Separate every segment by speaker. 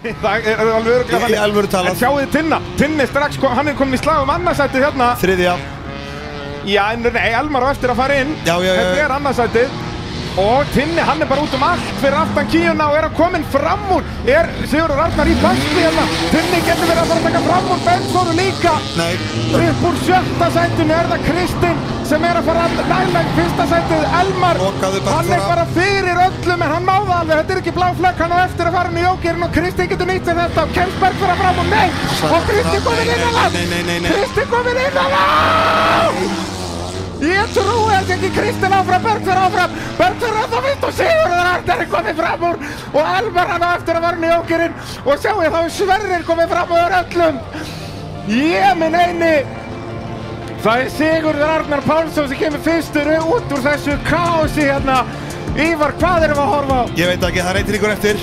Speaker 1: Það er alveg
Speaker 2: Í-
Speaker 1: öruglega
Speaker 2: í alvöru talað.
Speaker 1: En sjáu þið Tinna Tinni strax, kom, hann er komin í slag um annarsætið hérna
Speaker 2: Þriðja
Speaker 1: Já, en nei, Elmar á eftir að fara inn
Speaker 2: Já, já, já,
Speaker 1: Þetta
Speaker 2: já.
Speaker 1: er annarsætið Og Tinni, hann er bara út um allt fyrir aftan kíuna og er að komin fram úr Er Sigurður Arnar í basli hérna Tinni getur verið að fara að taka fram úr Bensóru líka
Speaker 2: Nei
Speaker 1: Upp úr sjötta sætinu er það Kristinn sem er að fara að næla í fyrsta sætið Elmar,
Speaker 2: Lokaðu bara
Speaker 1: hann er
Speaker 2: fyrir-
Speaker 1: bara fyrir öllum en hann má það alveg, þetta er ekki blá flökk hann á eftir að fara inn í jókerinn og Kristinn getur nýtt sér þetta og kemst Bergþóra fram og nei og Kristinn komin
Speaker 2: Nei, nei,
Speaker 1: inn að
Speaker 2: nei, nei, nei,
Speaker 1: land
Speaker 2: nei.
Speaker 1: Kristinn komin inn að land ég trúi þess ekki Kristinn áfram, Bergþóra áfram Bergþóra þá vitt og Sigurður Arnar er komið fram úr og Elmar hann á eftir að fara inn í jókerinn og sjáu þá er Sverrir komið fram úr öllum Ég minn eini Það er Sigurður Arnar Pálsson sem kemur fyrstur út úr þessu kási hérna Ívar, hvað erum við að horfa á?
Speaker 2: Ég veit ekki, það reytir ykkur eftir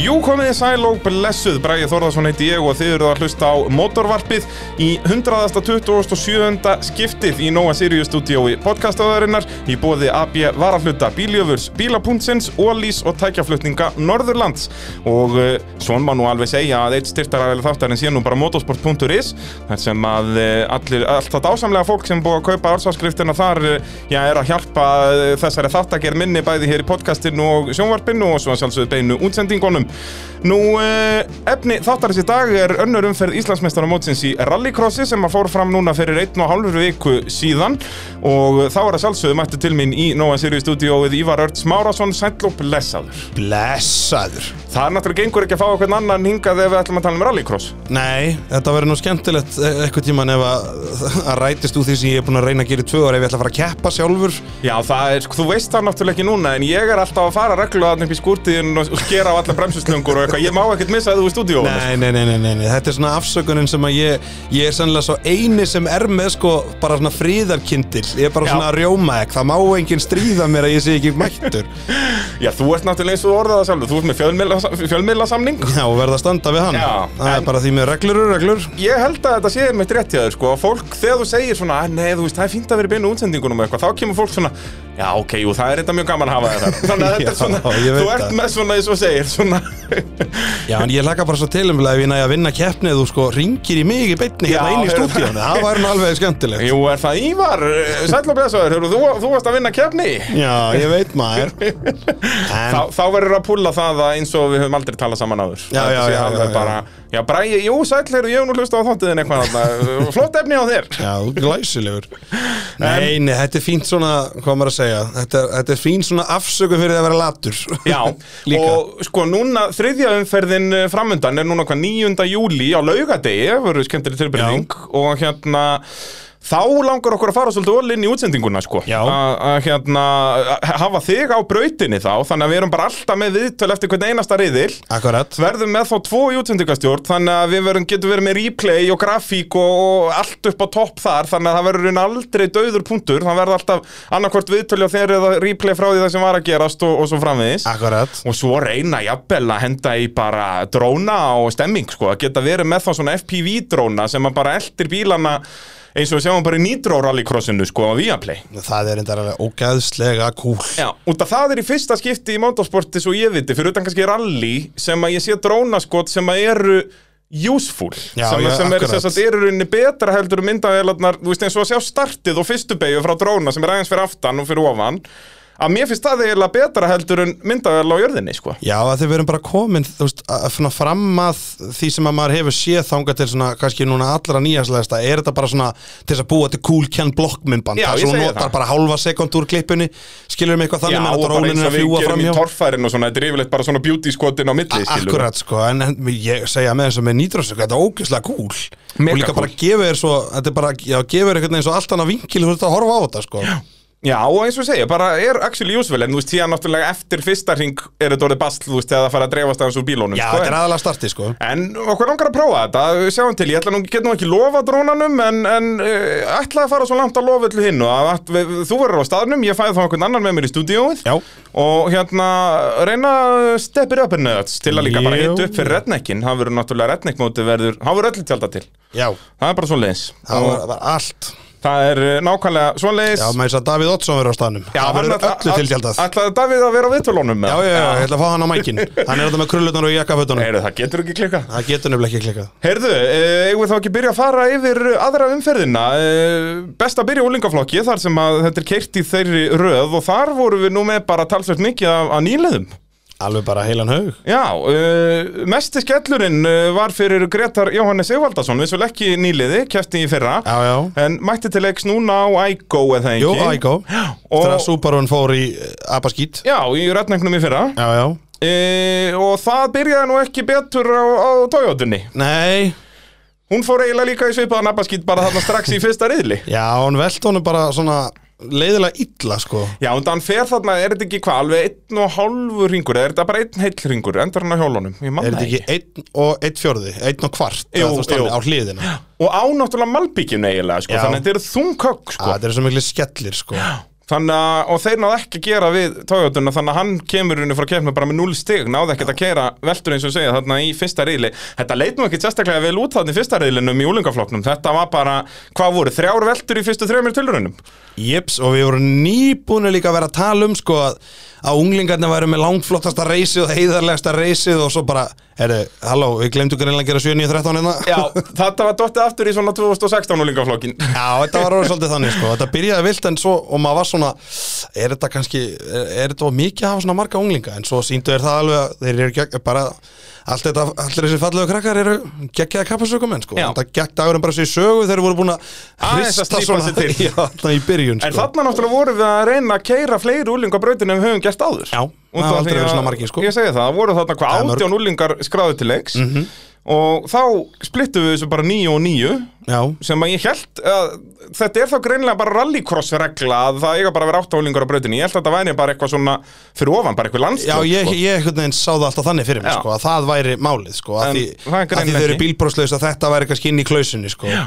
Speaker 3: Jú komið þið sæl og blessuð, Bræði Þórðarsson heiti ég og þið eruð að hlusta á Motorvarpið í 127. skiptið í Nóa Sirius stúdíói podcastaðarinnar í bóði AB Varahluta Bíljöfurs, Bílapuntsins, Ólís og tækjaflutninga Norðurlands og uh, svona má nú alveg segja að eitt styrtaræðileg þáttarinn sé nú bara motorsport.is þar sem að uh, allir, allt þetta ásamlega fólk sem búið að kaupa ársáskriftina þar uh, já, er að hjálpa uh, þessari þáttagerð minni bæði hér í podcastinu og sjónvarpinu og svo að sjálfsögðu beinu útsendingunum. Nú, uh, efni þáttarins í dag er önnur umferð Íslandsmeistara mótsins í rallycrossi sem að fór fram núna fyrir einn og hálfur viku síðan og þá er að sjálfsögðu mættu til mín í Nóa Sirius stúdíóið Ívar Örts Márásson sæll og blessaður.
Speaker 2: Blessaður
Speaker 3: Það er náttúrulega gengur ekki að fá okkur annan hingað ef við ætlum að tala um rallycross.
Speaker 2: Nei, þetta verður nú skemmtilegt e- eitthvað tíman ef að, að rætist úr því sem ég er búin að reyna að gera í tvö ára ef ég ætla að fara að keppa sjálfur
Speaker 3: Já, það er, sko, þú veist það náttúrulega ekki núna en ég er alltaf að fara reglulega upp í skúrtiðin og og skera á alla bremsuslöngur og eitthvað, ég má ekkert missa að þú er stúdíóinu.
Speaker 2: Nei, nei, nei, nei, nei, nei, þetta er svona afsökunin sem að ég, ég er sannlega svo eini sem er með sko bara svona fríðarkindil, ég er bara
Speaker 3: Já.
Speaker 2: svona rjómaegg, það má enginn stríða mér að ég sé ekki mættur.
Speaker 3: Já, þú ert náttúrulega eins og þú orðaða sjálfur, þú ert með fjölmiðla, fjölmiðlasamning.
Speaker 2: Já, og verða að standa við hann.
Speaker 3: Já,
Speaker 2: það
Speaker 3: en-
Speaker 2: er bara því með reglur og reglur.
Speaker 3: Ég held að þetta sé mitt rétt hjá þér sko að Fólk, þegar þú segir svona "Æ, Nei, þú veist, það er fínt að vera í beinu útsendingunum og eitthvað Þá kemur fólk svona Já, ok, jú, það er þetta mjög gaman að hafa þetta Þannig að þetta er
Speaker 2: Já,
Speaker 3: svona
Speaker 2: ég veit
Speaker 3: Þú ert
Speaker 2: það.
Speaker 3: með svona, eins og þú segir svona
Speaker 2: Já, en ég laka bara svo tilumlega ef ég næja að vinna keppnið þú sko ringir í mig í beinni
Speaker 3: Já,
Speaker 2: hérna inn í
Speaker 3: heyrðu.
Speaker 2: stúdíónu, það væri nú alveg skemmtilegt.
Speaker 3: Jú, er það Ívar, sætla blessaður Þú, þú, þú varst að vinna kefni
Speaker 2: Já, ég veit maður. En,
Speaker 3: Þá, þá verður að púlla það að eins og við höfum aldrei talað saman áður
Speaker 2: Já,
Speaker 3: Þetta
Speaker 2: já,
Speaker 3: sé
Speaker 2: já,
Speaker 3: alveg
Speaker 2: já, já.
Speaker 3: bara, já, bræði, jú, sætleir, ég hef nú hlusta á þóttiðin eitthvað þarna. Flott efni á þér
Speaker 2: Já, þú er glæsilegur Nei, nei, þetta er fínt svona, hvað á maður að segja Þetta, þetta er fínt svona afsökun fyrir að vera latur
Speaker 3: Já,
Speaker 2: Líka.
Speaker 3: og sko núna þriðja umferðin eh, framundan er núna hvað 9. júli á laugadegi, verður skemmtileg tilbyrðing og hérna þá langar okkur að fara svolítið ól inn í útsendinguna sko
Speaker 2: Já.
Speaker 3: Að- að hérna að hafa þig á brautinni þá þannig að við erum bara alltaf með viðtöl eftir hvern einasta riðil
Speaker 2: Akkurat
Speaker 3: verðum með þá tvo í útsendingastjórn þannig að við verum, getum verið með replay og grafík og, og allt upp á topp þar þannig að það verður í raun aldrei döður punktur þannig verður alltaf annarkvort viðtölu á þeirri eða replay frá því það sem var að gerast og, og svo framvegis
Speaker 2: Akkurat
Speaker 3: og svo reyna jafnvel að henda í bara dróna og stemming sko, að geta verið með þá svona FPV dróna sem að bara eldir bílana eins og við sjáum bara í Nitro rallycrossinu sko á Viaplay
Speaker 2: Það er enda alveg ógæðslega kúl
Speaker 3: Já, út af það er í fyrsta skipti í motorsporti svo ég viti, fyrir utan kannski rally sem að ég sé drónaskot sem að eru useful,
Speaker 2: Já,
Speaker 3: sem, að-
Speaker 2: já,
Speaker 3: sem er
Speaker 2: akkurat.
Speaker 3: sem sagt, eru rauninni betra heldur um myndavélarnar, þú veist eins og að sjá startið og fyrstu beigju frá dróna sem er aðeins fyrir aftan og fyrir ofan, að mér finnst það eiginlega betra heldur en myndavél á jörðinni sko.
Speaker 2: Já, að þið verðum bara komin þú veist, að, svona fram að því sem að maður hefur séð þangað til svona, kannski núna allra nýjastlegasta, er þetta bara svona til þess að búa til cool can block myndband
Speaker 3: Já,
Speaker 2: þar sem
Speaker 3: ég
Speaker 2: þú
Speaker 3: segi
Speaker 2: notar
Speaker 3: það.
Speaker 2: bara hálfa sekund úr klippunni skilur mig eitthvað þannig
Speaker 3: Já,
Speaker 2: með
Speaker 3: og
Speaker 2: að
Speaker 3: bara eins
Speaker 2: drónin er
Speaker 3: og
Speaker 2: að
Speaker 3: við
Speaker 2: fljúa
Speaker 3: gerum
Speaker 2: fram
Speaker 3: í
Speaker 2: hjá
Speaker 3: torfærin og svona, þetta er yfirleitt bara svona beauty skotin á milli, skilur
Speaker 2: Akkurat sko, en, en ég segja með eins og með nýtrásöku, þetta er ógeðslega cool
Speaker 3: Mega
Speaker 2: og líka bara
Speaker 3: cool.
Speaker 2: gefur þér svo, þetta er bara, já, gefur þér einhvern veginn svo allt annað vinkil þú ert að horfa á þetta sko Já,
Speaker 3: Já, og eins og segja, bara er actually useful En þú veist, síðan náttúrulega eftir fyrsta ring er þetta orðið basl, þú veist, þegar það fara að dreifast aðeins úr bílónum
Speaker 2: Já,
Speaker 3: sko,
Speaker 2: þetta
Speaker 3: en-
Speaker 2: er aðalega starti sko
Speaker 3: En okkur langar að prófa þetta, við sjáum til, ég ætla nú, get nú ekki lofa drónanum en, en uh, ætla að fara svo langt að lofa til hinn og að, að, við, þú verður á staðnum, ég fæði þá einhvern annan með mér í stúdíóið
Speaker 2: Já.
Speaker 3: og hérna reyna að step it up in nuts hérna, til að líka bara
Speaker 2: Já.
Speaker 3: hita upp fyrir redneckin, það verður náttúrulega redneckmóti verður, það verður öllu tjálta til,
Speaker 2: Já,
Speaker 3: það er bara svo leiðis
Speaker 2: það var, var allt
Speaker 3: það er eh, nákvæmlega svo leiðis
Speaker 2: Já, maður þess að Davíð Oddsson verður á staðnum Það verður öllu tiltjaldað
Speaker 3: Ætlaði Davíð að vera á viðtölunum
Speaker 2: Já, já, já, ég ætla að fá hann á mækin Hann er þetta með krullunar og jakkafötunum
Speaker 3: Heyrðu, það getur ekki klikkað
Speaker 2: Það getur nefnilega ekki klikkað
Speaker 3: Heyrðu, eh, eigum við þá ekki byrja að fara yfir aðra umferðina Eh, Best að byrja úlingaflokki þar sem að þetta er keirt í þeirri röð og þar voru við nú með bara talsvert mikið af, af nýleðum
Speaker 2: Alveg bara heilan haug
Speaker 3: Já, uh, mesti skellurinn eh, var fyrir Gretar Jóhannes Evaldason við svo ekki nýliði, kefti í fyrra
Speaker 2: Já, já
Speaker 3: en mætti til leiks núna á Ægó eða ekki
Speaker 2: Jú, Ægó
Speaker 3: og-
Speaker 2: Þegar Súbarun fór í eh, apaskít
Speaker 3: Já, í rætnæknum í fyrra
Speaker 2: Já, já
Speaker 3: e, og það byrjaði nú ekki betur á, á Toyotunni
Speaker 2: Nei
Speaker 3: Hún fór eiginlega líka í svipaðan abbaskýt bara þarna strax í fyrsta riðli
Speaker 2: Já, hann velt honum bara svona leiðilega illa sko
Speaker 3: Já, en hann fer þarna, er þetta ekki hvað, alveg einn og hálfur ringur, eða er þetta bara einn heill ringur, endar hann á hjólunum, ég
Speaker 2: Er
Speaker 3: manna
Speaker 2: þetta
Speaker 3: ekki.
Speaker 2: ekki einn og einn fjórði, einn og kvart
Speaker 3: Jú,
Speaker 2: eða þú veist,
Speaker 3: jú.
Speaker 2: þannig, á hliðina
Speaker 3: Og á náttúrulega malbyggjum eiginlega, sko,
Speaker 2: Já.
Speaker 3: þannig að þetta eru þungkökk,
Speaker 2: Að
Speaker 3: sko.
Speaker 2: Ah, þetta eru svo miklu skellir sko
Speaker 3: Þannig að, og þeir náðu ekki að gera við Toyotuna, þannig að hann kemur henni frá keppni bara með 0 stig, náðu ekkert að kera veldur eins og segja þarna í fyrsta riðli. Þetta leit nú ekki sérstaklega vel út þarna í fyrsta riðlinum í úlingafloknum, þetta var bara, hvað voru, þrjár veldur í fyrstu þremur tilrunum?
Speaker 2: Jeps, og við vorum nýbúinu líka að vera að tala um sko að, að unglingarnir væru með langflottasta reysið og heiðarlegasta reysið og svo bara, herri, halló, við glemdu greinlega að gera 7-9-13 hérna
Speaker 3: Já, þetta var dottið aftur í svona 2016 úlingaflokkin.
Speaker 2: Já, þetta var orðið svolítið þannig sko, þetta byrjaði vilt en svo, og maður var svona, er þetta kannski, er, er þetta of mikið að hafa svona marga unglinga, en svo síndu er það alveg að þeir eru gegg, bara, allt þetta, allir þessi fallegu krakkar eru geggjaða kappasökumenn sko,
Speaker 3: Já.
Speaker 2: þetta gegg dagurinn bara sér í sögu, þeir voru búin að
Speaker 3: Aðeins að
Speaker 2: hrista
Speaker 3: slípa
Speaker 2: svona,
Speaker 3: sig til.
Speaker 2: já, þannig í byrjun
Speaker 3: En
Speaker 2: sko.
Speaker 3: þarna náttúrulega vorum við að reyna að keira fleiri úlingabrautin en við höfum gert áður
Speaker 2: Já,
Speaker 3: Út
Speaker 2: það
Speaker 3: af
Speaker 2: hafa aldrei
Speaker 3: því
Speaker 2: verið
Speaker 3: að-
Speaker 2: svona margir, sko.
Speaker 3: Ég segi það, það voru þarna
Speaker 2: Það
Speaker 3: hvað
Speaker 2: er mörg. Mhm.
Speaker 3: átján úlingar skráðu til leiks Og þá splittum við þessu bara nýju og nýju
Speaker 2: Já,
Speaker 3: Sem að ég held að þetta er þá greinlega bara rallycross regla Að það eiga bara að vera átta úlingar á brautinni Ég held að þetta væri bara eitthvað svona fyrir ofan, bara eitthvað
Speaker 2: Já,
Speaker 3: landslög
Speaker 2: ég, ég einhvern veginn sá það alltaf þannig fyrir mig,
Speaker 3: sko, Já.
Speaker 2: sko, að það væri málið, sko, að
Speaker 3: En
Speaker 2: því,
Speaker 3: það er
Speaker 2: að því
Speaker 3: greinilega
Speaker 2: þau eru
Speaker 3: ekki.
Speaker 2: bílbróðslaus að þetta væri kannski inn í klausinni, sko. Já.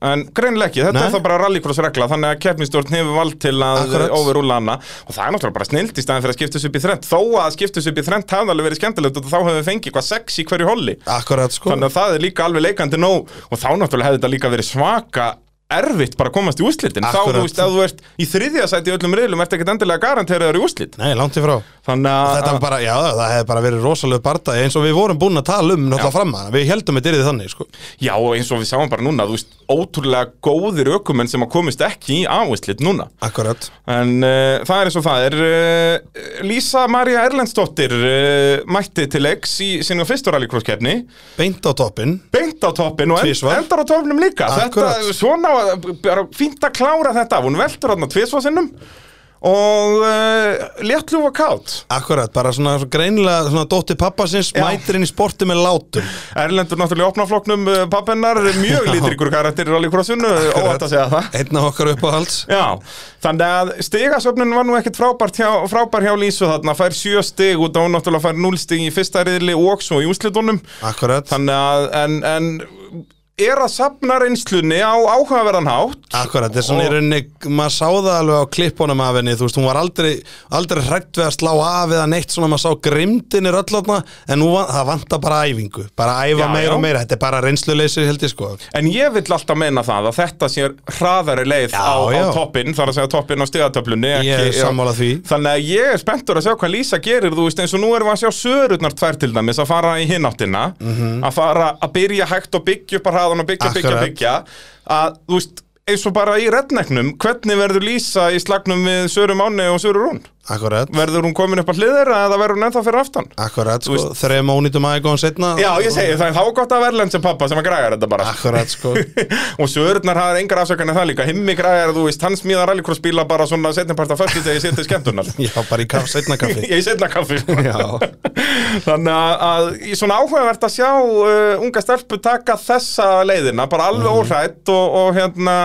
Speaker 3: En greinlega ekki, þetta
Speaker 2: Nei.
Speaker 3: er þá bara rallycross regla Þannig að keppnistjórn hefur vald til að
Speaker 2: Akkurat.
Speaker 3: overrúla hana Og það er náttúrulega bara snild í staðin fyrir að skipta þessu upp í þrent Þó að skipta þessu upp í þrent hafði alveg verið skemmtilegt og Þá hefur við fengið hvað sex í hverju holli
Speaker 2: Akkurat, sko.
Speaker 3: Þannig að það er líka alveg leikandi nóg Og þá náttúrulega hefði þetta líka verið svaka erfitt bara að komast í úrslitin Þá,
Speaker 2: Akkurat.
Speaker 3: þú veist, ef þú ert í þriðja sæti í öllum reyðlum Ert ekkert endilega garanteraður í úrslit
Speaker 2: Nei, langt í frá.
Speaker 3: Þannig að
Speaker 2: Þetta var bara, já, það hefði bara verið rosalega barndagi eins og við vorum búin að tala um náttúrulega fram að hana. Við heldum þetta yrði þannig, sko.
Speaker 3: Já, og eins og við sjáum bara núna Þú veist, ótrúlega góðir ökumenn sem að komist ekki í áherslit núna
Speaker 2: Akkurat.
Speaker 3: En uh, það er eins og það er uh, Lísa Maria Erlendsdóttir uh, mætti til leiks í sinni fyrstu rallycross-kefni
Speaker 2: Beint á toppin.
Speaker 3: beint á toppin og end,
Speaker 2: Tvisvar.
Speaker 3: endar á toppinum líka
Speaker 2: Akkurat.
Speaker 3: þetta, svona, bara fínt að klára þetta af hún veltur hann á tvisvarsinnum og uh, léttljúfa kátt
Speaker 2: Akkurat, bara svona, svona greinilega, svona dótti pappasins
Speaker 3: Já.
Speaker 2: mætir inn í sporti með látum.
Speaker 3: Erlendur náttúrulega í opnafloknum uh, pappennar, mjög lítrikur karakter í rallycrossinu, óvænt að segja það
Speaker 2: Einn af okkar uppáhalds.
Speaker 3: Já, þannig að stigasöfnun var nú ekkert frábært hjá, frábær hjá Lísu þarna, fær sjö stig út af hún náttúrulega fær núl stig í fyrsta riðli og svo í úrslitunum
Speaker 2: Akkurat.
Speaker 3: þannig að, en, en er að safna reynslunni á áhugaverðan hátt
Speaker 2: Akkurat, þess að
Speaker 3: Og-
Speaker 2: í rauninni, maður sá það alveg á klippunum af henni, þú veist, hún var aldrei, aldrei hrætt við að slá af eða neitt svona, maður sá grimdinir öll átna, en nú, van- það vantar bara æfingu, bara að æfa
Speaker 3: Já,
Speaker 2: meira
Speaker 3: já.
Speaker 2: og meira, þetta er bara reynsluleysi held ég sko.
Speaker 3: En ég vill alltaf meina það að þetta sé hraðari leið
Speaker 2: Já,
Speaker 3: á, á
Speaker 2: já.
Speaker 3: toppin, þar að segja toppin á stigatöflunni
Speaker 2: Ég er sammála því.
Speaker 3: Þannig að ég er spenntur að sjá hvað Lísa gerir, þú veist eins og nú erum við að sjá sörurnar tvær til dæmis að fara í hináttina Að fara að byrja hægt og byggja upp að hraðan og byggja, byggja,
Speaker 2: Mhm. Akkurat.
Speaker 3: byggja Að þú veist, eins og bara í redneknum, hvernig verður Lísa í slagnum við Sörum Áni og Sörur Rún?
Speaker 2: Akkurat,
Speaker 3: Verður hún komin upp að hliðera eða verður hún ennþá fyrir aftan?
Speaker 2: akkurat, sko,
Speaker 3: veist-
Speaker 2: þreim ónýtum aðeins setna.
Speaker 3: Já, ég segi það, þá er gott að verðlend sem pappa sem að græja þetta bara
Speaker 2: Akkurat, sko.
Speaker 3: og Sörnar hafa engar afsökan en það líka himmi græjar, þú veist, hann smíða rallycross bíla bara svona setnipart af fyrstu þegar ég seti skemmtunar
Speaker 2: Já, bara í kaf, setna kaffi.
Speaker 3: ég setna kaffi
Speaker 2: Já.
Speaker 3: þannig að, að í svona áhugavert að sjá uh, unga stelpu taka þessa leiðina bara alveg óhrætt og, og hérna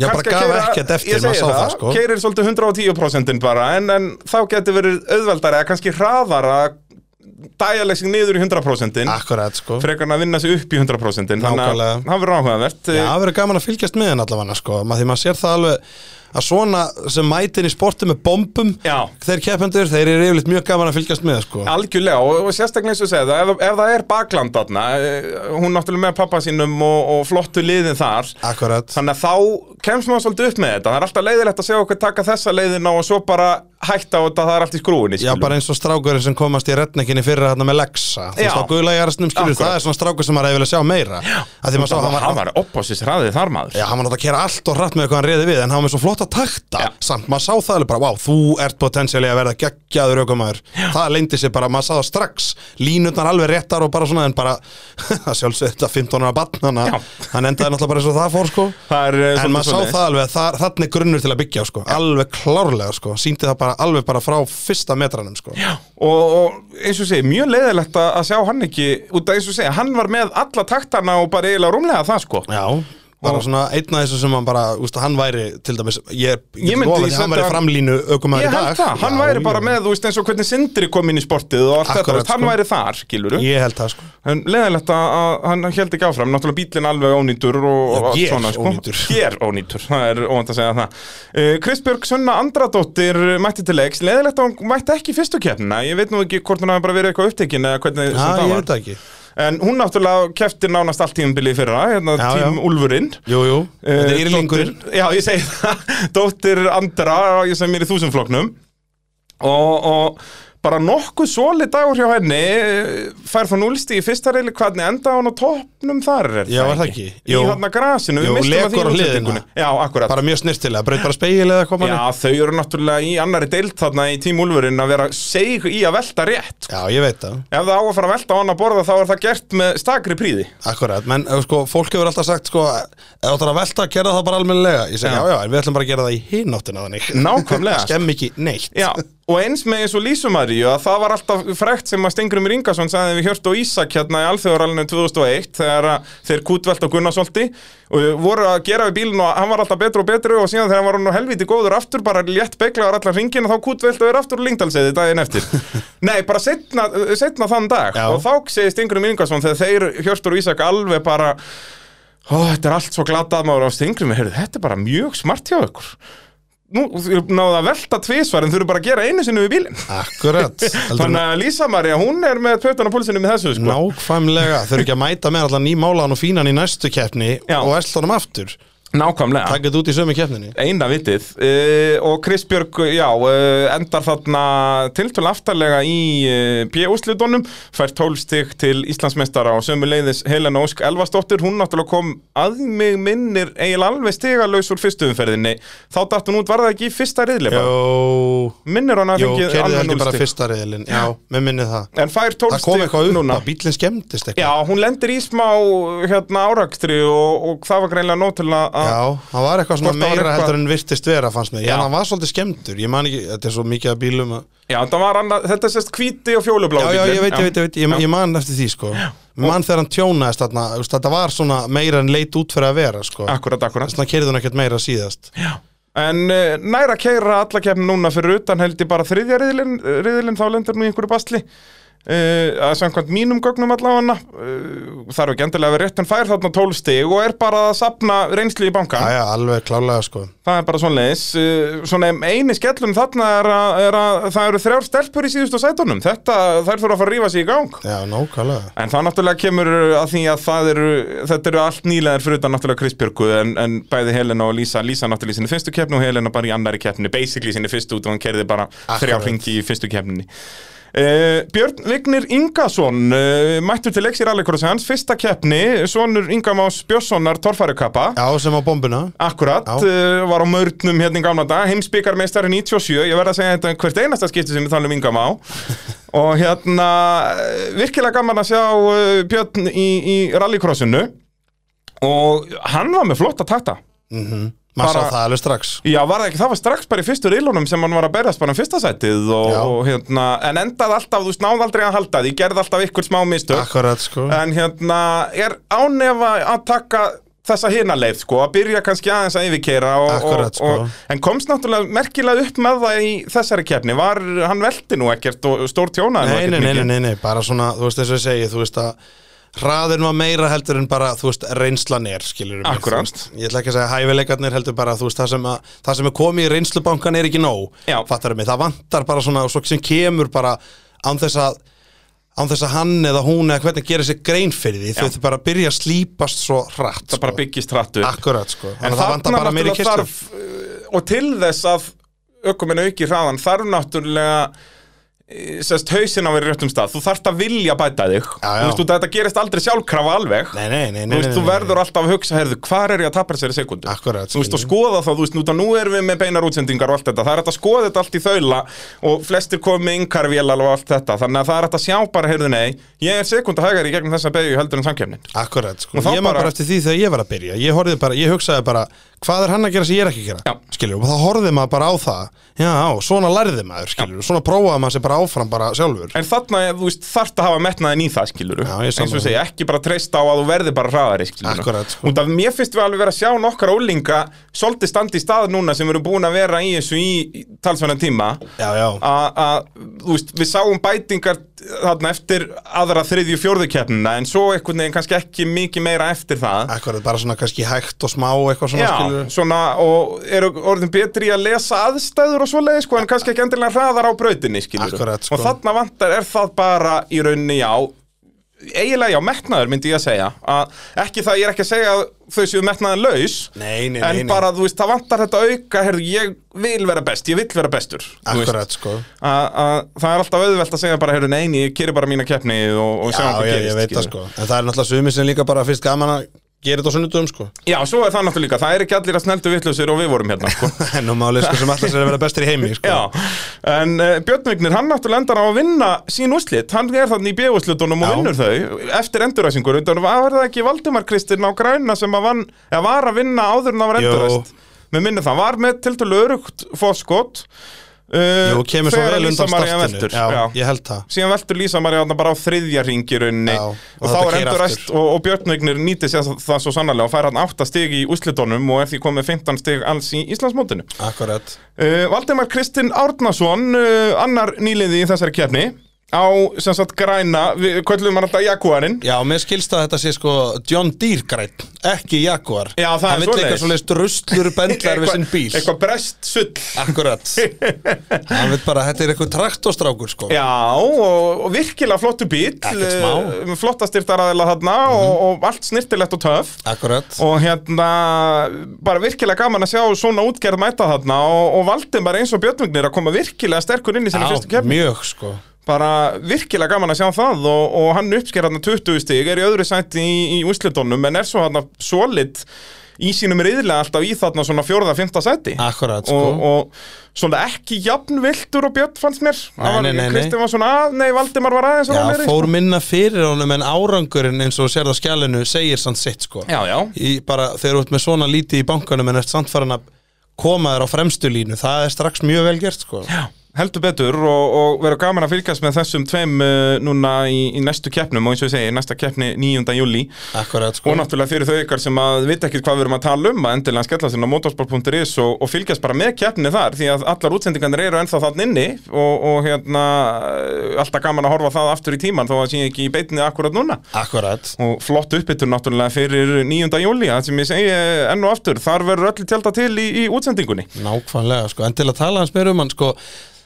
Speaker 2: Ég Mhm. bara
Speaker 3: Kannski að
Speaker 2: gaf
Speaker 3: keyra-
Speaker 2: ekkert eftir,
Speaker 3: ég segi
Speaker 2: maður sá það, sko.
Speaker 3: Keirir svolítið 110% bara en, en þá getur verið auðveldar eða kannski hraðar að dæjaleg sig niður í 100%
Speaker 2: Akkurat, sko
Speaker 3: frekar en að vinna sig upp í 100% þannig að
Speaker 2: Nákvæmlega.
Speaker 3: það verður áhugavert
Speaker 2: Já, það verður gaman að fylgjast með henn allavega sko. Ma- því maður sér það alveg að svona sem mætin í sportu með bombum
Speaker 3: Já.
Speaker 2: þeir keppendur, þeir eru yfirleitt mjög gaman að fylgjast með sko.
Speaker 3: Algjörlega og, og sérstaklega eins og segja það ef, ef það er bakland þarna eh, hún náttúrulega með pappa sínum og, og flottu liðin þar
Speaker 2: Ah. Akkurat,
Speaker 3: þannig að þá kemst maður svolítið upp með þetta það er alltaf leiðilegt að segja okkur taka þessa leiðina og svo bara hætta á þetta það er allt í skrúinni
Speaker 2: já bara eins og strákurinn sem komast í retnekinni fyrir hérna með Lexa þú
Speaker 3: Já.
Speaker 2: veist á guðlægjarasnum skilur,
Speaker 3: Akkurat.
Speaker 2: það er svona strákur sem maður hefði vilja sjá meira að því maður sá,
Speaker 3: hann
Speaker 2: hann
Speaker 3: var, hann
Speaker 2: var,
Speaker 3: var opposist hraðið þar maður
Speaker 2: já, hann var náttúrulega að kera allt og hratt með hvað hann reyði við, en hann var með svo flotta takta
Speaker 3: Já.
Speaker 2: samt maður sá það alveg bara, wow, þú ert potensiali að verða geggjaður aukumæður það leindi sér bara, maður sá það strax línutnar alveg réttar og bara svona en bara, sjálfsög þetta 15 ára barn hann,
Speaker 3: Já.
Speaker 2: hann endaði náttúrulega bara eins og það fór sko
Speaker 3: það er
Speaker 2: en
Speaker 3: eh, svolítið
Speaker 2: maður sá
Speaker 3: svoleiðis.
Speaker 2: það alveg, að það, þannig er grunnur til að byggja á, sko, alveg klárlega sko, síndi það bara alveg bara frá fyrsta metranum sko. já,
Speaker 3: og, og eins og segja, mjög leiðilegt að að sjá hann ekki út að eins og segja, hann var með alla taktana og bara eiginlega rúmlega það sko
Speaker 2: bara
Speaker 3: Og-
Speaker 2: svona einn af þessu sem hann bara, úst, hann væri til dæmis, ég, ég,
Speaker 3: Ég
Speaker 2: ég
Speaker 3: myndi
Speaker 2: lofa því
Speaker 3: setja
Speaker 2: að hann væri
Speaker 3: hann-
Speaker 2: framlínu aukumæður
Speaker 3: Ég
Speaker 2: í dag
Speaker 3: held það, hann
Speaker 2: Já,
Speaker 3: væri
Speaker 2: já.
Speaker 3: bara með, þú veist, eins og hvernig Sindri kom inn í sportið og allt þetta,
Speaker 2: Akkurat,
Speaker 3: þú veist, hann
Speaker 2: sko.
Speaker 3: væri þar, skilur
Speaker 2: Ég held það sko
Speaker 3: En leðilegt að að hann held ekki áfram, náttúrulega bílinn alveg ónýtur og og
Speaker 2: Já,
Speaker 3: allt
Speaker 2: ég
Speaker 3: svona, sko.
Speaker 2: ónýtur.
Speaker 3: Hér ónýtur, það er óvænt að segja það. Uh, Kristbjörg Sunna Andradóttir mætti til leiks, leðilegt að hún mætti ekki í fyrstu keppnina, ég veit nú ekki hvort hún hafi bara verið eitthvað upptekinn eða hvernig
Speaker 2: Já,
Speaker 3: sem
Speaker 2: ég
Speaker 3: það
Speaker 2: veit
Speaker 3: var.
Speaker 2: það ekki
Speaker 3: En hún náttúrulega kefti nánast allt tímabilið í fyrra, hérna
Speaker 2: Já, já.
Speaker 3: tím Úlfurinn.
Speaker 2: Jú, jú, þetta
Speaker 3: Eh,
Speaker 2: er írlingurinn
Speaker 3: dóttir- Já, ég segi það Dóttir Andra, ég sem er í þúsundfloknum og, og bara nokkuð soli dagur hjá henni eh, fær þá núlsti í fyrsta reyli hvernig enda hún á toppnum þar er
Speaker 2: Já, var það ekki?
Speaker 3: Í
Speaker 2: Jú.
Speaker 3: hann grasinu,
Speaker 2: Jú,
Speaker 3: við mistum að því
Speaker 2: lekur á
Speaker 3: í
Speaker 2: hliðina.
Speaker 3: útsendingunni. Já, akkurat
Speaker 2: Bara mjög snirtilega, braut bara speil eða koma
Speaker 3: Já, þau eru náttúrulega í annari deilt þarna í tím Úlfurinn að vera seg í að velta rétt
Speaker 2: já, ég veit það
Speaker 3: Ef það á að fara að velta á hann að borða þá er það gert með stakri príði
Speaker 2: Akkurat, menn eh, sko, fólk hefur alltaf sagt sko, ef þú ætlar að velta, gera það bara almennilega Ég segi,
Speaker 3: Já.
Speaker 2: já, já, en við ætlum bara að gera það í hináttina þannig
Speaker 3: Nákvæmlega,
Speaker 2: Það Skemm ekki neitt
Speaker 3: Já, og eins með eins og Lísumaríu að það var alltaf frekt sem að Stengrumur Ingarsson sagði við Hjört og Ísak hérna í alþjóðaralinu 2001 þegar að þeir kútvelt á Gunnarsólti og voru að gera við bílinn og hann var alltaf betri og betri og síðan þegar hann var hann helviti góður aftur bara létt beiglaður allan ringin og þá kútvelt og er aftur og lingdalsiði daginn eftir Nei, bara setna, setna þann dag
Speaker 2: Já.
Speaker 3: og þá segi Stengrumur Ingarsson þegar þeir Hjört og Ísak alveg bara Ó, þetta er allt svo glatað maður á Stengrumur, heyrðu, þetta er bara mjög smart hjá ykkur nú, þú eru náðu að velta tvísvar en þú eru bara að gera einu sinni við bílinn
Speaker 2: Akkurat, heldur en
Speaker 3: Þannig að Lísa Maria, hún er með pötun á púlsinu með þessu, sko
Speaker 2: nákvæmlega Þau eru ekki að mæta með allan nýmálan og fínan í næstu keppni
Speaker 3: Já.
Speaker 2: og æslunum aftur
Speaker 3: Nákvæmlega
Speaker 2: Takk þetta út í sömu keppninni
Speaker 3: Eina vitið uh, og Kristbjörg, já, uh, endar þarna tiltölu aftarlega í uh, P-úslutunum, fær 12 stig til Íslandsmeistara og sömu leiðis Helena Ósk Elvastóttir, hún náttúrulega kom að mig minnir eiginlega alveg stigalaus úr fyrstu umferðinni, þá datt hún út var það ekki í fyrsta riðlega,
Speaker 2: Jó,
Speaker 3: minnir hann að
Speaker 2: jó,
Speaker 3: fengið
Speaker 2: kerði
Speaker 3: alveg
Speaker 2: heldur
Speaker 3: 0
Speaker 2: bara
Speaker 3: stig
Speaker 2: fyrsta reyðilin Já, með minni það
Speaker 3: En fær 12
Speaker 2: Það kom
Speaker 3: stig
Speaker 2: eitthvað upp
Speaker 3: núna.
Speaker 2: að bílinn skemmtist eitthvað
Speaker 3: Já, hún lendir í smá hérna árakstri og, og það var greinlega nóg til að að-
Speaker 2: Já, hann var eitthvað svona
Speaker 3: Hvort það var
Speaker 2: meira
Speaker 3: eitthvað-
Speaker 2: heldur en virtist vera fannst mér,
Speaker 3: Já.
Speaker 2: en hann var svolítið skemmtur ég man ekki, þetta er svo mikið að bílum að...
Speaker 3: Já, þetta var annað, þetta er sérst hvíti og fjólublá
Speaker 2: Já, já, ég veit, ég veit, ég veit, ég,
Speaker 3: Já.
Speaker 2: ég man eftir því sko ég man þegar hann tjónaðist þarna, þú veist, þetta var svona meira en leit út fyrir að vera sko
Speaker 3: Akkurat, akkurat
Speaker 2: þannig að keirði hún ekkert meira síðast
Speaker 3: En uh, næra keira alla kemni núna fyrir utan held ég bara þriðja riðilinn, riðilinn þá lendir nú í einhverju basli uh, að samkvæmt mínum gögnum allavega uh, þarf ekki endilega að vera rétt en fær þarna 12 stig og er bara að sapna reynslu í banka
Speaker 2: Já, já, alveg klálega sko
Speaker 3: Það er bara svoleiðis uh, Svona eini skellum þarna er að, er að það eru þrjár stelpur í síðustu sætunum Þetta, þær þurfa að fara að rífa sig í gang
Speaker 2: Já, nákvæmlega
Speaker 3: En það náttúrulega kemur uh, að því að það eru, þetta eru allt nýlegar fyrir utan náttúrulega Kristbjörgu en, en bæði Helena og Lísa, Lísa náttúrulega í sinni fyrstu keppni og Helena bara í annari keppni, basically í sinni fyrstu út og hann kerði bara þrjá
Speaker 2: Akkurat.
Speaker 3: hringi í fyrstu keppninni. Uh, Björn Vignir Ingason uh, mættur til leiks í rallycrossi hans fyrsta keppni, sonur Ingamás Björnssonar torfærukappa
Speaker 2: Já, sem á bombuna
Speaker 3: Akkurat,
Speaker 2: Já.
Speaker 3: uh, var á mörnum hérna í gamla dag, heimsbyggarmeistari 97, ég verð að segja þetta hvert einasta skipti sem við tala um Inga Má og hérna, eh, virkilega gaman að sjá uh, Björn í, í rallycrossinu og hann var með flott að takta
Speaker 2: Maður
Speaker 3: Bara-
Speaker 2: sá það alveg strax
Speaker 3: Já, var það ekki, það var strax bara í fyrstu reilunum sem hann var að berjast bara um fyrsta sætið og,
Speaker 2: Já.
Speaker 3: og hérna, en endaði alltaf, þú snáði aldrei að halda því, gerði alltaf ykkur smá mistök
Speaker 2: Akkurat sko
Speaker 3: en hérna, er ánefa að taka þessa hina leið sko, að byrja kannski aðeins að yfirkeira og,
Speaker 2: Akkurat,
Speaker 3: og,
Speaker 2: sko.
Speaker 3: og, en komst náttúrulega merkilega upp með það í þessari keppni var, hann velti nú ekkert og stór tjónaði nú
Speaker 2: Nei, nei,
Speaker 3: ekkert
Speaker 2: nei,
Speaker 3: mikið.
Speaker 2: nei, nei, nei, bara svona, þú veist eins og ég segi, þú veist að hraðin var meira heldur en bara, þú veist, reynslan er, skilur við
Speaker 3: Akkúrat.
Speaker 2: Ég ætla ekki að segja hæfileikarnir heldur bara, þú veist, það sem, að, það sem er komið í reynslubankan er ekki nóg,
Speaker 3: Já.
Speaker 2: fattar mig, það vantar bara svona, svo sem kemur bara án þess að, án þess að hann eða hún eða hvernig gerir sér grein fyrir því,
Speaker 3: Já.
Speaker 2: þau þau bara byrja að slípast svo hratt, sko.
Speaker 3: það bara byggist hrattu
Speaker 2: Akkurat, sko,
Speaker 3: En
Speaker 2: þannig að það vantar bara meiri
Speaker 3: náttúrulega
Speaker 2: kyrstu
Speaker 3: þarf uh, og til þess að ökuminn auki hraðan þarf náttúrulega eh, sest hausin á verið réttum stað þú þarft að vilja bæta þig
Speaker 2: Já, já.
Speaker 3: Þú veist, þú- þetta gerist aldrei sjálfkrafa alveg
Speaker 2: Nei, nei, nei, nei,
Speaker 3: þú veist,
Speaker 2: nei,
Speaker 3: þú
Speaker 2: nei, nei.
Speaker 3: verður alltaf að hugsa, heyrðu, hvar er ég að tapa þessari sekundu?
Speaker 2: Akkúrat,
Speaker 3: Þú veist, og
Speaker 2: skilur.
Speaker 3: skoða þá, þú veist, nú, nú erum við með beinar útsendingar og allt þetta, það er hægt að skoða þetta allt í þaula og flestir komið með yngarvél og allt þetta, þannig að það er hægt að sjá bara, heyrðu, nei ég er sekundu hægari í gegnum þessa beigju heldur en samkefnin.
Speaker 2: Akkurat, sko,
Speaker 3: Og þá
Speaker 2: ég maður
Speaker 3: bara-
Speaker 2: bara eftir því þegar ég var að byrja Ég horfði bara, ég hugsaði bara Hvað er hann að gera sem ég er ekki að gera?
Speaker 3: Já.
Speaker 2: Skiljum, og þá horfði maður bara á það Já, svona lærði maður, skiljum Svona prófaði maður sér bara áfram bara sjálfur
Speaker 3: En þarna, þú veist, þarft að hafa metnaðin í það, skiluru
Speaker 2: Já, ég
Speaker 3: Eins
Speaker 2: sammála
Speaker 3: og
Speaker 2: því.
Speaker 3: segja, ekki bara treysta á að þú verði bara hraðari, skiluru
Speaker 2: Akkúrat, sko.
Speaker 3: Út af mér finnst við alveg vera að sjá nokkar ólinga Svolítið standi í stað núna sem eru búin að vera í þessu í í talsverðan tíma
Speaker 2: Já, já,
Speaker 3: Að, að, þú veist, við sáum bætingar þarna eftir aðra þriðju fjórðu keppnina En svo einhvern veginn kannski ekki mikið meira eftir það
Speaker 2: akkurat, bara svona kannski hægt og smá Eitthvað svona,
Speaker 3: Já,
Speaker 2: skiljum
Speaker 3: svona, og eru orðin betri í að lesa aðstæður og svoleiði, sko, en kannski ekki endilega hraðar á brautinni, skilur.
Speaker 2: Akkurat, sko.
Speaker 3: Og þarna vantar er það bara í rauninni, já, eiginlega, já, metnaður myndi ég að segja. Að, ekki það, ég er ekki að segja að þau séu metnaður laus,
Speaker 2: Nei, nei, nei,
Speaker 3: en
Speaker 2: nei.
Speaker 3: bara, þú veist, það vantar þetta auka, herðu, ég vil vera best, ég vil vera bestur. þú veist.
Speaker 2: Akkurat, sko
Speaker 3: Að, að það er alltaf auðvelt að segja bara, herðu, nei, nei, ég keri bara mína keppni og, og
Speaker 2: Já,
Speaker 3: sjá hvað
Speaker 2: já,
Speaker 3: gerist.
Speaker 2: ég veit það,
Speaker 3: skilurðu.
Speaker 2: sko En það er náttúrulega sumi sem líka bara finnst gaman að gera þetta á sunnudum, sko
Speaker 3: Já, svo er það náttúrulega líka, það er ekki allir að sneldu vitlausir og við vorum hérna, sko.
Speaker 2: En nú máli, sko, sem alltaf sér að vera bestir í heimi, sko
Speaker 3: Já, en uh, Björn Vignir, hann náttúrulega endar á að vinna sín úrslit, hann er þannig í B-úrslitunum og
Speaker 2: Já.
Speaker 3: vinnur þau eftir enduræsingur, þannig að var það ekki Valdimar Kristinn á græna sem að vann, eða var að vinna áður en það var
Speaker 2: Jú.
Speaker 3: enduræst, með minni það, var með til dælu örugt fóskot uh,
Speaker 2: Jú, kemur svo
Speaker 3: þegar
Speaker 2: vel
Speaker 3: Lísa
Speaker 2: undan
Speaker 3: María
Speaker 2: startinu
Speaker 3: veltur, já,
Speaker 2: Já, ég held það
Speaker 3: síðan veltur Lísa María þarna bara á þriðja ringirunni
Speaker 2: Já,
Speaker 3: og,
Speaker 2: og
Speaker 3: þá
Speaker 2: þetta
Speaker 3: er
Speaker 2: keyra
Speaker 3: enduræst
Speaker 2: aftur.
Speaker 3: og, og Björn Vignir nýti sér það svo sannarlega og fær hann 8 stig í úrslitunum og er því komið 15 stig alls í Íslandsmótinu
Speaker 2: Akkurat
Speaker 3: Uh, Valdimar Kristinn Árnason, uh, annar nýliði í þessari kefni á sem sagt græna, við köllum hann alltaf Jaguarinn
Speaker 2: Já, mér skilst að þetta sé sko John Deere græn, ekki Jaguar
Speaker 3: Já, það er
Speaker 2: Hann vill
Speaker 3: svoleiðis.
Speaker 2: eitthvað svoleiðist druslur bendlar við sinn bíl
Speaker 3: eitthvað brest sull
Speaker 2: Akkurat Hann vill bara, þetta er eitthvað traktostrákur sko
Speaker 3: Já, og, og virkilega flottu bíl
Speaker 2: Ekkert smá. Mhm.
Speaker 3: uh, flotta styrtaraðila þarna og, og allt snirtilegt og töf
Speaker 2: Akkurat
Speaker 3: og hérna, bara virkilega gaman að sjá svona útgerð mæta þarna og, og Valdimar eins og Björnvignir að koma virkilega sterkur inn í sinni fyrstu kefni
Speaker 2: mjög sko
Speaker 3: bara virkilega gaman að sjá það og, og hann uppsker hann 20 stig er í öðru sæti í, í úslitónum en er svo hann solid í sínum riðlega alltaf í þarna svona fjórða, fymta sæti
Speaker 2: Akkurat sko
Speaker 3: og, og svona ekki jafn viltur og björn fannst mér
Speaker 2: Nei, nei, nei, nei.
Speaker 3: Kristján var svona að, nei, Valdimar var aðeins
Speaker 2: Já,
Speaker 3: rólegri,
Speaker 2: fór
Speaker 3: sko.
Speaker 2: minna fyrir honum en árangurinn eins og þú sérð á skjælinu segir samt sitt sko
Speaker 3: já, já,
Speaker 2: í bara, þegar þú ert með svona lítið í bankanum en ert samt farin að koma þér á fremstu línu það er strax mjög vel gert sko
Speaker 3: Já, heldur betur og, og verður gaman að fylgjast með þessum tveim uh, núna í, í næstu keppnum og eins og ég segi, næsta keppni 9. júli
Speaker 2: Akkurat sko
Speaker 3: Og náttúrulega fyrir þau ykkar sem að vita ekkert hvað við erum að tala um að endilega skella sinna á motorsport.is og, og fylgjast bara með keppni þar því að allar útsendingarnir eru ennþá þann inni og, og hérna eh, alltaf gaman að horfa það aftur í tíman þó að sé ekki í beitinni akkurat núna
Speaker 2: Akkurat
Speaker 3: og flott uppbyttur náttúrulega fyrir 9. júli það sem ég segi eh, enn og aftur þar verður öll tjálta til í, í útsendingunni
Speaker 2: Nákvæmlega, sko, en til að tala hans meir um hann, sko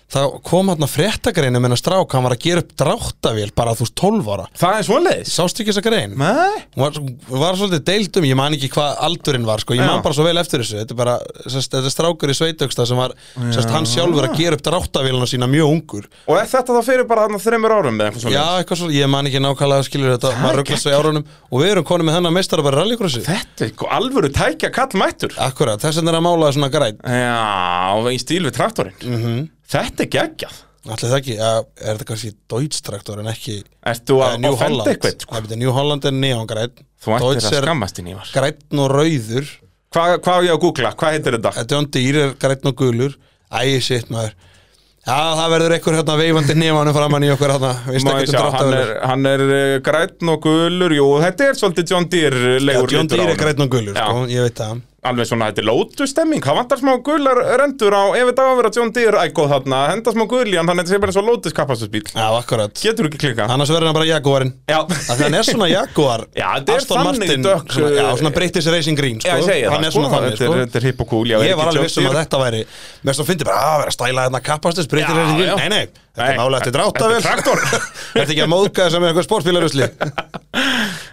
Speaker 2: þá kom hann að fréttagreinu minna strák, hann var að gera upp dráttavél bara þú veist 12 ára
Speaker 3: Það er svoleiðis
Speaker 2: Sástu ekki þessa grein?
Speaker 3: Nei?
Speaker 2: Hún Var, hún var svolítið deild um, ég man ekki hvað aldurinn var, sko, ég
Speaker 3: Já.
Speaker 2: man bara svo vel eftir þessu Þetta er bara, sest, þetta er strákur í sveitauksta sem var, sest, hann sjálfur að gera upp dráttavélina sína mjög ungur
Speaker 3: Og er þetta þá fyrir bara þarna þreymur árum eða eitthvað svoleiðis?
Speaker 2: Já, eitthvað svo, ég man ekki nákvæmlega skilur þetta, maður rugglast svo í árunum og við erum konum með þennan meistara bara rallycrossi
Speaker 3: Þetta er sko alvöru tækja kallmættur
Speaker 2: Akkurat, þess vegna er að málaði svona græn
Speaker 3: Já, í stíl við traktorinn
Speaker 2: Mhm.
Speaker 3: Þetta er geggjað
Speaker 2: Ætli það ekki, að, er þetta kannski Deutsch-traktor en ekki
Speaker 3: Ert þú
Speaker 2: Eða
Speaker 3: að
Speaker 2: New
Speaker 3: offenda
Speaker 2: Holland
Speaker 3: eitthvað? Sko?
Speaker 2: Það byrja New Holland er neongræn
Speaker 3: Þú ættir
Speaker 2: Deutsch
Speaker 3: að
Speaker 2: er
Speaker 3: skammast inn í var
Speaker 2: grænn og rauður
Speaker 3: Hvað hva á ég að googla? Hvað heitir þetta?
Speaker 2: John Deere er grænn og gulur Æ, shit maður Já, það verður einhver hérna veifandi nefnum framann í okkur hérna Veist
Speaker 3: Má ég
Speaker 2: ekki
Speaker 3: sjá,
Speaker 2: um drátt
Speaker 3: hann er, hann er eh, grænn og gulur, jú, þetta er svolítið John Deere
Speaker 2: Já,
Speaker 3: legur
Speaker 2: John Deere
Speaker 3: litur á
Speaker 2: er
Speaker 3: honum.
Speaker 2: grænn og gulur,
Speaker 3: Já.
Speaker 2: sko, ég veit það
Speaker 3: Alveg svona, þetta er lótustemming, það vantar smá gular rendur á, ef þetta á að vera John Deere ægóð þarna, henda smá gul í hann, þannig að þetta sé bara eins og lótus kappasusbíl.
Speaker 2: Já, akkurat
Speaker 3: Getur ekki klika?
Speaker 2: Annars verður hann bara Jaguarinn
Speaker 3: Já,
Speaker 2: Þannig hann er svona Jaguar
Speaker 3: Já, þetta er
Speaker 2: Aston
Speaker 3: þannig
Speaker 2: Martin,
Speaker 3: dökk,
Speaker 2: svona, Já, svona
Speaker 3: eh,
Speaker 2: breytis racing green, sko
Speaker 3: Já, ég segi
Speaker 2: Hann
Speaker 3: það,
Speaker 2: er svona þannig,
Speaker 3: þetta
Speaker 2: sko
Speaker 3: er, þetta er hipp og cool, já, er
Speaker 2: Ég var
Speaker 3: ekki
Speaker 2: alveg
Speaker 3: John
Speaker 2: viss um að
Speaker 3: Deere?
Speaker 2: þetta væri Mér svo fyndi bara, að vera að stæla þarna kappastis Breytir
Speaker 3: Já,
Speaker 2: racing
Speaker 3: já.
Speaker 2: green, nei, nei Þetta
Speaker 3: Nei,
Speaker 2: er nálega eftir
Speaker 3: þetta er
Speaker 2: dráttavel
Speaker 3: traktor.
Speaker 2: Þetta ekki að móðka sem er eitthvað sportbílarusli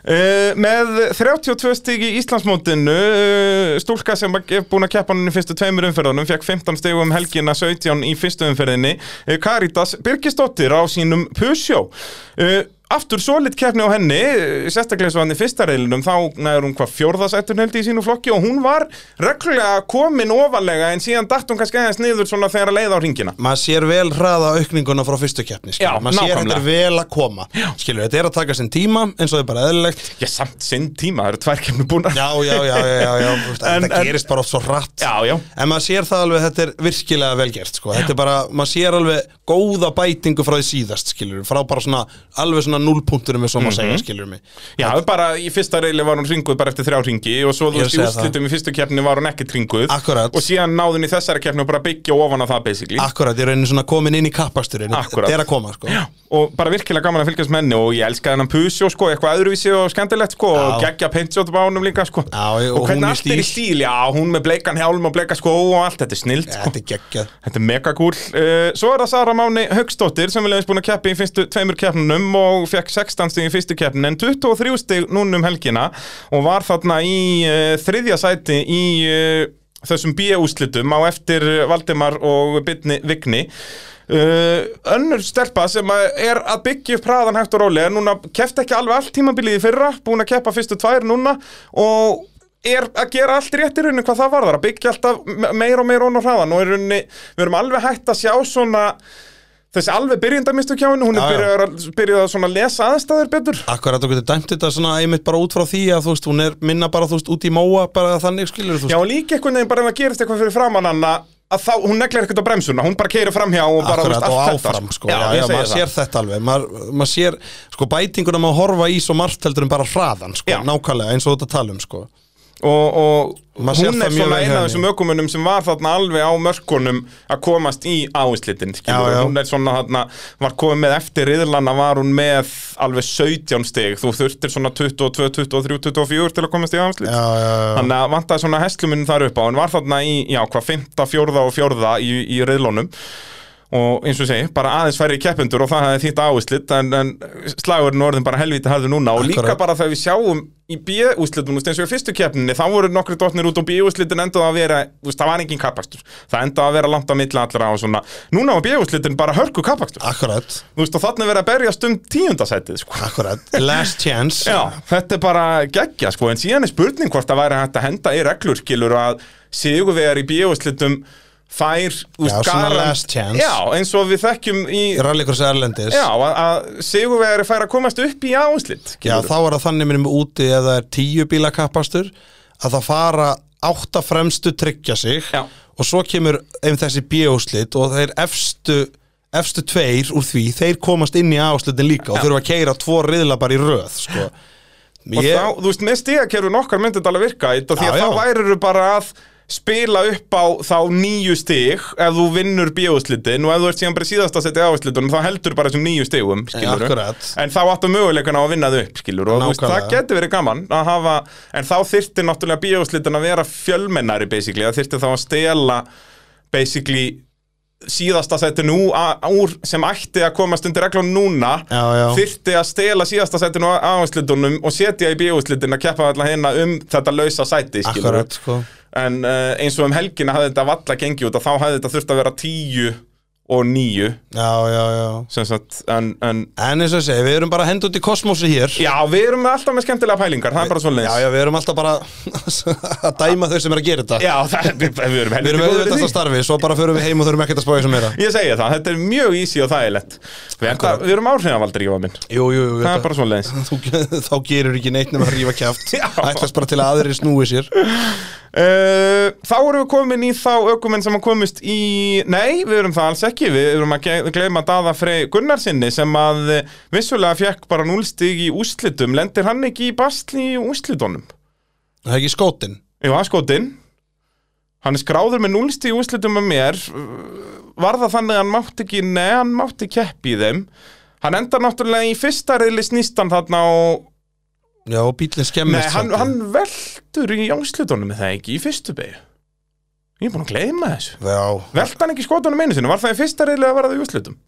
Speaker 3: Eh, með 32 stig í Íslandsmótinu uh, stúlka sem er búin að keppa hann í fyrstu tveimur umferðunum fekk 15 stig um helgina 17 í fyrstu umferðinni uh, Karitas Birgisdóttir á sínum Pusjó uh, Aftur svolít keppni á henni eh, sérstaklega svo hann í fyrsta reylinum þá næður hún hvað fjórðasættur heldi í sínu flokki og hún var reglulega komin ofalega en síðan datt hún kannski aðeins niður svona þegar að leiða á ringina
Speaker 2: maður sér vel hraða aukninguna frá fyrstu keppni skilur.
Speaker 3: Já,
Speaker 2: maður sér
Speaker 3: nákvæmlega.
Speaker 2: þetta er vel að koma skilur, þetta er að taka sinn tíma eins og það er bara eðlilegt
Speaker 3: Já, samt sinn tíma, það eru tvær kemur búin
Speaker 2: já, já, já, já, já, já. þú veist,
Speaker 3: En-
Speaker 2: þetta
Speaker 3: en-
Speaker 2: gerist bara oft svo hratt
Speaker 3: Já, já.
Speaker 2: en maður sér það alveg að þetta er virkilega velgert sko. þetta er bara, maður sér alveg góða bætingu frá því síðast skilur, frá bara svona alveg svona núlpunkturum eins og
Speaker 3: Mhm.
Speaker 2: maður segja skilur mig
Speaker 3: Já, bara í fyrsta reyli var hún ringuð bara eftir þrjá ringi og svo þú
Speaker 2: Ég er að
Speaker 3: veist í
Speaker 2: segja
Speaker 3: úrslitum í fyrstu keppni var hún ekkert ringuð
Speaker 2: Akkurat.
Speaker 3: og síðan náði hún í þessari keppni og bara byggja ofan á það basically
Speaker 2: akkurat, ég er raunin svona komin inn í kappasturinn
Speaker 3: Akkurat.
Speaker 2: þetta er að koma sko.
Speaker 3: og bara virkilega gaman að fylgjast með henni og ég elska hennan pusjó sko, eitthvað öðruvísi og skemmtilegt sko og
Speaker 2: Já.
Speaker 3: geggja peintjótt á honum líka sko
Speaker 2: Já, og hún
Speaker 3: og
Speaker 2: í
Speaker 3: hvernig allt er í stíl, já, hún með bleikan hjálm og bleika sko og allt, þetta er snilt sko.
Speaker 2: þetta er geggjað
Speaker 3: Þetta er mega cool. Uh, svo er það Sara Máni Haugsdóttir sem viljaðist búin að keppi í fyrstu tveimur keppnunum og fekk 16 stig í fyrstu keppnin en 23 stig núna um helgina og var þarna í uh, þriðja sæti í uh, þessum B-úslitum á eftir Valdimar og Bytni Vigni. Uh, önnur stelpa sem að er að byggja upp hraðan hægt og rólega núna kefti ekki alveg allt tímabilið í fyrra búin að keppa fyrstu tvær núna og er að gera allt rétt í rauninni hvað það varðar að byggja alltaf me- meira og meira onn og hraðan og í rauninni, við erum alveg hægt að sjá svona þessi alveg byrjendamistu kjá henni, hún
Speaker 2: Já,
Speaker 3: er
Speaker 2: já.
Speaker 3: byrjuð að, byrjuð að svona lesa aðstæður betur
Speaker 2: Akkurat, þú getur dæmt þetta svona einmitt bara út frá því að þú veist, hún er minna bara, þú veist, út í móa bara þannig skilur, þú veist,
Speaker 3: Já, og líka einhvern veginn bara ef það gerist eitthvað fyrir framann hann að þá, hún neglir ekkert á bremsuna, hún bara keirir framhjá og bara,
Speaker 2: Akkurat, og
Speaker 3: allt
Speaker 2: áfram sko,
Speaker 3: Já,
Speaker 2: já, já,
Speaker 3: ég segi
Speaker 2: maður sér þetta alveg maður, maður sér, sko, bætinguna maður horfa í svo margt heldur en bara hraðan sko,
Speaker 3: Já.
Speaker 2: nákvæmlega eins og þetta tala um sko.
Speaker 3: og, og
Speaker 2: Maður sér
Speaker 3: hún
Speaker 2: það
Speaker 3: er
Speaker 2: mjög vel hjá
Speaker 3: svona eina af
Speaker 2: henni.
Speaker 3: þessum ökumunum sem var þarna alveg á mörkunum að komast í áinslitin
Speaker 2: Já, já.
Speaker 3: hún er svona þarna, var komið með eftir riðlana var hún með alveg 17 stig, þú þurftir svona 22, 23, 24 til að komast í áinslit
Speaker 2: já, já, já,
Speaker 3: Þannig að vantaði svona hestluminn þar upp á en var þarna í, já, hvað, fymta, fjórða og fjórða í, í riðlónum og eins og ég segi, bara aðeins færri keppendur og það hefði þýtt áherslit en, en slagurinn og orðin bara helvítið harður núna og líka
Speaker 2: Akkurat.
Speaker 3: bara þegar við sjáum í B-úslitum, þú veist, eins og í fyrstu keppninni þá voru nokkri dotnir út og B-úslitin endaði að vera þú veist, það var engin kappakstur, það endaði að vera langt á milli allra og svona, núna var B-úslitin bara hörku kappakstur,
Speaker 2: akkurat
Speaker 3: þú veist, og þannig verið að berjast um tíundasætið, sko
Speaker 2: akkurat, last chance
Speaker 3: Já, þetta er bara geggja sko, en síðan er spurning hvort það væri hægt að henda í reglur, skilur að sigurvegar í bíóslitum fær úst,
Speaker 2: Já, svona last chance.
Speaker 3: Já, eins og við þekkjum í
Speaker 2: rallycross erlendis
Speaker 3: Já, að, að sigurvegari fær að komast upp í áslit
Speaker 2: Já, þá er það þannig minnum úti ef það er tíu bíla kappastur að það fara átta fremstu tryggja sig
Speaker 3: Já.
Speaker 2: og svo kemur ef þessi bjóslit og þeir efstu, efstu tveir úr því þeir komast inn í áslitin líka og þurfa að keira tvo riðla bara í röð sko.
Speaker 3: Og
Speaker 2: Ég,
Speaker 3: þá, þú veist, með stigakerfun okkar myndi þetta alveg virka þetta því
Speaker 2: Já,
Speaker 3: að
Speaker 2: já.
Speaker 3: þá værirðu bara að spila upp á þá nýju stig ef þú vinnur bjóðslitin og ef þú ert síðan bara í síðasta setið áslitunum þá heldur bara þessum nýju stigum, skilur
Speaker 2: Eh, Akkurat.
Speaker 3: en þá áttu möguleikana á að vinna þau upp, skilur og þú veist, það
Speaker 2: Nákvæmlega.
Speaker 3: getur verið gaman að hafa en þá þyrfti náttúrulega bjóðslitin að vera fjölmennari, basically, það þyrfti þá að stela basically síðasta setinu ú- a- úr sem ætti að komast undir reglum núna
Speaker 2: Já, já.
Speaker 3: þyrfti að stela síðasta sætinu á áherslutunum og setja í bíóherslutin að keppa allan hérna um þetta lausa sæti skilurðu.
Speaker 2: akkurat sko.
Speaker 3: en uh, eins og um helgina hafði þetta valla gengið út að þá hafði þetta þurft að vera tíu og níu
Speaker 2: Já, já, já
Speaker 3: sem sagt, en, en
Speaker 2: En eins og ég segi, við erum bara hend út í kosmosi hér
Speaker 3: já, við erum alltaf með skemmtilega pælingar það er bara
Speaker 2: já,
Speaker 3: svoleiðis
Speaker 2: já, við erum alltaf bara að dæma þau sem er að gera þetta
Speaker 3: Já, það, við, við
Speaker 2: Við
Speaker 3: erum helviti
Speaker 2: erum
Speaker 3: góðir í
Speaker 2: auðvitað
Speaker 3: því.
Speaker 2: að starfi, svo bara förum við heim og þurfum ekkert að spá í sem meira
Speaker 3: Ég segi það, þetta er mjög easy og þægilegt Við, enda, við erum áhrifavaldri, Jóa minn
Speaker 2: Jú, jú, jú,
Speaker 3: Það
Speaker 2: þetta-
Speaker 3: er bara svoleiðis
Speaker 2: þú, þá gerur ekki neitt nema að rífa kjæft
Speaker 3: Já.
Speaker 2: ætlast bara til að aðri snúi sér
Speaker 3: uh, Þá erum við komin í þá ökumenn sem að komist í Nei, við erum það alls ekki Við erum að ge- gleyma Dada Frey Gunnarsinni sem að eh, vissulega fekk bara núlstig í úslitum Lendir hann ekki í basli í úslitunum?
Speaker 2: Það er ekki skótin
Speaker 3: Jú, aðskotinn Hann er skráður með núlsti í úslitum með mér Var það þannig að hann mátti ekki Nei, hann mátti keppi í þeim Hann endar náttúrulega í fyrsta reyli snýstan þarna og
Speaker 2: Já, og bílinn skemmist
Speaker 3: Nei, hann,
Speaker 2: svolítið.
Speaker 3: hann veldur í úslitunum með það ekki í fyrstu beigju Ég er búin að gleyma þessu
Speaker 2: Já,
Speaker 3: Velt hann ekki skotunum einu sinni, var það í fyrsta reyli að vera það í úslitum?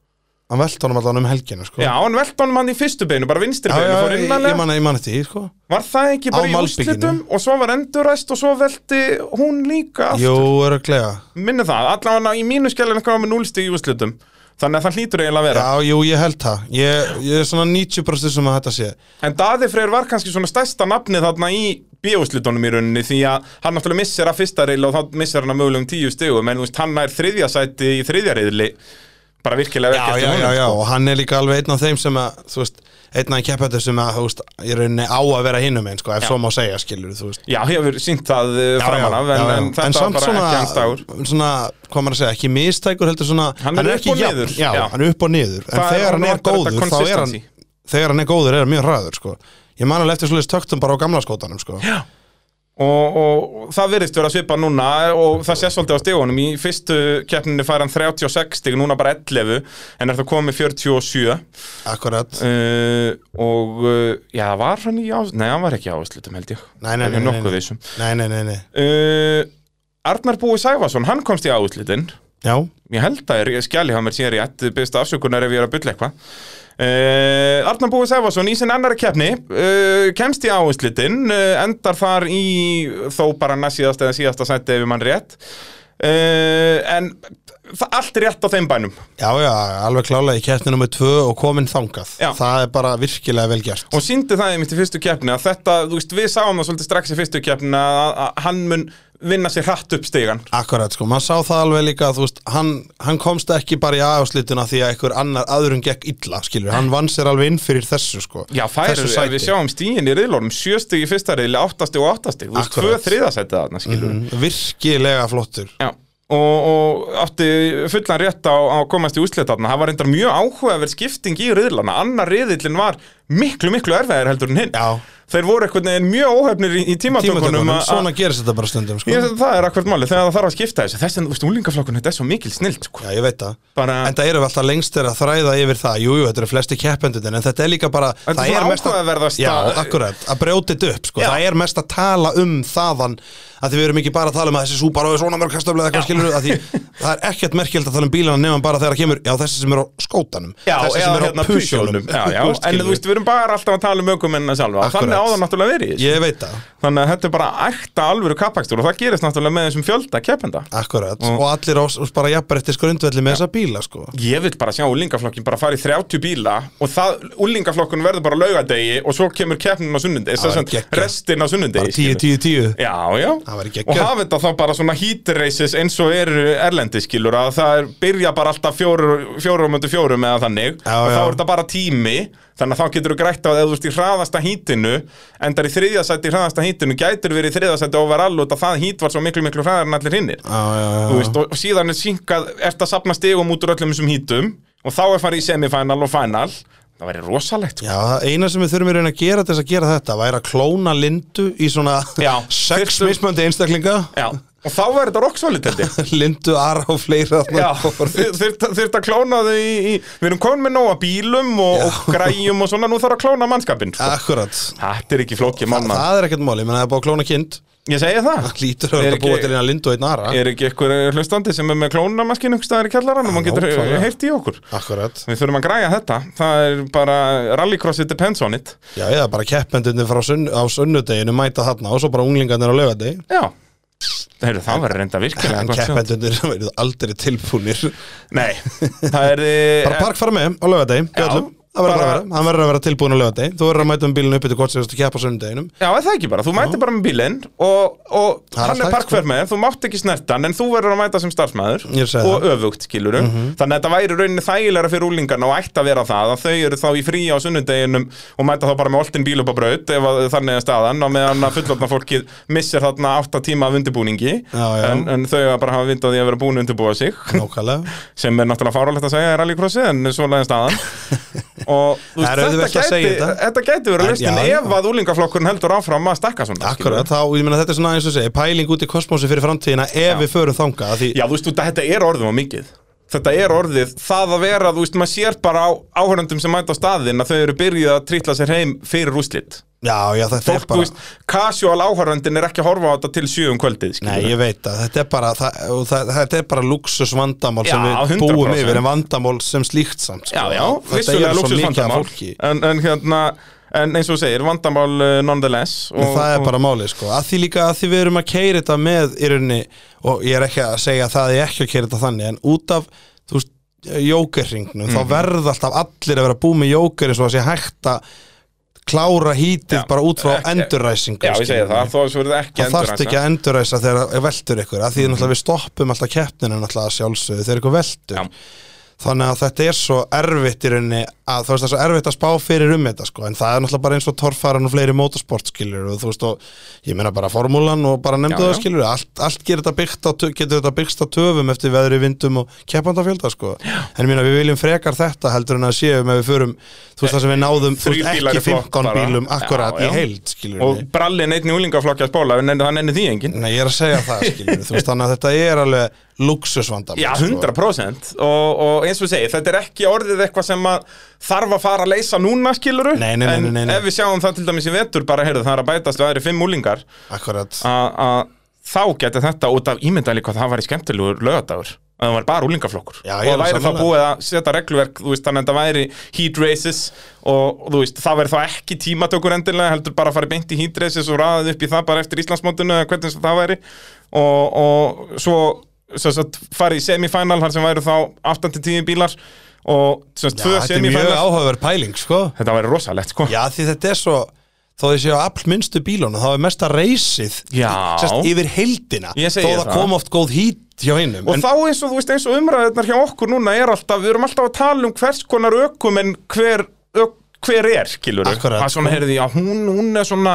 Speaker 2: hann velt honum allan um helgina sko.
Speaker 3: Já, hann velt honum hann í fyrstu beinu, bara vinstri
Speaker 2: já,
Speaker 3: beinu,
Speaker 2: já
Speaker 3: fór
Speaker 2: ég, ég
Speaker 3: innanlega
Speaker 2: manna, ég manna því sko.
Speaker 3: Var það ekki
Speaker 2: Á
Speaker 3: bara í
Speaker 2: malbikinu.
Speaker 3: úslitum og svo var enduræst og svo velti hún líka aftur
Speaker 2: Jú, öruglega
Speaker 3: minni það, allavega í mínu skjælinn kom með 0 stig í úrslutum þannig að það hlýtur eiginlega að vera
Speaker 2: Já, jú, ég held það Ég, ég er svona 90% sem um að þetta sé
Speaker 3: en Daði Freyr var kannski svona stærsta nafni þarna í bíóslutunum í rauninni því að hann náttúrulega missir að fyrsta reyli og þá missir hann að mögulegum tíu stigum en þú veist, hann er þriðja sæti í þriðja reyli bara virkilega
Speaker 2: Já,
Speaker 3: verkefni
Speaker 2: já, já,
Speaker 3: sko.
Speaker 2: já, og hann er líka alveg einn af þeim sem að, þú veist, einn af keppættur sem að, þú veist, ég rauninni á að vera hinum einn, sko, ef svo má segja, skilur, þú veist
Speaker 3: já, hefur sínt það já,
Speaker 2: Já, já,
Speaker 3: framan af en,
Speaker 2: já, já.
Speaker 3: en þetta var
Speaker 2: samt
Speaker 3: bara ekki hans dagur
Speaker 2: svona, hvað maður að segja, ekki mistækur heldur svona,
Speaker 3: Hann er upp
Speaker 2: ekki
Speaker 3: og
Speaker 2: jafn,
Speaker 3: niður,
Speaker 2: já,
Speaker 3: já.
Speaker 2: hann er upp og niður en
Speaker 3: Það er-
Speaker 2: þegar hann
Speaker 3: hann
Speaker 2: er
Speaker 3: vantar
Speaker 2: góður,
Speaker 3: þetta
Speaker 2: þá er hann
Speaker 3: consistency.
Speaker 2: þegar hann er góður, er hann mjög hraður, sko ég man alveg eftir svolítið töktum bara á gamla skótanum, sko
Speaker 3: Já. Og, og það virðist vera að svipa núna og það sést svolítið á stigunum í fyrstu keppninu fær hann 36 stig, núna bara 11 en er það komið 47 uh,
Speaker 2: akkurat,
Speaker 3: og uh, já, var hann í ás... Nei, hann var ekki í áslutum held ég
Speaker 2: Nei, nei,
Speaker 3: Ég
Speaker 2: nei,
Speaker 3: er
Speaker 2: nei,
Speaker 3: nokkuð
Speaker 2: nei.
Speaker 3: vissum
Speaker 2: nei, nei, nei, nei
Speaker 3: uh, Arnar Búi Sæfason, hann komst í áslutin
Speaker 2: já,
Speaker 3: Ég held að er skjali hann mér sér rétt byrst afsökunar ef ég er að bylla eitthvað uh, Arnar Búi Sæfason í sinni annari keppni uh, kemst í áherslitin uh, endar þar í þó bara næst síðasta eða síðasta sæti ef ég mann rétt uh, en það- allt er rétt á þeim bænum
Speaker 2: já, já, alveg klálega í keppni nummer tvö og komin þangað
Speaker 3: Já.
Speaker 2: það er bara virkilega vel gert
Speaker 3: og síndi það einmitt í fyrstu keppni að þetta, þú veist, við sáum það svolítið strax í fyrstu keppni að, að hann mun vinna sér hratt upp stegan
Speaker 2: Akkurat, sko, maður sá það alveg líka þú veist, hann, hann komst ekki bara í aðslitina því að einhver annar aðurum gekk illa skilur, hann vann sér alveg inn fyrir þessu sko,
Speaker 3: Já, færur,
Speaker 2: þessu
Speaker 3: ef við sjáum stíin í riðlórum sjöstig í fyrsta riðli, áttastig og áttastig þú veist, tvö
Speaker 2: Akkurat.
Speaker 3: þriðasætið þarna, skilur
Speaker 2: Mm, virkilega flottur
Speaker 3: Já, og, og átti fullan rétt á, á að komast í úslitarna. Það var reyndar mjög áhugaverð skipting í riðlana. Annar riðillin var miklu, miklu erfæðir heldur en hinn.
Speaker 2: Já.
Speaker 3: Þeir voru einhvern veginn mjög óhefnir í, í tímatökunum.
Speaker 2: tímatökunum,
Speaker 3: um að-
Speaker 2: svona gerist þetta bara stundum sko.
Speaker 3: Ég, það er akkvæmt máli, þegar það þarf að skipta þessu. Þessi, þú veist, úlingaflokkun, þetta er svo mikil snilt, sko.
Speaker 2: Já, ég veit það
Speaker 3: Bara,
Speaker 2: En það eru við alltaf lengst þeirra að þræða yfir það Jújú, jú, þetta eru flesti keppendunir En þetta er líka bara
Speaker 3: Þetta er
Speaker 2: það
Speaker 3: svona
Speaker 2: mest að-
Speaker 3: áhugaverðasta-
Speaker 2: Já, akkurat, að brjóti þetta upp sko.
Speaker 3: Já.
Speaker 2: Það er mest að tala um þaðan að Því við erum ekki bara að tala um að þessi súpar á við svona mörg kastöflu eða eitthvað skilur að því, Það er ekkert merkjöld að tala um bílana nefnum bara þegar kemur Já, þessi sem er á skótanum
Speaker 3: já,
Speaker 2: Þessi
Speaker 3: eða
Speaker 2: sem er á
Speaker 3: hérna pusjónum.
Speaker 2: pusjónum
Speaker 3: Já, já, en þú veist, við erum bara alltaf að tala um ökumennina sjálfa.
Speaker 2: Akkúrat.
Speaker 3: Þannig á það náttúrulega verið. í þessu.
Speaker 2: Ég veit það,
Speaker 3: Þannig að þetta er bara ekta alvöru kappakstur og það gerist náttúrulega með þessum fjölda keppenda.
Speaker 2: akkurat Og allir ás, bara jafnbærettis grundvelli með þessa bíla sko.
Speaker 3: Mm. Ég vil bara sjá úlingaflokkin bara fara í 30 bíla og það, úlingaflokkun verður bara laugadegi og svo kemur keppnin á sunnundegi,
Speaker 2: Það
Speaker 3: þess
Speaker 2: væri
Speaker 3: að
Speaker 2: geggjað.
Speaker 3: restin á
Speaker 2: Bara
Speaker 3: sunnundegi.
Speaker 2: 10, 10, 10
Speaker 3: Já, já.
Speaker 2: Það væri
Speaker 3: Og
Speaker 2: geggjað.
Speaker 3: hafa þetta þá bara svona heat races eins og eru erlendi skilur að það er, byrja bara alltaf fjórum fjórum undir fjórum eða þannig
Speaker 2: Já,
Speaker 3: og þá
Speaker 2: já.
Speaker 3: er þetta bara tími þannig að þá getur þú grætt á að ef þú ert í hraðasta hítinu endar í þriðjasætti í hraðasta hítinu gætur verið í þriðjasætti overall út að það hít var svo miklu miklu hraðar en allir hinnir
Speaker 2: Já, já, já,
Speaker 3: Þú veist, og, og síðan er syngað, ert að sapna stigum út úr öllum þessum hítum og þá er farið í semifinal og final það væri rosalegt sko.
Speaker 2: Já, það eina sem við þurfum í raun að gera til þess að gera þetta væri að klóna lindu í svona
Speaker 3: Já,
Speaker 2: sex
Speaker 3: þyrftum-
Speaker 2: mismöndi einstaklinga
Speaker 3: Já, og þá er þetta rocksolid held ég
Speaker 2: lindu, ara og fleira
Speaker 3: Já, þurft að klóna þau í, í Við erum komin með nóga bílum og, og græjum og svona, nú þarf að klóna mannskapinn sko.
Speaker 2: Akkurat
Speaker 3: Þetta er ekki flókið manna
Speaker 2: Það er ekkert mál, ég menn að það er búið að klóna kind
Speaker 3: Ég segi það
Speaker 2: Lítur að
Speaker 3: Er
Speaker 2: vera að búa
Speaker 3: ekki-
Speaker 2: til eina lindu og einn ara
Speaker 3: Er ekki eitthvað hlustandi sem er með klónamaskinu staðar í kjallaranum og getur eh,
Speaker 2: nákvæmlega.
Speaker 3: heyrt í okkur
Speaker 2: Akkurat
Speaker 3: Við þurfum að græja þetta Það er bara rallycrossið depends on it
Speaker 2: Já, eða bara keppendunni frá sunn, á sunnudeginu mæta þarna og svo bara unglingarnir á laugardegi
Speaker 3: Já Heyrðu, það var reynda virkilega
Speaker 2: En
Speaker 3: gott sjónvarp.
Speaker 2: keppendunni verður aldrei tilbúnir
Speaker 3: Nei, það er eh,
Speaker 2: Bara parkfara með á laugardegi
Speaker 3: Já,
Speaker 2: öllum. það verður bara að
Speaker 3: Bara-
Speaker 2: vera, hann verður að vera tilbúin að löga deg þú verður að mæta um bílinu upp yfir hvort sem þú ert að keppa söndaginum
Speaker 3: Já, er það ekki bara, þú mætir bara með bílinn og, og
Speaker 2: Það er
Speaker 3: hann er
Speaker 2: allt hægt, sko.
Speaker 3: parkverð með, þú mátt ekki snerta hann en þú verður að mæta sem starfsmæður
Speaker 2: Ég segi Mhm.
Speaker 3: og öfugt, skilur þannig að þetta væri í rauninni þægilega fyrir úlingarna og ætti að vera það að þau eru þá í frí á sunnudeginum og mæta þá bara með oltinn bíl upp á braut ef að, þannig er staðan og meðan að fullotna fólkið missir þarna 8 tíma af undirbúningi
Speaker 2: Já, já.
Speaker 3: En, en þau að bara hafa vind á því að vera búin að undirbúa sig
Speaker 2: nákvæmlega,
Speaker 3: sem er náttúrulega fárálegt að segja í rallycrossi en svona er staðan og þú
Speaker 2: Það er
Speaker 3: veist,
Speaker 2: auðvelt
Speaker 3: þetta,
Speaker 2: að
Speaker 3: gæti,
Speaker 2: segja
Speaker 3: þetta.
Speaker 2: þetta.
Speaker 3: gæti verið
Speaker 2: En-
Speaker 3: lausnin
Speaker 2: já, já.
Speaker 3: ef að úlingaflokkurinn heldur áfram að stakka svona
Speaker 2: akkurat
Speaker 3: skilurðu.
Speaker 2: þá, ég meina þetta er svona eins og ég segi, pæling út í kosmósi fyrir framtíðina ef
Speaker 3: Já.
Speaker 2: við förum þanga því,
Speaker 3: já, þú veist, þetta- þetta er orðum á mikið þetta er orðið, það að vera, þú veist, maður sér bara á áhörnundum sem mæta á staðinn að þau eru byrjuð að trítla sér heim fyrir úslit
Speaker 2: já, já, þetta
Speaker 3: fólk,
Speaker 2: er
Speaker 3: þú
Speaker 2: bara
Speaker 3: veist, casual áhörnundin er ekki að horfa á þetta til sjö um kvöldið skilurðu.
Speaker 2: Nei, ég veit að þetta er bara, það, og það, þetta er bara luxus vandamál
Speaker 3: Já,
Speaker 2: sem við
Speaker 3: 100%.
Speaker 2: búum yfir en vandamál sem slíkt samt sko.
Speaker 3: Já, já,
Speaker 2: Þetta
Speaker 3: vissulega
Speaker 2: eru svo mikið af
Speaker 3: lúksusvandamál
Speaker 2: fólki.
Speaker 3: en, en hérna, en eins og þú segir, vandamál uh, nonetheless
Speaker 2: En
Speaker 3: og,
Speaker 2: það er
Speaker 3: og-
Speaker 2: bara málið sko að því líka að því við erum að keira þetta með í rauninni og ég er ekki að segja það að ég er ekki að keira þetta þannig en út af þú veist, jókerringnum
Speaker 3: Mhm.
Speaker 2: þá verða alltaf allir að vera búið með jóker eins og að sé hægt að klára hítið
Speaker 3: Já,
Speaker 2: bara út frá
Speaker 3: ekki-
Speaker 2: endurræsingu
Speaker 3: Já, ég segi það, þó þessu verður ekki Mhm.
Speaker 2: Það þarft ekki að endurræsa þegar það veltur ykkur að því náttúrulega við stoppum alltaf keppninu náttúrulega að sjálfsögðu þegar ykkur veltur
Speaker 3: Já.
Speaker 2: þannig að þetta er svo erfitt í rauninni að þú veist það er svo erfitt að spá fyrir um þetta sko en það er náttúrulega bara eins og torfaran og fleiri motorsport skilur og þú veist og ég meina bara formúlan og bara nefndu það
Speaker 3: Já, já.
Speaker 2: skilur allt, allt gerir þetta byggt á, tö- getur þetta byggst á töfum eftir veðri vindum og keppandafjölda sko en ég meina við viljum frekar þetta heldur en að séum ef við förum þú veist það sem við náðum þú
Speaker 3: Þrír
Speaker 2: veist
Speaker 3: bílar í
Speaker 2: ekki
Speaker 3: flokk
Speaker 2: 15
Speaker 3: bara.
Speaker 2: bílum
Speaker 3: Já,
Speaker 2: akkurat
Speaker 3: já.
Speaker 2: í heild skilur
Speaker 3: Og brallin einn í úlingaflokki að spóla, en það nenni því enginn
Speaker 2: Nei, ég er að segja það, skiljum þú veist, þannig að þetta er alveg luxusvandamál
Speaker 3: Já,
Speaker 2: sko.
Speaker 3: 100% og, og eins og segir, þetta er ekki orðið eitthvað sem að þarf að fara að leysa núna, skiluru
Speaker 2: Nei, nei, nei, nei, nei,
Speaker 3: En
Speaker 2: nei.
Speaker 3: ef við sjáum það til dæmis í vetur bara, heyrðu, það er að bætast við aðri fimm úlingar
Speaker 2: Akkurat,
Speaker 3: Ah, að þá geti þetta út af ímyndali hvað það var í skemmtilegur lögadagur að það var bara úlingaflokkur
Speaker 2: Já,
Speaker 3: og
Speaker 2: ég er
Speaker 3: það væri þá
Speaker 2: sammála.
Speaker 3: búið að setja regluverk þú veist, þannig að það væri heat races og þú veist, það væri þá ekki tímatökur endilega heldur bara að fara beint í heat races og raðið upp í það bara eftir Íslandsmótinu eða hvernig sem það væri og, og svo, svo, svo farið í semifinal þar sem væri þá 8-10 bílar og svo,
Speaker 2: já,
Speaker 3: tvö
Speaker 2: þetta er mjög
Speaker 3: semifinal
Speaker 2: áhugaverð pæling, sko
Speaker 3: þetta væri rosalegt sko
Speaker 2: Já, því þetta er svo, þó þið séu all minnstu bílunum, þá er mesta reysið
Speaker 3: Já.
Speaker 2: sest, yfir heildina
Speaker 3: Ég segi
Speaker 2: Þó það
Speaker 3: það.
Speaker 2: kom oft góð hít hjá hinnum
Speaker 3: Og þá eins og þú veist eins og umræðarnar hjá okkur núna er alltaf, við erum alltaf að tala um hvers konar ökum en hver, ök, hver er, skilur
Speaker 2: Akkurat,
Speaker 3: Að svona
Speaker 2: sko.
Speaker 3: heyrði, já, hún, hún er svona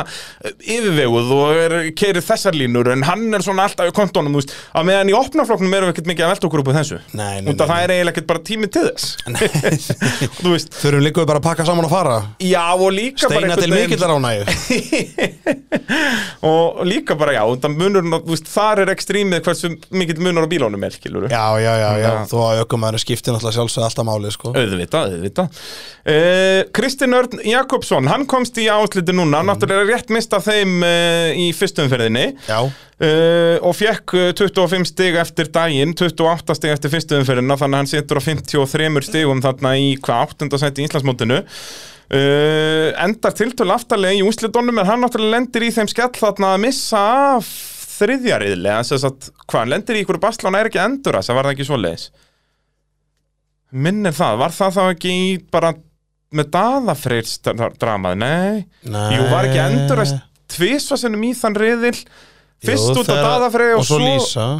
Speaker 3: eh, yfirveguð og er, keirir þessar línur en hann er svona alltaf í kontónum, þú veist, að meðan í opnafloknum erum við ekkert mikið að velta okkur upp á þessu.
Speaker 2: Nei, nei,
Speaker 3: Út
Speaker 2: nei,
Speaker 3: af það er eiginlega ekkert bara tími til þess.
Speaker 2: Nei.
Speaker 3: þú veist,
Speaker 2: Þurfum líka bara að pakka saman og fara
Speaker 3: já og líka
Speaker 2: Steina
Speaker 3: bara
Speaker 2: til mikillar ánægju
Speaker 3: og líka bara, já, það munur, þú veist, þar er ekstrímið hversu mikill munur á bílónum er, skilur
Speaker 2: Já, já, já, já,
Speaker 3: Já.
Speaker 2: þó að aukumæður skiptir náttúrulega sjálfsögð alltaf máli, sko
Speaker 3: Auðvitað, auðvitað uh, Kristinn Örn Jakobsson, hann komst í ásliti núna, náttúrulega rétt mist af þeim uh, í fyrstumferðinni
Speaker 2: Já,
Speaker 3: uh, og fekk eh, 25 stig eftir daginn, 28 stig eftir fyrstumferðina, þannig að hann situr á 53 stigum þarna í hvað 8. seti í Íslandsmótinu uh, endar tiltölu aftarlega í úslitónum en hann náttúrulega lendir í þeim skell þarna að missa af þriðjariðlega, þess að hvað, hann lendir í ykkur basla og er ekki endur að þess var það ekki svoleiðis minnir það, var það þá ekki í bara með daðafreyr dramað, nei
Speaker 2: Nei.
Speaker 3: Jú, var ekki endur að tvisva sinnum í þann riðil fyrst
Speaker 2: Jú,
Speaker 3: út af
Speaker 2: þegar-
Speaker 3: daðafreyr og,
Speaker 2: Og svo Lísa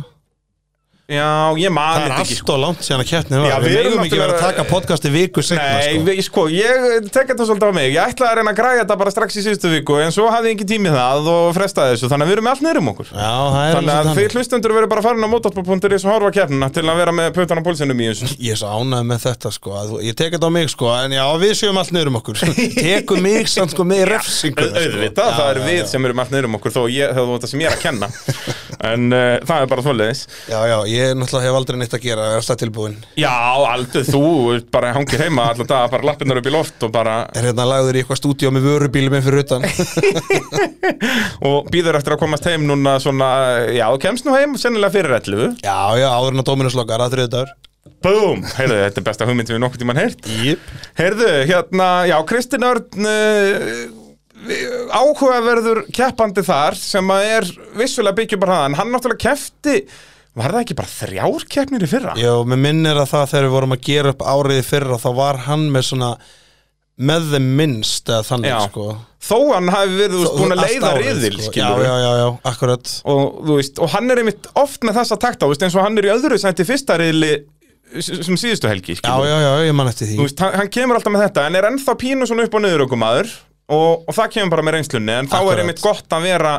Speaker 3: já, ég
Speaker 2: Það
Speaker 3: man
Speaker 2: er
Speaker 3: þetta ekki sko.
Speaker 2: allt og langt síðan að keppnið
Speaker 3: Já,
Speaker 2: var Við
Speaker 3: við erum
Speaker 2: megum ekki vera að
Speaker 3: náttúrulega-
Speaker 2: taka podcasti viku segna
Speaker 3: Nei,
Speaker 2: sko.
Speaker 3: sko. Við, sko, ég tek þetta svolítið á mig Ég ætlaði að reyna að græja þetta bara strax í síðustu viku En svo hafði ég ekki tími í það og frestaði þessu Þannig að við erum með allt niður um okkur
Speaker 2: Já, það er
Speaker 3: Þannig
Speaker 2: alveg
Speaker 3: að þið hlustendur verður bara farin á motorsport.is og horfa keppnina Til að vera með pötan á pólsinum í þessu
Speaker 2: Ég er svo ánægð með þetta sko að, þú- Ég tek þetta á mig sko En já, við séum allt niður um okkur Tekum mig samt sko með refsingu
Speaker 3: Au- Auðvitað, það er við sem erum allt niður um okkur Þó ég, það var þetta sem ég er að kenna En uh, það er bara þóliðis
Speaker 2: Já, já, ég náttúrulega hef aldrei neitt að gera Það er alltaf tilbúin
Speaker 3: Já, aldrei þú ert bara hangir heima alltaf dag Bara lappirnar upp í loft og bara
Speaker 2: Er hérna lagður í eitthvað stúdíó með vörubílum einn fyrir utan
Speaker 3: Og býður eftir að komast heim núna svona Já, þú kemst nú heim sennilega fyrir 11
Speaker 2: Já, já, áður en að Dominus lokar að þriðdagur
Speaker 3: Búm, heyrðu, þetta er besta hugmynd sem við nokkuð tímann heyrt
Speaker 2: Jip
Speaker 3: Heyrðu, hérna, já, Kristinn Örn uh, áhugaverður keppandi þar sem að er vissulega byggjum bara hann hann náttúrulega kefti var það ekki bara þrjár keppnir í fyrra?
Speaker 2: Já, mér minnir að það þegar við vorum að gera upp árið í fyrra þá var hann með svona með þeim minnst eða þannig
Speaker 3: Já.
Speaker 2: sko
Speaker 3: þó hann hafi verið þú veist, búin að
Speaker 2: Allt
Speaker 3: leiða
Speaker 2: árið,
Speaker 3: riðil
Speaker 2: sko. já,
Speaker 3: skilurðu.
Speaker 2: já, já, já, akkurat
Speaker 3: og, þú veist, og hann er einmitt oft með þessa takta þú veist, eins og hann er í öðru sætti fyrsta riðli s- sem síðustu helgi
Speaker 2: já,
Speaker 3: skilurðu.
Speaker 2: já, já, ég man eftir
Speaker 3: Þú
Speaker 2: því
Speaker 3: veist, hann, hann kemur alltaf með þetta en er ennþá pínu svona upp og niður okkur maður og, og það kemur bara með reynslunni en þá
Speaker 2: Akkurat.
Speaker 3: er einmitt gott að vera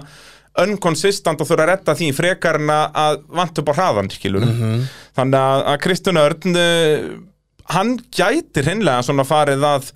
Speaker 3: unconsistent og þurfa að retta því frekar en að- að vant upp á hraðan skilur
Speaker 2: Mhm.
Speaker 3: þannig að, að Kristján Örn eh, hann gæti hreinlega svona farið að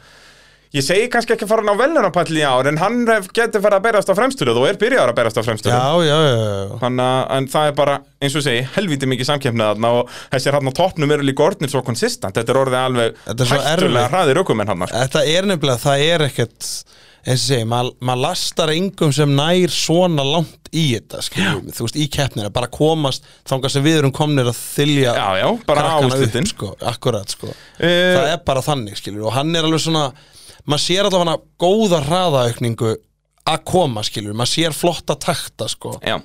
Speaker 3: ég segi kannski ekki að fara hann á velunarpall í ár en hann hef- gæti farið að berast á fremstölu og er byrjaður að berast á fremstölu
Speaker 2: já, já, já, já,
Speaker 3: Þannig að en það er bara, eins og ég segi, helviti mikið samkeppnið þarna og þessir hann á toppnum eru líka orðnir svo konsistant. Þetta er orðið alveg
Speaker 2: Þetta er svo erfitt.
Speaker 3: hraðir aukumenn hann. sko.
Speaker 2: þetta er nefnilega, Eh, það er ekkert eins og ég segi, maður ma lastar engum sem nær svona langt í þetta skiljum, þú veist, í keppnina, bara komast þangað sem við erum komnir að þylja
Speaker 3: Já, já, bara á
Speaker 2: krakkana
Speaker 3: úrslitin.
Speaker 2: upp, sko, akkurat, sko
Speaker 3: Eh,
Speaker 2: það er bara þannig, skilur, og hann er alveg svona maður sér allavega hana góða hraðaaukningu að koma, skilur, maður sér flotta takta, sko,
Speaker 3: Já.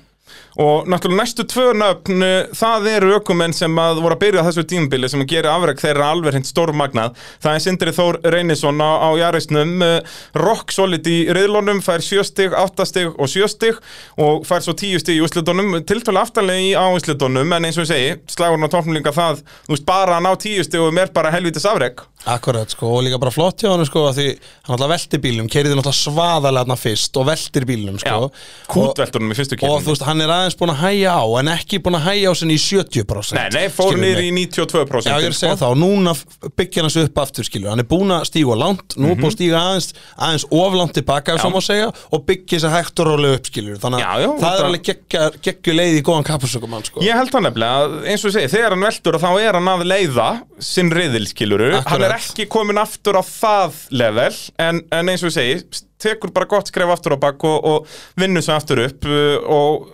Speaker 3: Og náttúrulega næstu tvö nöfn, eh, það eru aukumenn sem að voru að byrja á þessu tímabili sem að gera afreg þeirra alveg hinn stórmagnað. Það er Sindri Þór Reynisson á, á Jarisnum, eh, rock solid í riðlunum, fær sjöstig, áttastig og sjöstig og fær svo tíustig í úslitunum, tiltölu aftalegi á úslitunum, en eins og ég segi, slagurinn á toppnum líka það, þú veist, bara að ná tíustig og mér bara helvitis afreg.
Speaker 2: akkurat, sko og líka bara flott hjá hann, sko, af því hann alltaf velti bílnum, keiriði náttúrulega svaðalega hann fyrst og veltir bílnum, sko og,
Speaker 3: Kútveldunum í fyrstu
Speaker 2: og þú
Speaker 3: kemni.
Speaker 2: veist, hann er aðeins búin að hæja á en ekki búin að hæja á sinni í 70%
Speaker 3: Nei, nei, fór
Speaker 2: skilurðu
Speaker 3: niður
Speaker 2: mig.
Speaker 3: í 92%.
Speaker 2: Já, ég er að segja
Speaker 3: sko.
Speaker 2: þá, núna byggja hann svo upp aftur, skilur, hann er búin að stíga langt, nú er
Speaker 3: Mhm.
Speaker 2: búin að stíga aðeins, aðeins oflant tilbaka, ef svo má segja, og byggja þess að hægt og rólega upp, skilur, þannig að
Speaker 3: Já, já,
Speaker 2: það er
Speaker 3: þetta-
Speaker 2: alveg geggja- geggju leið í góðan kappursökumann, sko.
Speaker 3: Ég held það nefnilega að eins og ég segi, þegar hann veldur þá er hann að leiða sinn riðil skiluru, hann er
Speaker 2: Akkurat.
Speaker 3: ekki komin aftur á það level, en, en eins og ég segi tekur bara gott skref aftur á bak og, og vinnur sig aftur upp uh, og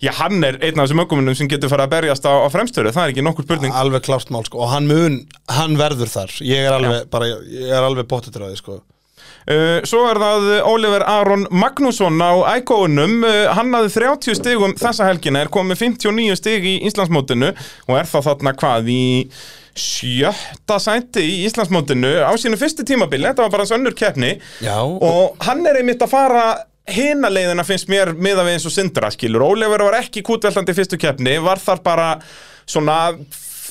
Speaker 3: já, hann er einn af þessum ökumunum sem getur farið að berjast á, á fremstöru, það er ekki nokkur spurning
Speaker 2: Alveg klárt mál, sko, og hann mun, hann verður þar, ég er alveg, bara, ég er alveg bóttitræði, sko.
Speaker 3: Uh, Svo er það Oliver Aron Magnússon á ægóunum, hann hafði 30 stigum þessa helgina, er komið 59 stig í Íslandsmótinu og er þá þarna hvað í sjötta sæti í Íslandsmótinu á sínu fyrstu tímabili, þetta var bara hans önnur keppni
Speaker 2: Já.
Speaker 3: og hann er einmitt að fara hina leiðina finnst mér miða við eins og syndra skilur, Oliver var ekki kútveldandi í fyrstu keppni, var þar bara svona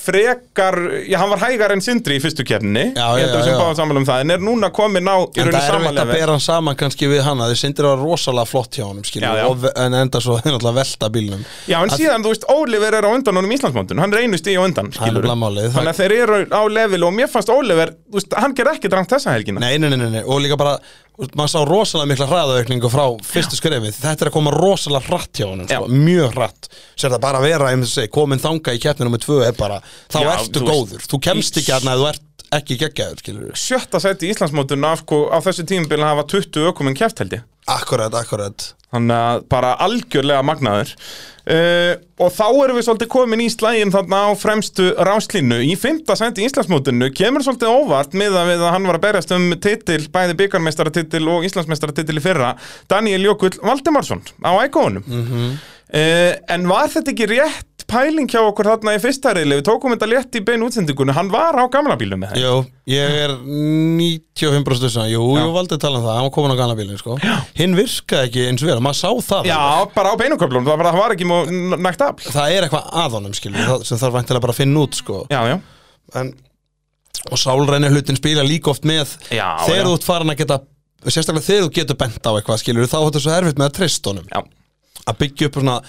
Speaker 3: frekar, já hann var hægar en sindri í fyrstu keppninni
Speaker 2: Já,
Speaker 3: ég held að
Speaker 2: já,
Speaker 3: við sem
Speaker 2: já.
Speaker 3: báðum saman um það, en er núna komin á í
Speaker 2: En það er veit
Speaker 3: rauninni
Speaker 2: að
Speaker 3: samanlega
Speaker 2: bera hann saman kannski við hana, því sindir var rosalega flott hjá honum, skilur,
Speaker 3: Já, já.
Speaker 2: og- en enda svo náttúrulega velta bílnum.
Speaker 3: Já, en síðan, þú veist, Oliver er á undan honum í Íslandsmóndun, hann er einu stíð á undan,
Speaker 2: Það er
Speaker 3: skilur
Speaker 2: nefnilega málið, það-
Speaker 3: Þannig að þeir eru á level og mér fannst Oliver, þú veist, hann ger ekki drangt þessa helgina
Speaker 2: Nei, nei, nei, nei, nei, og líka bara þú veist, maður sá rosalega mikla hraðaukningu frá fyrstu skrefið, þetta er að koma rosalega hratt hjá honum, sko,
Speaker 3: Já.
Speaker 2: mjög hratt sér það bara að vera, ég myndi segja, komin þanga í keppninu með tvö er bara, þá
Speaker 3: Já,
Speaker 2: ertu
Speaker 3: þú veist,
Speaker 2: góður, þú kemst
Speaker 3: í-
Speaker 2: ekki hérna ef þú ert ekki geggjaður, skilur við
Speaker 3: Sjötta seti í Íslandsmóndun á, á þessu tímabili hafa 20 ökuminn keft held ég
Speaker 2: Akkurat, akkurat,
Speaker 3: Þannig að bara algjörlega magnaður uh, Og þá erum við svolítið komin í slægin þarna á fremstu ráslínu Í fymta sæti í Íslandsmótinu kemur svolítið óvart miðað við að hann var að berjast um titil Bæði byggarmeistaratitil og Íslandsmeistaratitil í fyrra Daniel Jökull Valdimarsson á ægóunum Eh, En var þetta ekki rétt pæling hjá okkur þarna í fyrsta reyli Við tókum þetta létt í beinu útsendingunni Hann var á gamla bílum með það
Speaker 2: jú, ég er 95% þess að, jú, jú, valdið tala um það, hann var komin á gana bílinn, sko hinn virkaði ekki eins og vera, maður sá það
Speaker 3: Já, bara á beinuköflunum, það, bara- það var ekki mjög n- nægt afl
Speaker 2: það er eitthvað að honum, skilur við, það- sem þarf væntilega bara að finna út, sko
Speaker 3: Já, já
Speaker 2: en, og sálræni hlutin spila líka oft með
Speaker 3: Já,
Speaker 2: þegar
Speaker 3: já.
Speaker 2: þú ert farin að geta sérstaklega þegar þú getur bent á eitthvað skilur þá þetta svo erfitt með að treysta honum
Speaker 3: Já,
Speaker 2: að byggja upp svona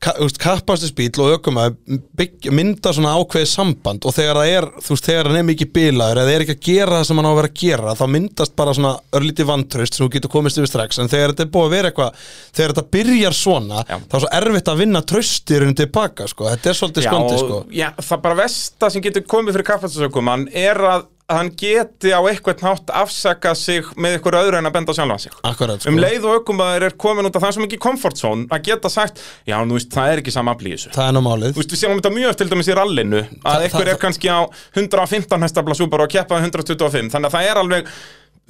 Speaker 2: ka, þú veist, kappastisbíl og ökum að byggja, mynda svona ákveðið samband og þegar það er, þú veist, þegar hann er mikið bilaður eða er ekki að gera það sem hann á að vera að gera þá myndast bara svona örlítið vantraust sem þú getur komist yfir strax en þegar þetta er búið að vera eitthvað þegar þetta byrjar svona
Speaker 3: Já.
Speaker 2: þá er svo erfitt að vinna traustirinn tilbaka sko. þetta er svolítið
Speaker 3: Já,
Speaker 2: skondi
Speaker 3: og-
Speaker 2: sko.
Speaker 3: Já, það bara versta sem getur komið fyrir kaffastöðsökumann er að hann geti á eitthvað nátt afsaka sig með eitthvað öðru en að benda á sjálfan sig.
Speaker 2: Akkurat, sko.
Speaker 3: Um leið og ökumæður er komin út af það er svo mikið comfort zone að geta sagt, já, nú veist, það er ekki sama afl í þessu.
Speaker 2: það er nú málið
Speaker 3: Þú veist, við sjáum þetta mjög oft til dæmis í rallinu að
Speaker 2: Þa-
Speaker 3: einhver
Speaker 2: það-
Speaker 3: er kannski á 115 hestafla súpar og keppaði 125, þannig að það er alveg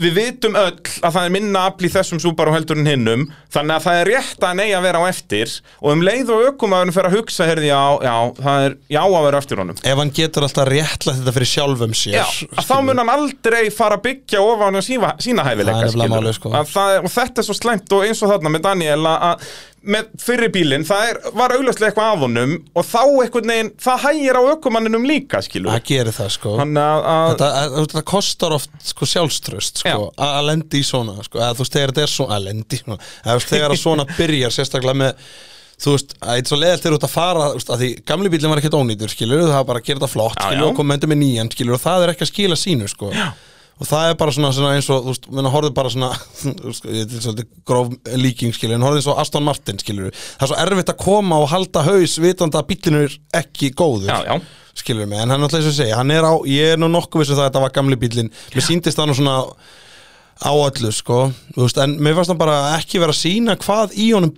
Speaker 3: við vitum öll að það er minna afl í þessum Subaru heldur en hinnum þannig að það er rétt að neyja að vera á eftir og um leið og aukumæðurinn fer að hugsa herði já, já, það er já að vera á eftir honum
Speaker 2: Ef hann getur alltaf réttla þetta fyrir sjálfum sér
Speaker 3: Já, að þá mun hann aldrei fara að byggja ofan á sína, sína
Speaker 2: Það
Speaker 3: hæfileika
Speaker 2: er nefnilega
Speaker 3: skilurðu.
Speaker 2: málið, sko.
Speaker 3: Að það, er- og þetta er svo slæmt og eins og þarna með Daniel að- að með fyrri bílinn, það er, var augljóslega eitthvað af honum og þá einhvern veginn, það hægir á aukumanninum líka, skilur
Speaker 2: Það gerir það sko
Speaker 3: Þannig að, að
Speaker 2: Þetta, að, þetta kostar oft sko, sjálfströst sko,
Speaker 3: Já.
Speaker 2: að að lendi í svona sko, að þú veist þegar þetta er svona að lendi í svona, að þú veist þegar að svona byrjar sérstaklega með þú veist, að þetta er svo leðalt þegar þú ert að fara þú veist, að því gamli bílinn var ekkert ónýtur skilur það var bara að gera þetta flott
Speaker 3: Já,
Speaker 2: skilur
Speaker 3: já.
Speaker 2: og koma endur með nýjan skilur og það er ekki að skila sínu sko. og það er bara svona, svona eins og þú veist, menn horfðu bara svona þú veist, þetta er svolítið gróf líking skilur en horfðu eins og Aston Martin skilur það er svo erfitt að koma og halda haus vitandi að bílinn er ekki góður
Speaker 3: Já, já.
Speaker 2: skilur mig, en hann alltaf þess að segja hann er á, ég er nú nokkuð vissu það að þetta var gamli bílinn mér síndist hann nú svona á öllu sko, þú veist, en mér fannst hann bara ekki vera að sína hvað í honum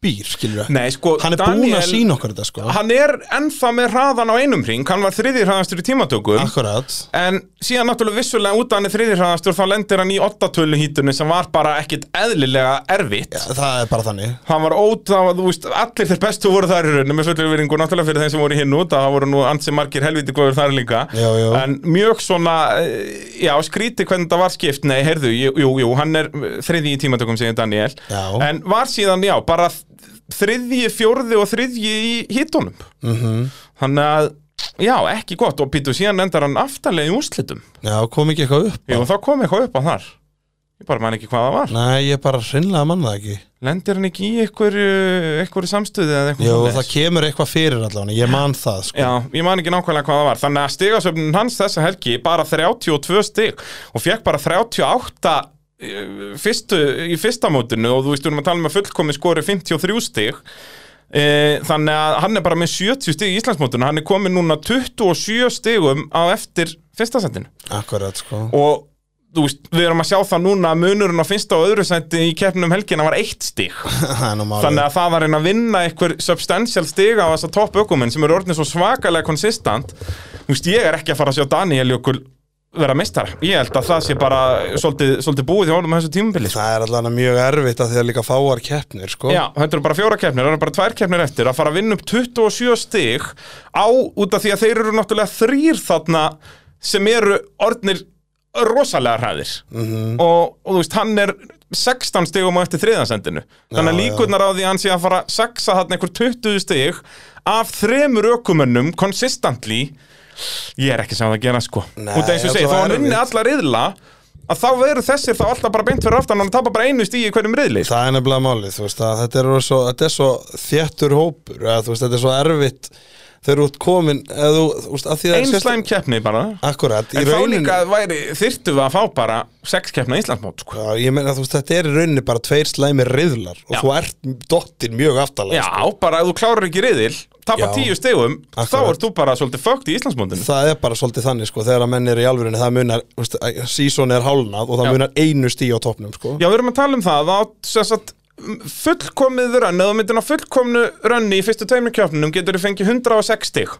Speaker 2: býr, skilur við,
Speaker 3: Nei, sko,
Speaker 2: hann er búinn
Speaker 3: Daniel-
Speaker 2: að sína okkur þetta sko,
Speaker 3: hann er ennþá með hraðan á einum ring, hann var þriðir hraðastur í tímatökum
Speaker 2: akkurat
Speaker 3: En síðan náttúrulega vissulega út að hann er þriðirhraðastur þá lendir hann í 8-tölu hítunni sem var bara ekkit eðlilega erfitt
Speaker 2: það er bara þannig,
Speaker 3: Hann var ót, það var, þú veist, allir þeir bestu voru þar í rauninu með fullur veringu náttúrulega fyrir þeim sem voru hinn út, það voru nú ansi margir helviti góður þar líka
Speaker 2: Já, já.
Speaker 3: En mjög svona, eh, já, skríti hvernig það var skipt, nei, heyrðu, jú, jú, jú hann er eh, þriðji í tímatökum segir Daniel
Speaker 2: Já.
Speaker 3: En var síðan, já, bara þriðji, fjórði og þriðji í hítunum mm
Speaker 2: Mhm.
Speaker 3: -hmm. Þannig að, já, ekki gott og pítu síðan endar hann aftarlega í úrslitum
Speaker 2: já, kom ekki eitthvað upp
Speaker 3: Jú, þá kom eitthvað upp á þar Ég bara man ekki hvað það var
Speaker 2: nei, ég bara hreinlega mann það ekki
Speaker 3: Lendir hann ekki í einhverju, einhverju samstöðu eða eitthvað
Speaker 2: Jú,
Speaker 3: svoleiðis?
Speaker 2: það kemur eitthvað fyrir allavega, ég man það sko.
Speaker 3: Já, ég man ekki nákvæmlega hvað það var Þannig að stigasöfnun hans þessa helgi bara 32 stig og fekk bara 38 eh, fyrstu, í fyrsta mótinu og þú veist, við erum að tala um að fullkomi skori 53 stig Eh, Þannig að hann er bara með 70 stig í Íslandsmótinu Hann er komin núna 27 stigum á eftir fyrsta sendinu
Speaker 2: akkurat sko,
Speaker 3: og þú veist, við erum að sjá það núna að munurinn á fyrsta og öðru sætti í keppnum helgina var eitt stig
Speaker 2: það er nú
Speaker 3: þannig
Speaker 2: málið
Speaker 3: að það var einn að vinna einhver substantial stig á þessa topp ökumenn sem eru orðin svo svakalega konsistant þú veist, ég er ekki að fara að sjá Daniel Jökul vera meistara, ég held að það sé bara svolítið, svolítið búið hjá honum á þessu tímabili sko.
Speaker 2: það er allavega mjög erfitt að því að líka fáar keppnir sko,
Speaker 3: Já, þetta eru bara fjóra keppnir, það eru bara tvær keppnir eftir að fara að vinna upp 27 stig á út af því að þeir eru náttúrulega þrýr þarna sem eru orðnir rosalega hræðir
Speaker 2: Mhm.
Speaker 3: og, og þú veist, hann er 16 stigum á eftir þriðansendinu þannig
Speaker 2: Já,
Speaker 3: að
Speaker 2: já.
Speaker 3: líkurnar á því að hann sé að fara að sexa þarna einhver 20 stig af þremur ökumönnum consistently ég er ekki sem það gera sko
Speaker 2: Nei,
Speaker 3: út af eins og
Speaker 2: ég
Speaker 3: segi,
Speaker 2: ætla
Speaker 3: þá
Speaker 2: að
Speaker 3: hann
Speaker 2: vera
Speaker 3: vinni
Speaker 2: erfitt.
Speaker 3: allar riðla að þá verður þessir þá alltaf bara beint fyrir aftan og hann tapar bara einu stíi í hverjum riðli sko.
Speaker 2: Það er nefnilega málið, þú veist að þetta er svo, þetta er svo þéttur hópur eða, þú veist, þetta er svo erfitt þegar þú ert komin eða, þú, þú veist, að því að
Speaker 3: Ein slæm keppni bara
Speaker 2: Akkurat, í
Speaker 3: En þá
Speaker 2: rauninni
Speaker 3: líka væri, þyrftu við að fá bara sex keppna Íslandsmót sko.
Speaker 2: Já, ég meina, þú veist, þetta er í rauninni bara tveir slæmi riðlar og
Speaker 3: Já.
Speaker 2: þú ert dottir mjög aftalega sko.
Speaker 3: Já, bara ef þú klárar ekki riðil tapar
Speaker 2: Já.
Speaker 3: tíu stegum, þá
Speaker 2: Akkurat.
Speaker 3: ert þú bara svolítið fögt í Íslandsmótinu
Speaker 2: Það er bara svolítið þannig, sko, þegar að menn er í alvörinni það munar, þú veist, að season er hálnað og það
Speaker 3: Já.
Speaker 2: munar einu stí á topnum, sko
Speaker 3: Já, við erum að tala um það að sem sagt, fullkomið rönn eða þú myndir ná fullkomnu rönni í fyrstu tveimur keppnunum getur þú fengið 106 stig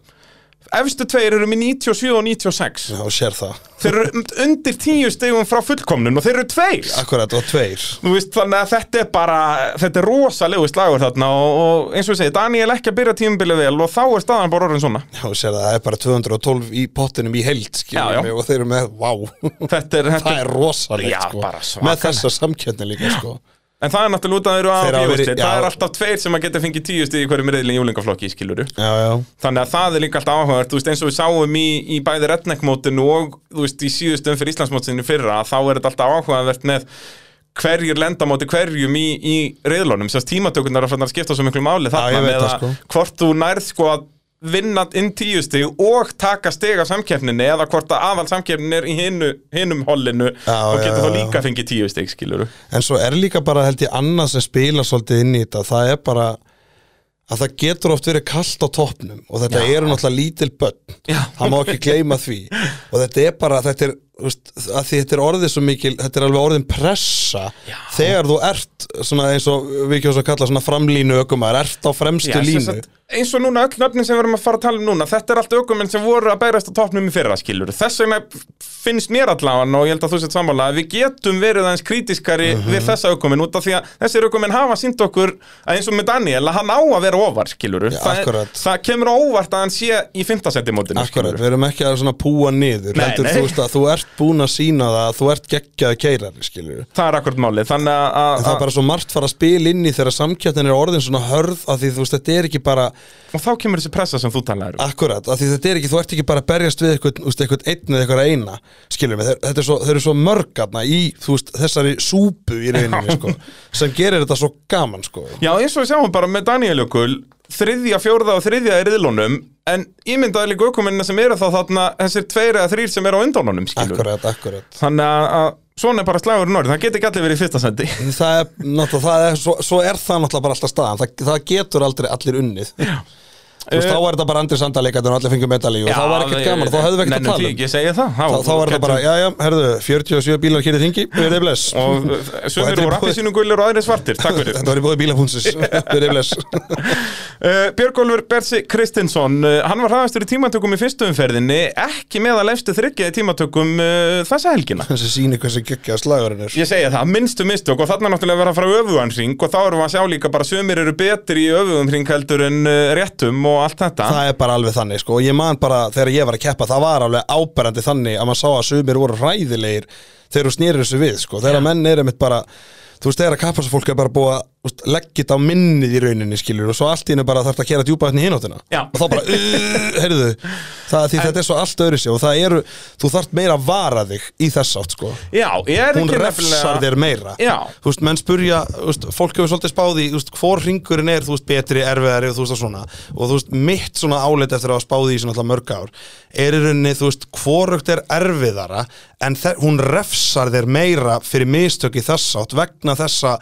Speaker 3: Efstu tveir eru með 97 og 96
Speaker 2: Já, og sér það,
Speaker 3: Þeir eru undir 10 stigum frá fullkomnun og þeir eru tveir
Speaker 2: akkurat, og tveir
Speaker 3: Þú veist, þannig að þetta er bara, þetta er rosalegu slagur þarna og, og eins og ég segi, Daniel ekki að byrja tímabilið vel og þá er staðan bara orðin svona.
Speaker 2: Já, og sér það, það er bara 212 í pottinum í heild,
Speaker 3: Já, já.
Speaker 2: skiljum og þeir eru með, vá
Speaker 3: Þetta er, þetta
Speaker 2: það er rosalegt
Speaker 3: Já,
Speaker 2: sko.
Speaker 3: bara svakalegt.
Speaker 2: með þessa samkjöndin líka sko.
Speaker 3: en það er náttúrulega út að þeir
Speaker 2: Þeir
Speaker 3: eru
Speaker 2: hafa
Speaker 3: að
Speaker 2: verið-
Speaker 3: bjóðsli, það
Speaker 2: já.
Speaker 3: er alltaf tveir sem að geta fengið tíu stíð í hverjum reyðli í júlingaflokki í skiluru.
Speaker 2: já, já.
Speaker 3: Þannig að það er líka alltaf áhugavert, þú veist, eins og við sáum í, í bæði redneckmótinu og, þú veist, í síðustum fyrir Íslandsmótinu fyrra, að þá er þetta alltaf áhugavert með hverjir lenda á móti hverjum í, í reyðlónum, sérst tímatökurnar að fannar skipta svo miklu máli
Speaker 2: Já,
Speaker 3: þarna
Speaker 2: ég veit
Speaker 3: með
Speaker 2: það,
Speaker 3: að
Speaker 2: sko.
Speaker 3: hvort þú nærð sko að vinna inn tíu stig og taka stig af samkeppninni eða hvort að aðal samkeppnin er í hinu, hinum hollinu
Speaker 2: Já,
Speaker 3: og
Speaker 2: já,
Speaker 3: getur þá
Speaker 2: já, já.
Speaker 3: líka fengið tíu stig, skilur
Speaker 2: en svo er líka bara held ég annað sem spila svolítið inn í þetta, það er bara að það getur oft verið kallt á toppnum og þetta eru náttúrulega lítil börn
Speaker 3: Já.
Speaker 2: það má ekki gleyma því og þetta er bara, þetta er veist, að því þetta er orðið svo mikil þetta er alveg orðin pressa Já. þegar þú ert svona eins og við kjóðum að kalla svona framlínu ökumar ert á fremstu
Speaker 3: Já, sem
Speaker 2: línu
Speaker 3: sagt, eins og núna öll nöfnin sem við erum að fara að tala um núna þetta er allt aukumenn sem voru að bærast á toppnum í fyrra skilur þess vegna finnst mér allavega og ég held að þú sett sammála að við getum verið aðeins krítiskari
Speaker 2: Mhm.
Speaker 3: við þessa aukumenn út af því að þessir aukumenn hafa sínt okkur að eins og með Daniel að hann á að vera ofar skilur
Speaker 2: Já,
Speaker 3: það, er-
Speaker 2: akkurat.
Speaker 3: það kemur á óvart að hann sé í 5. sentimótinu
Speaker 2: Akkurat, við erum ekki að svona púa niður
Speaker 3: Nei,
Speaker 2: heldur,
Speaker 3: nei.
Speaker 2: Þú, veist, að þú ert búin að sína það að þú ert geggjað keirari skilur
Speaker 3: það er akkurat málið þannig að-
Speaker 2: En það er
Speaker 3: að
Speaker 2: bara svo margt fara að spila inn í þegar samkjöfnin er orðin svona hörð að því þú veist, þetta er ekki bara
Speaker 3: og þá kemur þessi pressa sem þú um. talaður
Speaker 2: akkurat, að því þetta er ekki, þú ert ekki bara að berjast við eitthvað, veist, eitthvað einn eða eitthvað eina skilur mig, þeir, þetta er svo, þeir eru svo mörgarna í þú veist, þessari súpu í rauninni sko, sem gerir þetta svo gaman sko.
Speaker 3: Já, eins og við sjáum bara með Daniel Jökul þriðja, fjórða og þriðja er riðlunum en ímyndaði líka aukumennina sem eru þá þarna þessir tveir eða þrýr sem eru á undanunum skilur.
Speaker 2: akkurat, akkurat
Speaker 3: Þannig að, að svona er bara slagurinn orðið, það geti ekki allir verið í fyrsta sendi
Speaker 2: það er, náttúrulega, það er svo, svo er það náttúrulega bara alltaf staðan, það, það getur aldrei allir unnið Þú veist,
Speaker 3: Eh,
Speaker 2: þá var þetta bara andri sandaleikandur og allir fengur medalíu og þá var ekkert gaman, þá höfðu við ekkert að tala um
Speaker 3: Nei, ég segi það
Speaker 2: Þá, þá var þetta bara, já, já, herðu, 47 bílar hér í þingi, við erum bless
Speaker 3: Og
Speaker 2: Og
Speaker 3: eh,
Speaker 2: þetta er
Speaker 3: sumir voru
Speaker 2: búið-
Speaker 3: appisínum gullir og aðrir svartir, takk fyrir
Speaker 2: Þetta var í bóði bílapúnsis, við erum bless
Speaker 3: Uh, Björgólfur Bersi Kristinsson uh, hann var hraðastur í tímatökum í fyrstu umferðinni ekki með að lefstu þryggja í tímatökum uh, þessa helgina
Speaker 2: Þessi sýni hversu geggjaða slagurinn er
Speaker 3: Ég segi það, minnstu mistök og þarna er náttúrulega verið að fara öfugan hring og þá erum við að sjá líka bara sömur eru betri í öfugum hring heldur en uh, réttum og allt þetta
Speaker 2: Það er bara alveg þannig, sko, og ég man bara þegar ég var að keppa, það var alveg áberandi þannig að maður sá að sumir voru hræðilegir þegar þú snýrir þessu við, sko, þegar menn er einmitt bara, þú veist, þegar að kappa fólk er bara búið að þú veist, leggja þetta á minnið í rauninni, skilur, og svo allt í einu bara þarf að kera djúpa hérna í hináttina,
Speaker 3: Já.
Speaker 2: og þá bara, uh, heyrðu, það er því þetta er svo allt öðru sig, og það eru, þú þarft meira að vara þig í þess átt, sko,
Speaker 3: Já, ég er
Speaker 2: hún
Speaker 3: ekki
Speaker 2: refsar þér meira
Speaker 3: Já.
Speaker 2: þú veist, menn spurja, þú veist, fólk hefur svolítið spáði, þú veist, hvor ringurinn er þú veist, betri, erfiðari og þú veist, og svona og þú veist, mitt svona álit eftir að hafa spáði í svona alltaf mörg ár, er í rauninni þú veist, hvorugt er erfiðara en þe- hún refsar þér meira fyrir mistök í þess átt vegna þessa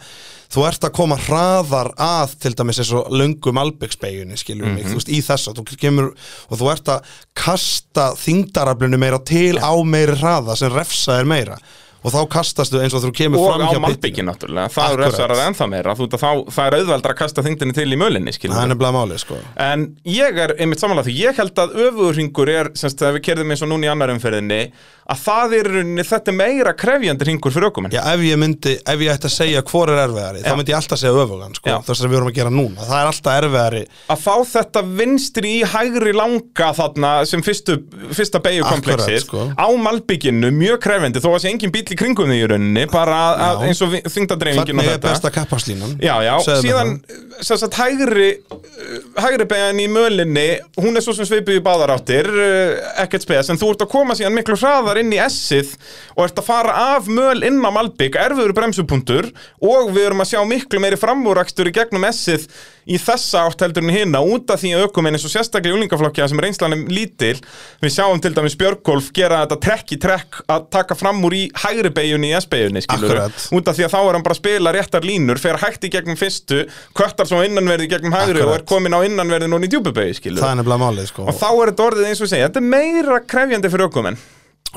Speaker 2: þú ert að koma hraðar að til dæmis eins og löngum albyggspeginni skiljum mm mig, þú veist, í þess átt þú kemur, og þú ert að kasta þingdaraflinu meira til á meiri hraða sem refsa þér meira og þá kastastu eins og þú kemur
Speaker 3: og
Speaker 2: fram
Speaker 3: á
Speaker 2: hjá
Speaker 3: malbyggi náttúrulega, það
Speaker 2: Akkurat.
Speaker 3: refsar það ennþá meira þú, veit að þá, það er auðveldra að kasta þingdinni til í mölinni skilur
Speaker 2: Það er
Speaker 3: við.
Speaker 2: nefnilega málið sko
Speaker 3: En ég er einmitt samanlega því, ég held að öfuringur er, semst þegar við kerðum eins og núna í annar umferðinni, að það er í rauninni, þetta er meira krefjandi ringur fyrir ökumenn.
Speaker 2: Já, ef ég myndi, ef ég ætti að segja hvor er erfiðari
Speaker 3: Já.
Speaker 2: þá myndi ég alltaf segja öfugan sko
Speaker 3: Já.
Speaker 2: þess að við vorum að gera núna, það er alltaf erfiðari
Speaker 3: Að fá þetta vinstri í hægri langa þarna sem fyrstu, fyrsta beigjukompleksið
Speaker 2: Akkurat, sko.
Speaker 3: á malbygginu, mjög krefjandi, þó að sé engin bíll í kringum því í rauninni, bara að, að
Speaker 2: Já.
Speaker 3: eins og þingdadreifingin og
Speaker 2: hvernig er
Speaker 3: þetta.
Speaker 2: besta kappaslínan
Speaker 3: Já, já, síðan sem sagt hægri uh, hægri beigjan í mölinni hún er svo sem svipuð í báðar áttir eh, ekkert spes, en þú ert að koma síðan miklu hraðar inn í S-ið og ert að fara af möl inn á Malbygg erfiður bremsupunktur og við erum að sjá miklu meiri framúrakstur í gegnum S-ið í þessa átt heldur en hinna út af því að aukum eins og sérstaklega í unglingaflokkja sem reynslanum lítil við sjáum til dæmis Björgolf gera þetta trekk í trekk að taka fram úr í hægri beigjunni í S-beigjunni skilur
Speaker 2: Akkurat.
Speaker 3: út af því að þá er hann bara að spila réttar línur fer hægt í gegnum fyrstu, köttar svo á innanverði í gegnum hægri og
Speaker 2: Akkurat.
Speaker 3: er komin á innanverði núna í djúbubegi skilur
Speaker 2: Það er nefnilega málið sko
Speaker 3: og þá er þetta orðið eins og ég segja, þetta er meira krefjandi fyrir ökumenn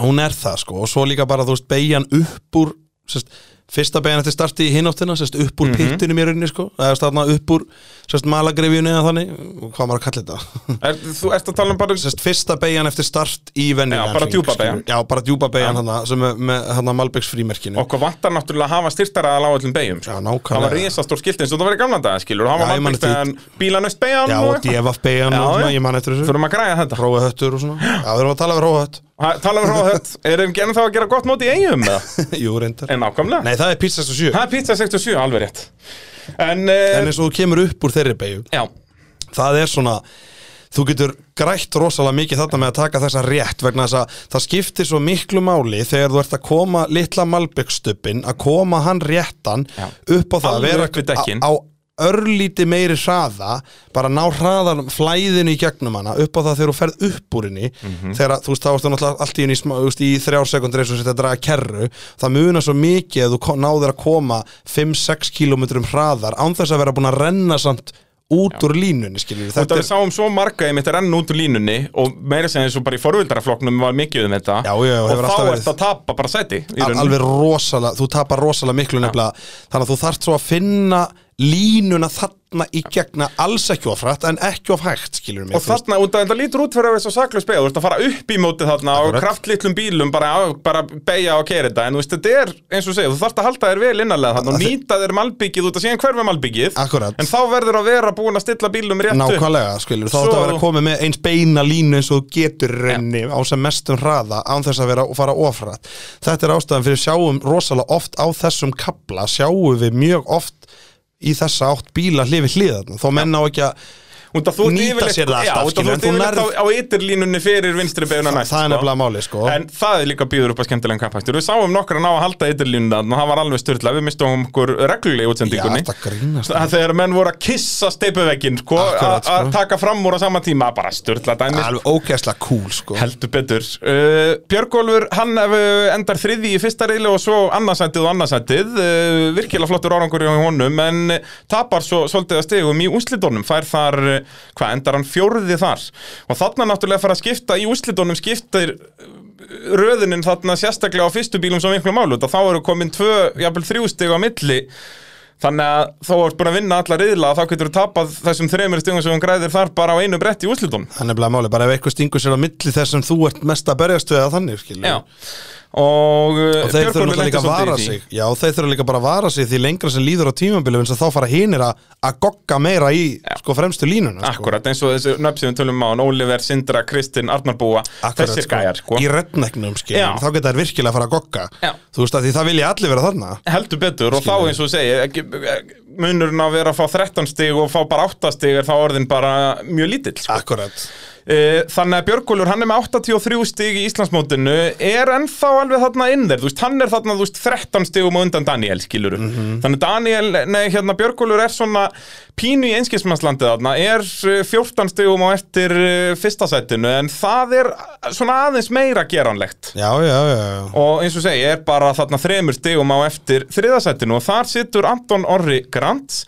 Speaker 2: hún er það sko og svo líka bara þú veist beigjan upp úr sest, fyrsta beigjan eftir starti í hináttina sest, upp
Speaker 3: Mhm.
Speaker 2: úr pittinum í rauninni sko eða starna upp úr sest, malagrifjunni eða þannig hvað á maður að kalla þetta
Speaker 3: er, þú ert að tala um bara
Speaker 2: sest, fyrsta beigjan eftir start í venjulegan
Speaker 3: Já, bara
Speaker 2: hring,
Speaker 3: djúpa
Speaker 2: skilur.
Speaker 3: beygjan.
Speaker 2: já, bara djúpa beigjan hana, sem er með hana Malbyggs frímerkinu
Speaker 3: okkur vantar náttúrulega að hafa styrtaraðal á öllum begjum
Speaker 2: Já,
Speaker 3: sko.
Speaker 2: nákvæmlega.
Speaker 3: það var risastór skiltin sem það var í gamla daga skilur og
Speaker 2: Já,
Speaker 3: hafa
Speaker 2: ég man
Speaker 3: mannbyggt
Speaker 2: eftir
Speaker 3: en bílanust beigjan
Speaker 2: já,
Speaker 3: og
Speaker 2: og
Speaker 3: eitthvað.
Speaker 2: djefaf beigjan
Speaker 3: Já,
Speaker 2: og svona,
Speaker 3: já.
Speaker 2: ég man eftir þessu
Speaker 3: þurfum að græja þetta
Speaker 2: Róahöttur og svona já, við erum að tala við róahött
Speaker 3: Ha, tala um ráðhött, erum við genið þá að gera gott móti í eigum eða?
Speaker 2: jú, reyndar
Speaker 3: en ákvæmlega
Speaker 2: nei, það er pizza 7
Speaker 3: það er pizza 67, alveg rétt en, uh,
Speaker 2: en eins og þú kemur upp úr þeirri beigju
Speaker 3: já,
Speaker 2: það er svona þú getur grætt rosalega mikið þarna með að taka þessa rétt vegna þess að það skiptir svo miklu máli þegar þú ert að koma litla malbyggstubbin að koma hann réttan
Speaker 3: Já.
Speaker 2: upp á það að
Speaker 3: Alveg
Speaker 2: vera
Speaker 3: upp við dekkin.
Speaker 2: á, á örlíti meiri hraða bara ná hraðan flæðinu í gegnum hana upp á það þegar þú ferð upp úr henni
Speaker 3: Mhm.
Speaker 2: þegar að, þú veist þá ertu náttúrulega allt í henni í, smá- þú veist, í þrjár sekundir eins og setja að draga kerru það munar svo mikið að þú ko- náðir að koma 5-6 kilometrum hraðar án þess að vera búin að renna samt út úr línunni skilur við,
Speaker 3: Þetta
Speaker 2: þetta
Speaker 3: við sáum svo marga einmitt renn út úr línunni og meira sem eins og bara í forvildaraflokknum var mikið um þetta
Speaker 2: Já, já,
Speaker 3: og
Speaker 2: hefur
Speaker 3: þá
Speaker 2: alltaf verið.
Speaker 3: ert að tapa bara seti í
Speaker 2: er
Speaker 3: rauninni.
Speaker 2: alveg rosalega, þú tapar rosalega miklu nefnilega, þannig að þú þarft svo að finna línuna þarna í gegna alls ekki of hratt en ekki of hægt skilur við,
Speaker 3: Og þarna, út að þetta lítur út fyrir að vera svo saklaus beigja, þú ert að fara upp í móti þarna á
Speaker 2: Akkurat.
Speaker 3: kraftlitlum bílum, bara, á- bara beigja og keira þetta, en þú veist, þetta er, eins og segja, þú þarft að halda þér vel innanlega þarna og
Speaker 2: Að þi-
Speaker 3: nýta þér malbyggið út að síðan hverfa malbyggið,
Speaker 2: Akkurat.
Speaker 3: en þá verður að vera búin að stilla bílum rétt upp.
Speaker 2: nákvæmlega skilur, við, þá
Speaker 3: Svo-
Speaker 2: þarf að vera komið með eins beina línu eins og þú getur renni á sem mestum hraða án þess að vera og fara of hratt þetta er ástæðan fyrir sjáum rosalega oft á þessum kabla, sjáum við mjög oft í þessa átt bíla hlifi hliðan, þó menn á ekki að
Speaker 3: Út að þú ert
Speaker 2: Nýta
Speaker 3: yfirleitt-
Speaker 2: sér það
Speaker 3: já,
Speaker 2: alltaf,
Speaker 3: út að
Speaker 2: skilur, en
Speaker 3: þú ert
Speaker 2: þú
Speaker 3: yfirleitt
Speaker 2: nærð-
Speaker 3: á- á ytirlínunni fyrir vinstri beiguna næst.
Speaker 2: það er
Speaker 3: sko.
Speaker 2: nefnilega máli sko
Speaker 3: En það er líka býður upp að skemmtilegan kappaktur Við sáum nokkra ná að halda ytterlínuna og það var alveg styrla, við mistum okkur reglulegi útsendingunni
Speaker 2: Já, þetta grínast.
Speaker 3: Það- Þegar menn voru að kissa steipuvekkin sko, að
Speaker 2: Akkurat, sko.
Speaker 3: að taka fram úr á sama tíma bara styrla dæmis
Speaker 2: alveg ógeðslega cool sko
Speaker 3: Heldur betur uh, Björgólfur, hann ef, uh, endar þriði í fyrsta reyli og svo annarsættið og annarsættið uh, virkilega flottur árangur hjá honum en uh, tapar svo svolítið að stegum í úslitónum fær þar, uh, hvað endar hann fjórði þar og þarna náttúrulega fara að skipta í úslitónum skiptir uh, röðunin þarna sérstaklega á fyrstu bílum sem einhverjum álut að þá eru komin tvö, jafnvel þrjú stig á milli Þannig að þó ert búin að vinna alla reyðla þá getur þú tapað þessum þreymur stigum sem hún græðir þar bara á einu brett í úslitónum
Speaker 2: Það er nefnilega máli, bara ef eitthvað stingur sér á milli þess sem þú ert mest að berjast við að þannig, skilur.
Speaker 3: Já Og, uh,
Speaker 2: Og þeir þurfa náttúrulega líka að vara sig. Já, og þeir þurfa líka bara að vara sig því lengra sem líður á tímabilið, eins og þá fara hinir að að gogga meira í, sko, fremstu línuna, sko.
Speaker 3: Akkurat, eins og þessu nöfn sem við tölum á hann, Oliver, Sindra, Kristinn, Arnarbúa Þessir gæjar, sko
Speaker 2: Í reddnæknum, skilur.
Speaker 3: Já.
Speaker 2: Þá geta þær virkilega að fara að gogga.
Speaker 3: Já.
Speaker 2: Þú veist að því það vilja allir vera þarna.
Speaker 3: Heldur betur og þá eins og þú segir ekki- ekki- munurinn að vera að fá 13 stig og fá bara 8 stig er þá orðin bara mjög lítill sko.
Speaker 2: Akkurat.
Speaker 3: Eh, Þannig að Björgólfur, hann er með 83 stig í Íslandsmótinu er ennþá alveg þarna inn þér, þú veist, hann er þarna, þú veist, 13 stigum á undan Daniel, skiluru Þannig að Daniel, nei, hérna, Björgólfur er svona pínu í einskismannslandið þarna er eh, 14 stigum á eftir eh, fyrsta sætinu, en það er svona aðeins meira geranlegt
Speaker 2: Já, já, já, já.
Speaker 3: og eins og segi, er bara þarna þremur stigum á eftir þriðasættinu og þar situr Anton Orri Grant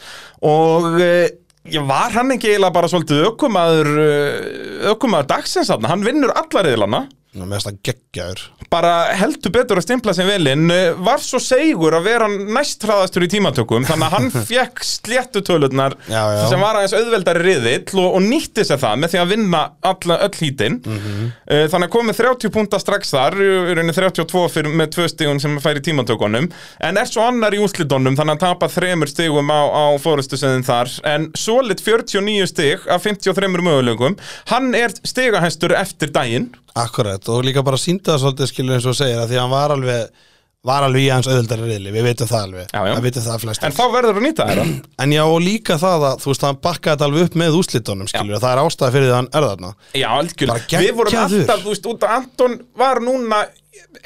Speaker 3: og eh, já, var hann ekki eiginlega bara svolítið ökumaður eh, ökumaður dagsins þarna, hann vinnur alla reyðlana
Speaker 2: Ná, Mér finnst það geggjaður.
Speaker 3: bara heldur betur að stimpla sem velinn eh, var svo segur að vera næst hraðastur í tímatökum þannig að hann fekk sléttu tölurnar
Speaker 2: Já, já.
Speaker 3: sem var aðeins auðveldari riðill og, og nýtti sér það með því að vinna alla, öll hítinn
Speaker 2: Mhm.
Speaker 3: Eh, þannig að komið 30 púnta strax þar í rauninni 32 fyrir, með tvö stigum sem fær í tímatökunum en er svo annar í úslitónum þannig að tapa þremur stigum á, á fórustuseðin þar en solid 49 stig af 53 mögulegum hann er stigahæstur eftir daginn
Speaker 2: Akkurat, og líka bara síndi það svolítið skilur eins og þú segir að því að hann var alveg var alveg í hans auðvöldari riðli, við veitum það alveg
Speaker 3: Já, já.
Speaker 2: það veitum það flest
Speaker 3: en þá verður að nýta þetta
Speaker 2: En já, og líka það að, þú veist, hann bakkaði þetta alveg upp með úslitunum, skilur, það er ástæða fyrir því að hann er þarna.
Speaker 3: Já,
Speaker 2: Bara
Speaker 3: algjörlega.
Speaker 2: geggjaður.
Speaker 3: Við vorum alltaf, þú veist, út að Anton var núna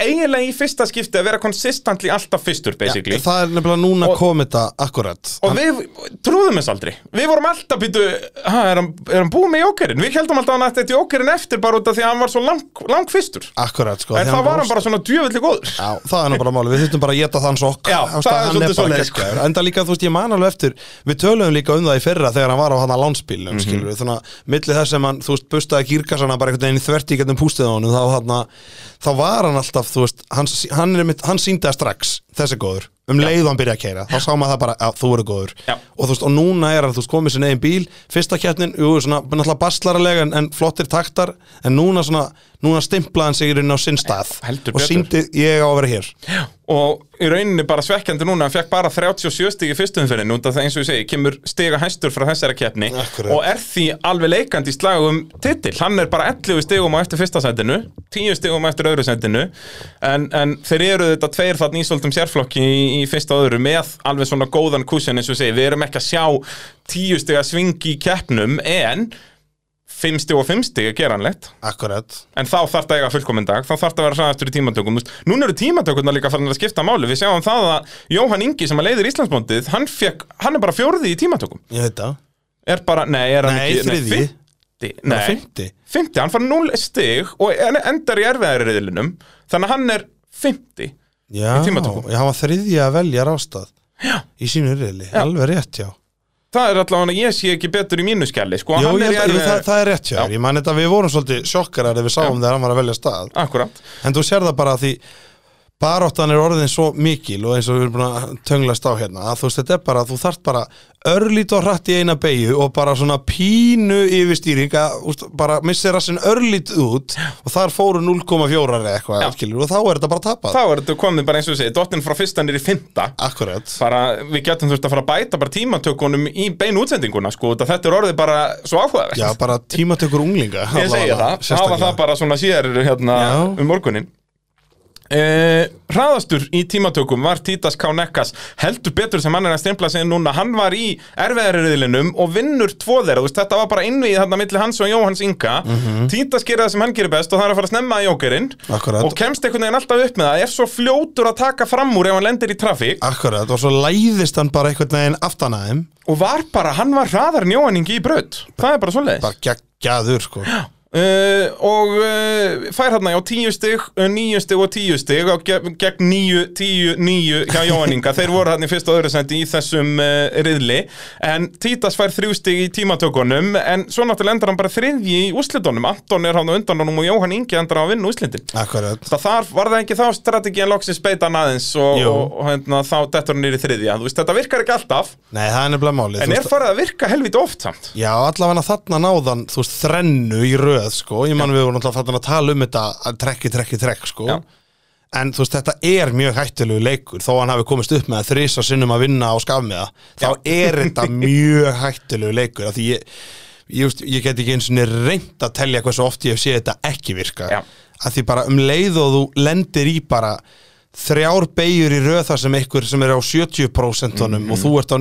Speaker 3: eiginlega í fyrsta skipti að vera konsistantli alltaf fyrstur, basically.
Speaker 2: Það er nefnilega núna
Speaker 3: Og-
Speaker 2: komið þetta akkurat.
Speaker 3: og við trúðum þess aldrei. Við vorum alltaf býtu, ha, er hann, er hann búið með jókerinn? Við heldum alltaf að hann ætti eitt jókerinn eftir bara út af því að hann var svo lang, lang fyrstur.
Speaker 2: Akkurat, sko.
Speaker 3: en
Speaker 2: því
Speaker 3: þá var hann bara svona djöfulli góður.
Speaker 2: Já, það er nú bara máli, við þurfum bara að geta þann sokk
Speaker 3: Já,
Speaker 2: Þú veist,
Speaker 3: það
Speaker 2: að
Speaker 3: er
Speaker 2: hann
Speaker 3: svolítið
Speaker 2: bara
Speaker 3: svoleiðis, sko.
Speaker 2: geggjaður. Enda líka, þú veist, ég man alveg eftir Við töluðum líka um það í fyrra þegar hann var á hann að lánspílnum
Speaker 3: Mhm.
Speaker 2: mm Þannig að milli þess sem hann, þú veist, bustaði kýrkassana bara einhvern veginn þvert í getnum pústið á honum Þá, þarna, þá var hann alltaf, þú veist, hann, hann, er mitt, hann síndi það strax Þessi góður, um leið og hann byrja að keira Þá sá maður það bara, já, þú eru góður
Speaker 3: Já.
Speaker 2: og, þú veist, og núna er hann, þú veist, komið sér negin bíl Fyrsta keppnin, jú, svona, náttúrulega bastlaralega en, en flottir taktar En núna, svona, núna stimplaði hann sig í rauninni á sinn stað Og
Speaker 3: Heldur betur.
Speaker 2: sýndi, ég á að vera hér
Speaker 3: Og í rauninni bara svekkjandi núna, hann fekk bara 37 stig í fyrstu umferðinu út af það eins og ég segi, kemur stiga hæstur frá þessari keppni
Speaker 2: Akkurat.
Speaker 3: og er því alveg leikandi í slagum titill. Hann er bara 11 stigum á eftir fyrsta sendinu, 10 stigum á eftir öðru sendinu, en, en þeir eru þetta tveir þarna í svolítum sérflokki í, í fyrsta og öðru með alveg svona góðan kúsjan eins og ég segi, við erum ekki að sjá 10 stiga svingi í keppnum en 5 stig og 5 stig er geranlegt.
Speaker 2: Akkurat
Speaker 3: En þá þarf það að eiga fullkominn dag, þá þarf það að vera hraðastur í tímatökum Þú veist, Núna eru tímatökurna líka farin að skipta máli Við sjáum það að Jóhann Ingi sem að leiðir Íslandsmóndið hann, fekk, hann er bara fjórði í tímatökum
Speaker 2: Ég veit það
Speaker 3: Er bara, nei, er hann
Speaker 2: Nei,
Speaker 3: ekki
Speaker 2: þriðji.
Speaker 3: Nei, fimmti,
Speaker 2: Nei.
Speaker 3: nei,
Speaker 2: Fymti
Speaker 3: fymti, hann fær 0 stig og en- endar í erfiðari reyðlinum Þannig að hann er fymti
Speaker 2: Já,
Speaker 3: Í tímatökum.
Speaker 2: já, hann var þriðja að velja rástað Já Í sínu reyli, alveg rétt, já
Speaker 3: það er allavega ég sé ekki betur í mínu skjalli sko,
Speaker 2: Jú,
Speaker 3: hann
Speaker 2: ég
Speaker 3: er í
Speaker 2: held að jú,
Speaker 3: erfiðari-
Speaker 2: það, það er rétt hjá þér. Ég man þetta að við vorum svolítið sjokkar þegar við sáum þegar hann var að velja stað
Speaker 3: Akkúrat.
Speaker 2: En þú sér það bara að því baráttan er orðin svo mikil og eins og við erum búin að tönglast á hérna að þú veist þetta er bara að þú þarft bara örlít og hratt í eina beigju og bara svona pínu yfirstýring að úst, bara missir rassin örlít út og þar fóru 0,4 eða eitthvað
Speaker 3: Já.
Speaker 2: skilur, og þá er þetta bara tapað
Speaker 3: þá er þetta komið bara eins og þessi dottin frá fyrsta nýri fymta
Speaker 2: Akkurat
Speaker 3: bara, við getum þurft að fara að bæta bara tímatökunum í beinu útsendinguna sko, út af þetta er orðið bara svo áhugavert
Speaker 2: Já, bara tímatökur unglinga
Speaker 3: ég segja það, hafa það bara svona sér hérna
Speaker 2: Já.
Speaker 3: um morgunin Eh, hraðastur í tímatökum var Títas K. Nekkas heldur betur sem hann er að stempla sig núna hann var í erfiðarriðlinum og vinnur tvo þeirra, þú veist þetta var bara innvið þarna milli hans og Jóhanns Inga Títas gerir það sem hann gerir best og það er að fara að snemma í jókerinn
Speaker 2: Mhm. Akkurat.
Speaker 3: og kemst einhvern veginn alltaf upp með það er svo fljótur að taka fram úr ef hann lendir í trafík
Speaker 2: Akkurat, og svo læðist hann bara einhvern veginn aftan að þeim
Speaker 3: og var bara, hann var hraðar njóaningi í braut það er bara svoleiðis
Speaker 2: bara geggjaður sko
Speaker 3: Uh, og uh, fær hérna á tíu stig, uh, níu stig og tíu stig og ge gegn níu, tíu, níu hjá Jóhanninga, þeir voru hérna í fyrsta og öðru sendi í þessum uh, riðli en Títas fær þrjú stig í tímatökunum en svo náttúrulega endar hann bara þriðji í úslitunum, Anton er hann á undan honum og Jóhann Ingi endar á að vinna úslitin
Speaker 2: Akkurat,
Speaker 3: það þar var það ekki þá strategiðan loksins beita hann aðeins og,
Speaker 2: Jú.
Speaker 3: og, og hérna, þá dettur hann er í þriðja, þú veist þetta virkar ekki alltaf
Speaker 2: nei það er nefnilega málið þú
Speaker 3: en
Speaker 2: veist-
Speaker 3: er farið að virka helviti oft samt
Speaker 2: Já, allavega þarna náðan, þú veist, þrennu í röð, sko, ég man við vorum alltaf þarna að tala um þetta, að trekki, trekki, trekk, sko
Speaker 3: Já.
Speaker 2: en þú veist, þetta er mjög hættulegu leikur, þó hann hafi komist upp með að þrýsa sinnum að vinna á skafmiða þá er þetta mjög hættulegu leikur, af því ég ég, veist, ég get ekki eins og niður reynd að telja hversu oft ég hef séð þetta ekki virka
Speaker 3: Já.
Speaker 2: af því bara um leið og þú lendir í bara þrjár beigur í röð þar sem einhver sem er á 70% og þú ert á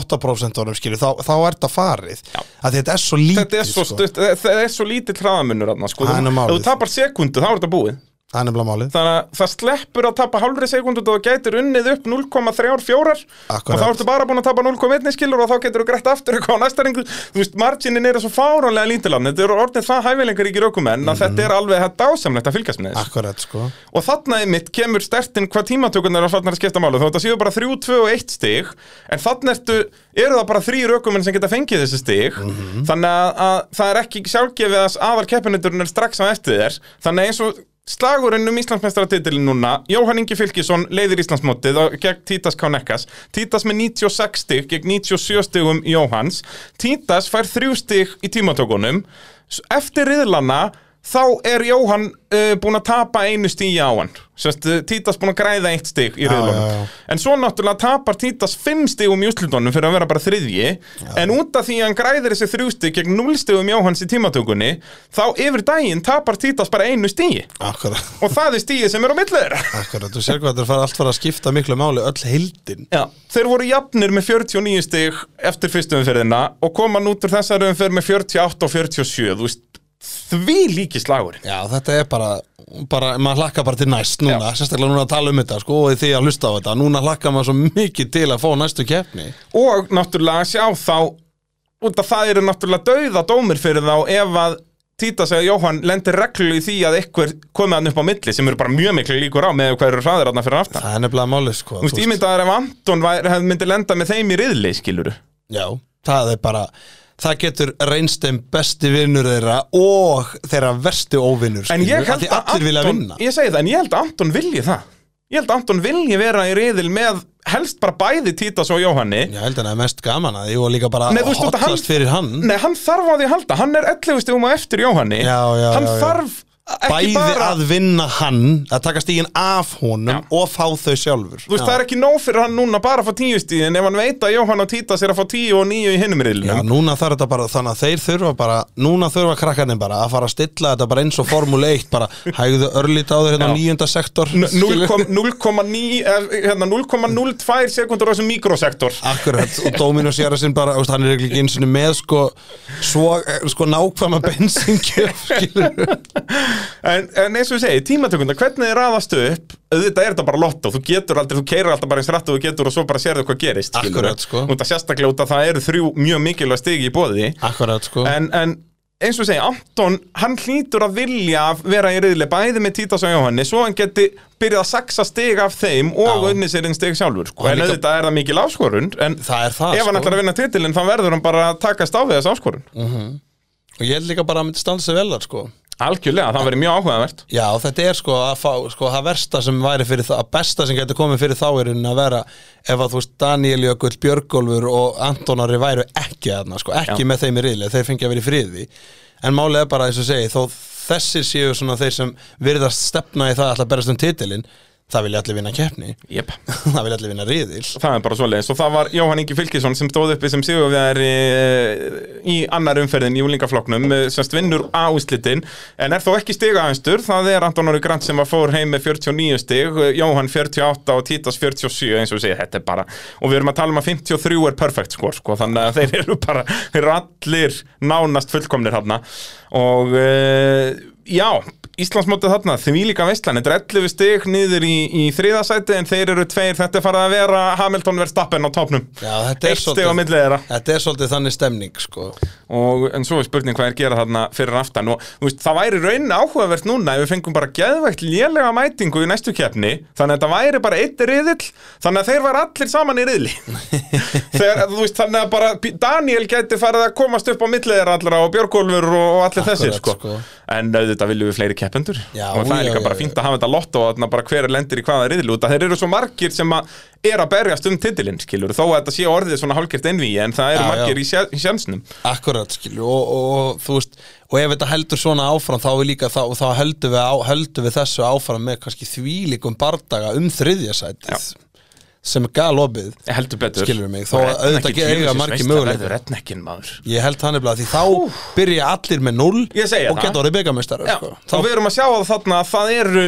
Speaker 2: 98% skilur, þá, þá er þetta farið
Speaker 3: Já.
Speaker 2: að þetta er svo lítið
Speaker 3: þetta er svo
Speaker 2: sko.
Speaker 3: stutt, það er svo lítill hraðamunur þarna, sko,
Speaker 2: Það er nú
Speaker 3: þú,
Speaker 2: málið.
Speaker 3: ef þú tapar sekundu þá er þetta búið
Speaker 2: það er nefnilega málið
Speaker 3: þannig að það sleppur að tapa hálfri sekundu og þú gætir unnið upp 0,34 og
Speaker 2: Akkurat.
Speaker 3: þá ertu bara búin að tapa 0,1 skilur og þá getur þú greitt aftur eitthvað á næsta ringu þú veist, marginin eru svo fáránlega lítilann þetta eru orðnið það hæfilegar ekki raukumenn
Speaker 2: Mhm.
Speaker 3: að þetta er alveg þetta ásamlegt að fylgjast með þessu
Speaker 2: akkurat sko
Speaker 3: og þarna einmitt kemur stertinn hvað tímatökunar er að farnar að skipta máli þó þetta séu bara 3, 2 og 1 stig en þarna ertu, eru það bara þrý rökumenn sem geta fengið þessi stig þannig að, að það er ekki sjálfgefið að aðal keppinundurinn er strax á eftir þér þannig að eins og slagurinn um Íslandsmeistaratitilin núna Jóhann Ingi Fylkisson leiðir Íslandsmótið og- gegn Títas K. Nekkas Títas með 96 stig gegn 97 stigum Jóhanns Títas fær 3 stig í tímatökunum S- eftir riðlana þá er Jóhann uh, búin að tapa einu stíi á hann Sjöst, uh, Títas búin að græða eitt stík í
Speaker 2: já, já.
Speaker 3: riðlunum en svo náttúrulega tapar Títas fimm stígum í úslutunum fyrir að vera bara þriðji en út af því að hann græðir þessi þrjú stík gegn núl stígum Jóhanns í tímatökunni þá yfir daginn tapar Títas bara einu stíi
Speaker 2: akkurat,
Speaker 3: og það er stíi sem er á milli þeirra
Speaker 2: akkurat, þú sér hvað þetta er farið- allt fara að skipta miklu máli, öll heildin
Speaker 3: Já, þeir voru jafnir með 49 stig eftir fyrstu umferðina og koma nút úr þessari umferð með 48 og 47 þú veist, því líki slagurinn
Speaker 2: Já, þetta er bara, bara maður hlakka bara til næst núna, sérstaklega núna að tala um þetta sko, og því að hlusta á þetta, núna hlakka maður svo mikið til að fá næstu keppni
Speaker 3: og náttúrulega að sjá þá út af það eru náttúrulega dauða dómir fyrir þá ef að Títas eða Jóhann lendir reglu í því að eitthvað komið hann upp á milli sem eru bara mjög miklu líkur á með hvað eru hraðir hann fyrir aftan
Speaker 2: Það er nefnilega málið sko
Speaker 3: Þú veist, ímyndaður ef Anton væri, hefði myndi lenda með þeim í riðli, skiluru
Speaker 2: Já, það er bara Það getur reynst þeim besti vinnur þeirra og þeirra versti óvinnur
Speaker 3: En
Speaker 2: skilur, af
Speaker 3: ég held
Speaker 2: því
Speaker 3: að
Speaker 2: allir vilja
Speaker 3: Anton,
Speaker 2: vinna
Speaker 3: ég segi það, en ég held að Anton vilji það Ég held að Anton vilji vera í riðil með helst bara bæði Títas og Jóhanni
Speaker 2: Já, held að það er mest gaman að því og líka bara
Speaker 3: Nei, þú veist, út að hann-
Speaker 2: hotlast fyrir hann
Speaker 3: Nei, hann þarf á því að halda, hann er 11 stigum á eftir Jóhanni
Speaker 2: Já, já,
Speaker 3: Hann
Speaker 2: já, já.
Speaker 3: þarf ekki
Speaker 2: Bæði
Speaker 3: bara
Speaker 2: að vinna hann að taka stígin af honum og fá þau sjálfur
Speaker 3: Þú veist, það er ekki nóg fyrir hann núna bara að fá tíu stíðin ef hann veit að Jóhann og Títas er að fá tíu og níu í hinnum
Speaker 2: Já,
Speaker 3: riðlunum.
Speaker 2: núna þarf þetta bara, þannig að þeir þurfa bara núna þurfa krakkarnir bara að fara að stilla þetta bara eins og Formule 1, bara hægðu örlít á þau hérna á
Speaker 3: Já.
Speaker 2: nýjunda sektor skilur.
Speaker 3: 0,9 eh, hérna, 0,02 sekundur á þessum mikrosektor.
Speaker 2: Akkurat, og Dominus Jarasinn bara, þú veist, hann er ekki eins og með sko, svo, eh, sko nákvæma bensingjöf, skilur
Speaker 3: En, en eins og ég segi, tímatökunda, hvernig þið raðast upp, auðvitað er þetta bara lotto, þú getur aldrei, þú keirir alltaf bara eins rætt og þú getur og svo bara sérðu hvað gerist. skilurðu.
Speaker 2: Akkurat, sko.
Speaker 3: Út að sérstaklega út að það eru þrjú mjög mikilvæg stigi í bóði.
Speaker 2: Akkurat, sko
Speaker 3: En, en eins og ég segja, Anton, hann hlýtur að vilja að vera í riðli bæði með Títas og Jóhanni svo hann geti byrjað að saxa stig af þeim og
Speaker 2: Já.
Speaker 3: unni sér einn stig sjálfur sko.
Speaker 2: Og
Speaker 3: en
Speaker 2: líka-
Speaker 3: auðvitað er það mikil áskorun en
Speaker 2: Það er það,
Speaker 3: ef hann
Speaker 2: sko.
Speaker 3: ætlar að vinna titilinn þá verður hann bara að takast á við þessu áskorun
Speaker 2: og ég held líka bara að myndi standa sig vel þar sko
Speaker 3: algjörlega, það verður mjög áhugavert
Speaker 2: Já, og þetta er sko að fá, sko, það versta sem væri fyrir það, að besta sem getur komið fyrir þá er að vera ef að þú veist Daniel Jökull, Björgólfur og Antonari væru ekki aðna, sko, ekki
Speaker 3: Já.
Speaker 2: með þeim í riðli, þeir fengi að vera í friði en málið er bara eins og segi, þó þessir séu svona þeir sem virðast stefna í það að ætla að berast um titilinn, það vilja allir vinna keppni,
Speaker 3: yep.
Speaker 2: það vilja allir vinna riðil
Speaker 3: það er bara svoleiðis og það var Jóhann Ingi Fylkisson sem stóð uppi sem sigur við þær í, í annar umferðin í úlingaflokknum eh, semst vinnur á úslitin en er þó ekki stigaðanstur, það er Anton Óri Grant sem var fór heim með 49 stig eh, Jóhann 48 og Títas 47 eins og segja, þetta er bara, og við erum að tala um að 53 er perfect skor, sko, þannig að þeir eru bara, þeir eru allir nánast fullkomnir hann og uh, Já, Íslandsmótið þarna, því líka veistlan, þetta er 11 stig niður í, í þriðasæti en þeir eru tveir, þetta er farið að vera Hamilton verð stappen á topnum.
Speaker 2: Já, þetta er
Speaker 3: Eitt stig á
Speaker 2: svolítið,
Speaker 3: millið þeirra
Speaker 2: þetta er svolítið þannig stemning, sko
Speaker 3: og en svo er spurning hvað er gera þarna fyrir aftan og þú veist, það væri raunin áhugavert núna ef við fengum bara geðvægt lélega mætingu í næstu keppni, þannig að þetta væri bara eitt riðill, þannig að þeir var allir saman í riðli Þegar, þú veist, þannig að bara P- Daniel gæti farið að komast upp á millið þeirra allra og Björgólfur og, og allir
Speaker 2: Akkurat,
Speaker 3: þessir sko.
Speaker 2: sko.
Speaker 3: en auðvitað viljum við fleiri keppendur
Speaker 2: Já,
Speaker 3: og það er
Speaker 2: já,
Speaker 3: líka
Speaker 2: já,
Speaker 3: bara
Speaker 2: já.
Speaker 3: fínt að hafa þetta lott og þarna bara hver er lendir í hvaða riðli út að þeir eru svo margir sem að er að berjast um titilinn skilur, þó að þetta sé orðið svona hálfgert einvíi en það
Speaker 2: Já,
Speaker 3: eru
Speaker 2: já.
Speaker 3: margir í sja- í sjansnum
Speaker 2: Akkurat, skilju, og, og, og þú veist og ef þetta heldur svona áfram þá er líka þá, þá höldum, við á, höldum við þessu áfram með kannski þvílíkum bardaga um þriðjasætið sem er galopið
Speaker 3: heldur betur
Speaker 2: Skilurðu mig, þó að auðvitað ge- eiga margir möguleika.
Speaker 3: retnekkin maður
Speaker 2: ég held þannig bara því þá byrja allir með 0
Speaker 3: Ég segi
Speaker 2: og
Speaker 3: það.
Speaker 2: geta orðið byggamestari
Speaker 3: já,
Speaker 2: sko.
Speaker 3: þá við erum að sjá að þarna að það eru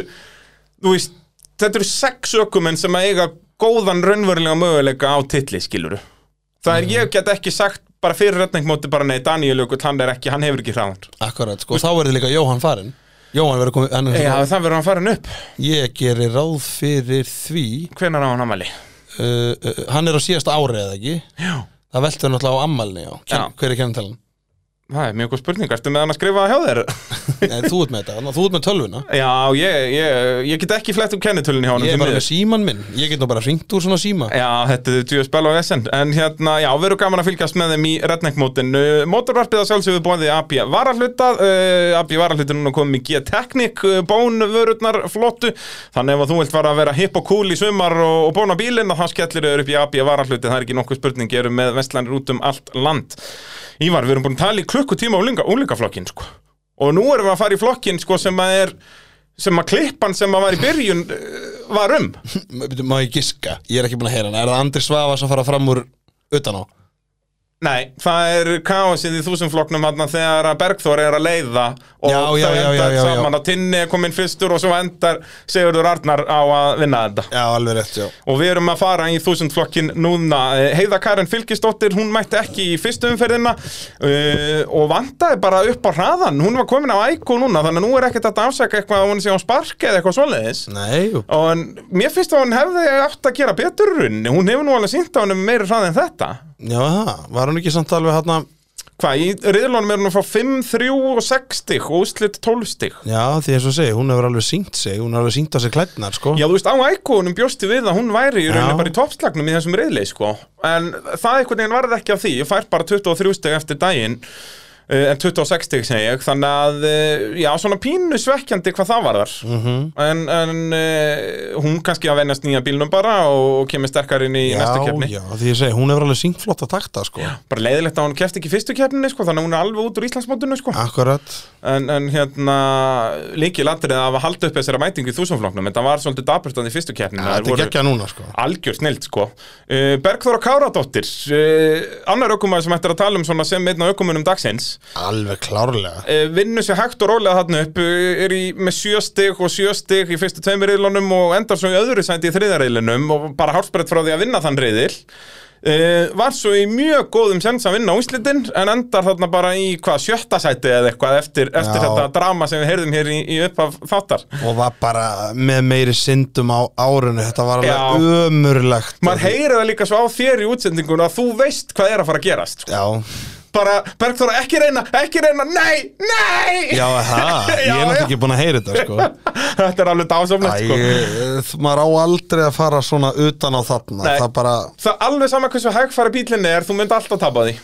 Speaker 3: þú veist, þetta eru sex ökumenn sem að eiga góðan raunverulega möguleika á titli skiluru það er, ég get ekki sagt bara fyrir retnekmóti bara nei, Daniel Jökull, hann er ekki, hann hefur ekki hraðan
Speaker 2: Akkurat, sko, þá er þið líka Jóhann farin Jóhann verður komið hann,
Speaker 3: já, það verður hann farin upp
Speaker 2: ég gerir ráð fyrir því
Speaker 3: hvenær á hann amali?
Speaker 2: uh, uh, hann er á síðasta ári eða ekki
Speaker 3: já
Speaker 2: það veltur náttúrulega á ammalni já.
Speaker 3: Já.
Speaker 2: Ken, hver er kenntalan?
Speaker 3: það er mjög góð spurning, ertu með hann að skrifa hjá þér?
Speaker 2: Nei, þú ert með þetta, þú ert með tölvuna
Speaker 3: já, ég, ég, ég get ekki flett um kennitölun hjá hann
Speaker 2: Ég er bara með síman minn, ég get nú bara hringt úr svona síma
Speaker 3: Já, þetta er djúið spil og vesen En hérna, já, við erum gaman að fylgjast með þeim í Redneck-mótin Mótorvarpið að sjálfsögðu bóðið AB varahluta uh, AB varahluta er núna komið í G-Technic uh, Bónvörurnar flottu Þannig ef að þú vilt fara að vera hipp og cool í sumar og, og bóna bílinn að þá skellir þau upp í AB varahluti Það er ekki nokkuð spurning, ég eru með vestlanir út um allt land Ívar, við erum búin að tala í klukkutíma úlinga, úlingaflokkin, sko Og nú erum við að fara í flokkin, sko, sem að er sem að klippan sem að var í byrjun uh, var um
Speaker 2: M- bíddu, Má ég giska, ég er ekki búin að heyra hana Er það Andri Svava sem fara fram úr utan á?
Speaker 3: Nei, það er kaosið í þúsundflokknum hann þegar að Bergþór er að leiða og
Speaker 2: Já, já,
Speaker 3: þau
Speaker 2: já,
Speaker 3: endar
Speaker 2: já, já, já.
Speaker 3: saman að Tinni er komin fyrstur og svo endar Sigurður Arnar á að vinna þetta
Speaker 2: Já, alveg rétt, já
Speaker 3: og við erum að fara í þúsundflokkin núna Eh, Heiða Karen Fylkisdóttir, hún mætti ekki í fyrstu umferðina uh, og vantaði bara upp á hraðan hún var komin á æku núna, þannig að nú er ekkert hægt að afsaka eitthvað að hún sé á spark eða eitthvað svoleiðis
Speaker 2: Nei, jú.
Speaker 3: og en mér finnst að hún hefði átt að gera betur í rauninni. hún hefur nú alveg sínt á henni meiri hraði en þetta
Speaker 2: já, það, var hún ekki samt alveg hérna
Speaker 3: Hvað, í riðlunum er hún að fá 5, 3 og 6 stig og úslit 12 stig
Speaker 2: Já, því eins og segi, hún hefur alveg sínt sig Hún hefur alveg sínt á sig klædnar, sko
Speaker 3: Já, þú veist, á ækonum bjósti við að hún væri í rauninni
Speaker 2: Já.
Speaker 3: bara í toppslagnum í þessum riðli, sko En það einhvern veginn varð ekki af því, ég fær bara 23 stig eftir daginn eh, En 26 stig segi ég, þannig að, eh, já, svona pínu svekkjandi hvað það varðar
Speaker 2: Mhm.
Speaker 3: -hmm. En, en eh, hún kannski að venjast nýja bílnum bara og, og kemur sterkar inn í næstu keppni
Speaker 2: já, því ég segi, hún hefur alveg sínt flott að takta, sko
Speaker 3: Bara leiðilegt að hún kefti ekki í fyrstu keppninni, sko, þannig að hún er alveg út úr Íslandsmótinu, sko
Speaker 2: Akkurat
Speaker 3: en, en hérna líki landrið að halda upp þessari mætingu í þúsumflokknum en það var svolítið daburtan í fyrstu keppninu
Speaker 2: Þetta er gekkja núna, sko
Speaker 3: algjör snilt sko uh, Bergþóra Káradóttir uh, annar ökumæður sem ættir að tala um svona sem einn af ökumunum dagsins
Speaker 2: Alveg klárlega
Speaker 3: uh, vinnur sér hægt og rólega þarna upp uh, er í, með sjö stig og sjö stig í fyrstu tveimur reilunum og endar svo í öðru sæti í þriðja reilunum og bara hálfsbrett frá því að vinna þann reðil Uh, var svo í mjög góðum sens að vinna úslitin en endar þarna bara í hvað sjötta sæti eða eitthvað eftir, eftir
Speaker 2: Já.
Speaker 3: þetta drama sem við heyrðum hér í, í uppaf þáttar
Speaker 2: Og var bara með meiri syndum á árinu Þetta var alveg
Speaker 3: Já.
Speaker 2: ömurlegt
Speaker 3: maður heyrið það líka svo á þér í útsendingun að þú veist hvað er að fara að gerast sko.
Speaker 2: Já,
Speaker 3: bara, Bergþóra, ekki reyna, ekki reyna, nei, nei!
Speaker 2: Já, það, ég
Speaker 3: Já,
Speaker 2: er
Speaker 3: já.
Speaker 2: náttúrulega ekki búin að heyra þetta sko.
Speaker 3: Þetta er alveg dásamlegt,
Speaker 2: Æ,
Speaker 3: sko.
Speaker 2: eh, maður á aldrei að fara svona utan á þarna
Speaker 3: Nei.
Speaker 2: Það bara,
Speaker 3: Það er alveg sama hversu hægfæra bílinni er, þú mynd alltaf tapa því.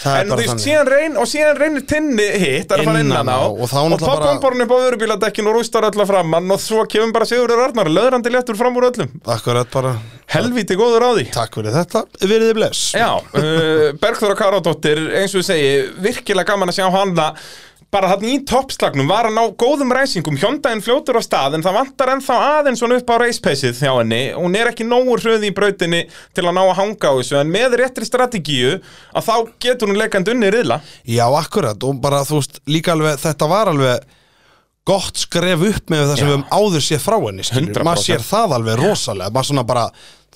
Speaker 2: það
Speaker 3: En
Speaker 2: er
Speaker 3: þú
Speaker 2: bara
Speaker 3: veist,
Speaker 2: þannig
Speaker 3: síðan reyn, og síðan reynir tinni hitt, er að fara
Speaker 2: Innan
Speaker 3: innan á,
Speaker 2: á, og
Speaker 3: og
Speaker 2: þá
Speaker 3: þá
Speaker 2: náttúrulega bara-
Speaker 3: bombar hann upp á vörubíladekkinu og rústar öll að framann, og svo kemur bara Sigurður Arnar, löðrandi léttur fram úr öllum.
Speaker 2: Akkurat bara,
Speaker 3: Helvíti góður á því.
Speaker 2: takk fyrir þetta, veriði bless
Speaker 3: Já, uh, Bergþóra Karadóttir, eins og við segi, virkilega gaman að sjá hana bara þarna í toppslagnum, var hann á góðum ræsingum, hjóndaðin fljótur á stað en það vantar ennþá aðeins svona upp á reispeysið hjá henni, hún er ekki nógu hröði í brautinni til að ná að hanga á þessu en með réttri strategíu að þá getur hún leikand unni riðla
Speaker 2: Já, akkurat, og bara þú veist, líka alveg, þetta var alveg gott skref upp með það sem
Speaker 3: Já.
Speaker 2: við höfum áður séð frá henni, skilur,
Speaker 3: 100%.
Speaker 2: maður sér það alveg rosalega, maður svona bara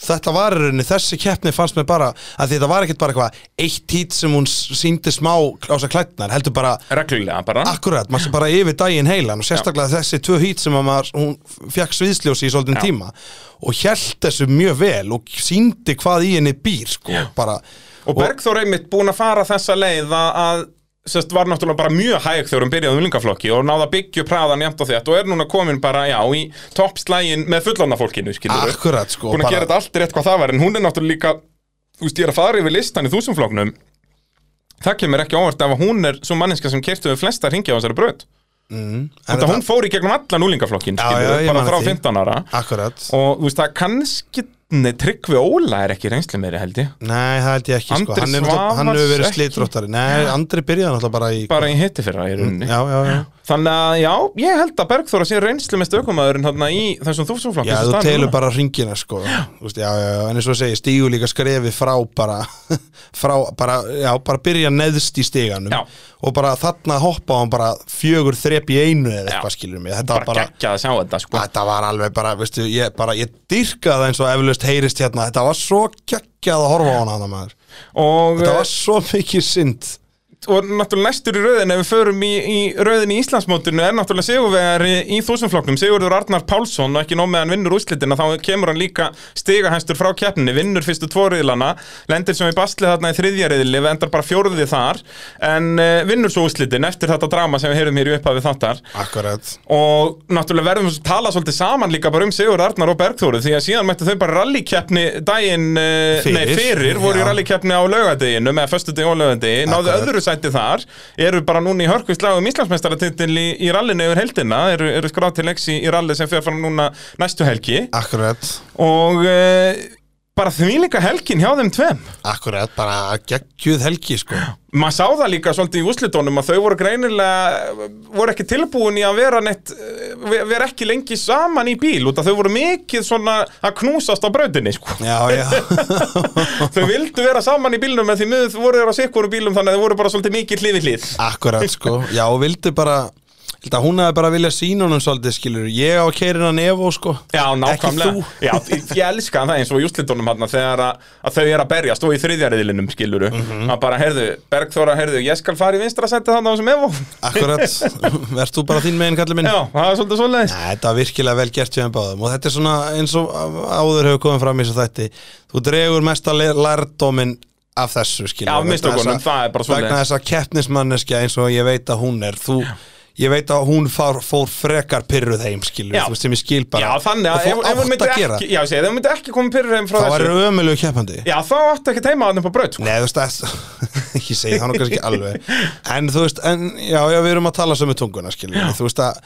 Speaker 2: þetta var í rauninni, þessi keppni fannst mér bara að þetta var ekkert bara eitthvað eitt hít sem hún s- sýndi smá á sig klætnar, heldur bara,
Speaker 3: reglulega bara
Speaker 2: akkurat, maður sé bara yfir daginn heilan og sérstaklega þessi tvö hít sem að maður, hún fekk sviðsljósi í svolítinn
Speaker 3: Já.
Speaker 2: tíma og held þessu mjög vel og sýndi hvað í henni býr, sko, bara
Speaker 3: og Bergþór einmitt búin að fara þessa leið að, að Sest, var náttúrulega bara mjög hæg þegar hún byrjaði umlingaflokki og náða byggju praðan jæmt á þetta og er núna komin bara, já, í toppslægin með fullanna fólkinu, skilur
Speaker 2: Akkurat, sko,
Speaker 3: búin að gera þetta allt rétt hvað það var en hún er náttúrulega líka, þú veist, ég er að fara yfir listan í þúsumfloknum það kemur ekki óvart ef að hún er svo manninska sem kertu við flesta ringja á þessari bröð
Speaker 2: En
Speaker 3: þetta hún fór í gegnum allan úlingaflokkin
Speaker 2: Já,
Speaker 3: skilur,
Speaker 2: já, ég
Speaker 3: bara
Speaker 2: man
Speaker 3: frá
Speaker 2: eftir því.
Speaker 3: 15 ára
Speaker 2: Akkurat
Speaker 3: og þú veist, það kannski nei, Tryggvi Óla er ekki reynsli meiri held ég
Speaker 2: Nei, það held ég ekki sko.
Speaker 3: Andri
Speaker 2: Hann, er náttúrulega- hann
Speaker 3: Svavars
Speaker 2: hefur verið
Speaker 3: ekki.
Speaker 2: slitróttari Nei, Andri byrjaði náttúrulega bara í
Speaker 3: bara í hitti fyrra í rauninni
Speaker 2: Já, já, já
Speaker 3: þannig að já, ég held að Bergþóra sé reynsli með stökumæðurinn þarna í þessum þúsumflokki
Speaker 2: Já, þú telur bara hringina sko Þú veist, já, já, já, en eins og segi, stígu líka skrefi frá bara, frá bara já, bara byrja neðst í stiganum
Speaker 3: Já.
Speaker 2: og bara þarna hoppa hann bara fjögur þrep í einu eða
Speaker 3: Já.
Speaker 2: eitthvað skilur mig Þetta var
Speaker 3: bara
Speaker 2: bara,
Speaker 3: geggjað að sjá þetta sko
Speaker 2: þetta var alveg bara, veistu, ég bara, ég dyrkaði það eins og eflaust heyrist hérna, þetta var svo geggjað að horfa á hana hana maður
Speaker 3: og, eh,
Speaker 2: Þetta var svo mikið synd
Speaker 3: og náttúrulega næstur í rauðin ef við förum í, í rauðin í Íslandsmótinu er náttúrulega sigurvegari í þúsumflokknum Sigurður Arnar Pálsson og ekki nóg með hann vinnur úrslitina þá kemur hann líka stigahæstur frá keppninni vinnur fyrstu tvo riðlana lendir sem í basli þarna í þriðja riðli við endar bara fjóruði þar en uh, vinnur svo úrslitin eftir þetta drama sem við heyrum hér í upphafi þáttar
Speaker 2: Akkurat
Speaker 3: og náttúrulega verðum við að tala svolítið saman líka bara um Sigur Arnar og Bergþóru því að síðan mættu þau bara rallikeppni daginn, fyrir. nei
Speaker 2: Fyrir.
Speaker 3: fyrir, voru í
Speaker 2: Já.
Speaker 3: rallikeppni á laugadeginu með föstudegi og laugardegi, náðu
Speaker 2: Akkurat.
Speaker 3: öðru sæti þar eru bara núna í hörkvistlægum Íslandsmeistaratitil í, í rallinu yfir heldina eru, eru skráð til leiks í, í ralli sem fer fram núna næstu helgi
Speaker 2: Akkurat
Speaker 3: og uh, bara því líka helgin hjá þeim tveim
Speaker 2: Akkurat, bara geggjuð helgi sko
Speaker 3: maður sá það líka svolítið í úslitónum að þau voru greinilega voru ekki tilbúin í að vera neitt ver- vera ekki lengi saman í bíl út að þau voru mikið svona að knúsast á brautinni sko.
Speaker 2: Já, já,
Speaker 3: þau vildu vera saman í bílnum en því miður þau voru þeir á sikkurum bílum þannig að þau voru bara svolítið mikið hlið við hlið
Speaker 2: akkurat sko Já, og vildi bara held að Hún hefði bara viljað sína honum svolítið skilur Ég á keirinan Evo sko
Speaker 3: Já, nákvæmlega
Speaker 2: Ekki þú
Speaker 3: Já, ég, ég elska það eins og í úslitunum hann þegar að, að þau er að berjast og í þriðjariðlinum skiluru
Speaker 2: Mhm.
Speaker 3: að bara, heyrðu, Bergþóra, heyrðu, ég skal fara í vinstra sendi þannig á þessum Evo
Speaker 2: Akkurat, verð þú bara þín megin kallið minn
Speaker 3: Já, það er svolítið svoleiðis
Speaker 2: Nei, þetta var virkilega vel gert hjá þeim báðum og þetta er svona eins og áður hefur komið fram í þessu þætti þú dregur mesta le- lærdóminn af þessu skilur
Speaker 3: Já,
Speaker 2: vegna
Speaker 3: mistökunum,
Speaker 2: þess að-
Speaker 3: það er bara svoleiðis.
Speaker 2: vegna þess að keppnismanneskja eins og ég veit að hún er þú Ég veit að hún fór, fór frekar pyrruð heim, skilur,
Speaker 3: Já.
Speaker 2: þú veist sem ég skil bara
Speaker 3: Já, þannig
Speaker 2: Og
Speaker 3: að ef, ef
Speaker 2: þú
Speaker 3: hún
Speaker 2: átt
Speaker 3: myndi
Speaker 2: að gera
Speaker 3: ekki, já, ég segi, ef hún myndi ekki koma pyrrur heim frá
Speaker 2: Það var
Speaker 3: þessu
Speaker 2: ömulegu keppandi
Speaker 3: Já, þá áttu ekki teima hann upp á braut sko.
Speaker 2: Nei, þú veist, það, ekki segja það nú kannski alveg En þú veist, en, já, já, við erum að tala sömu tunguna, skiljum við. Þú veist að,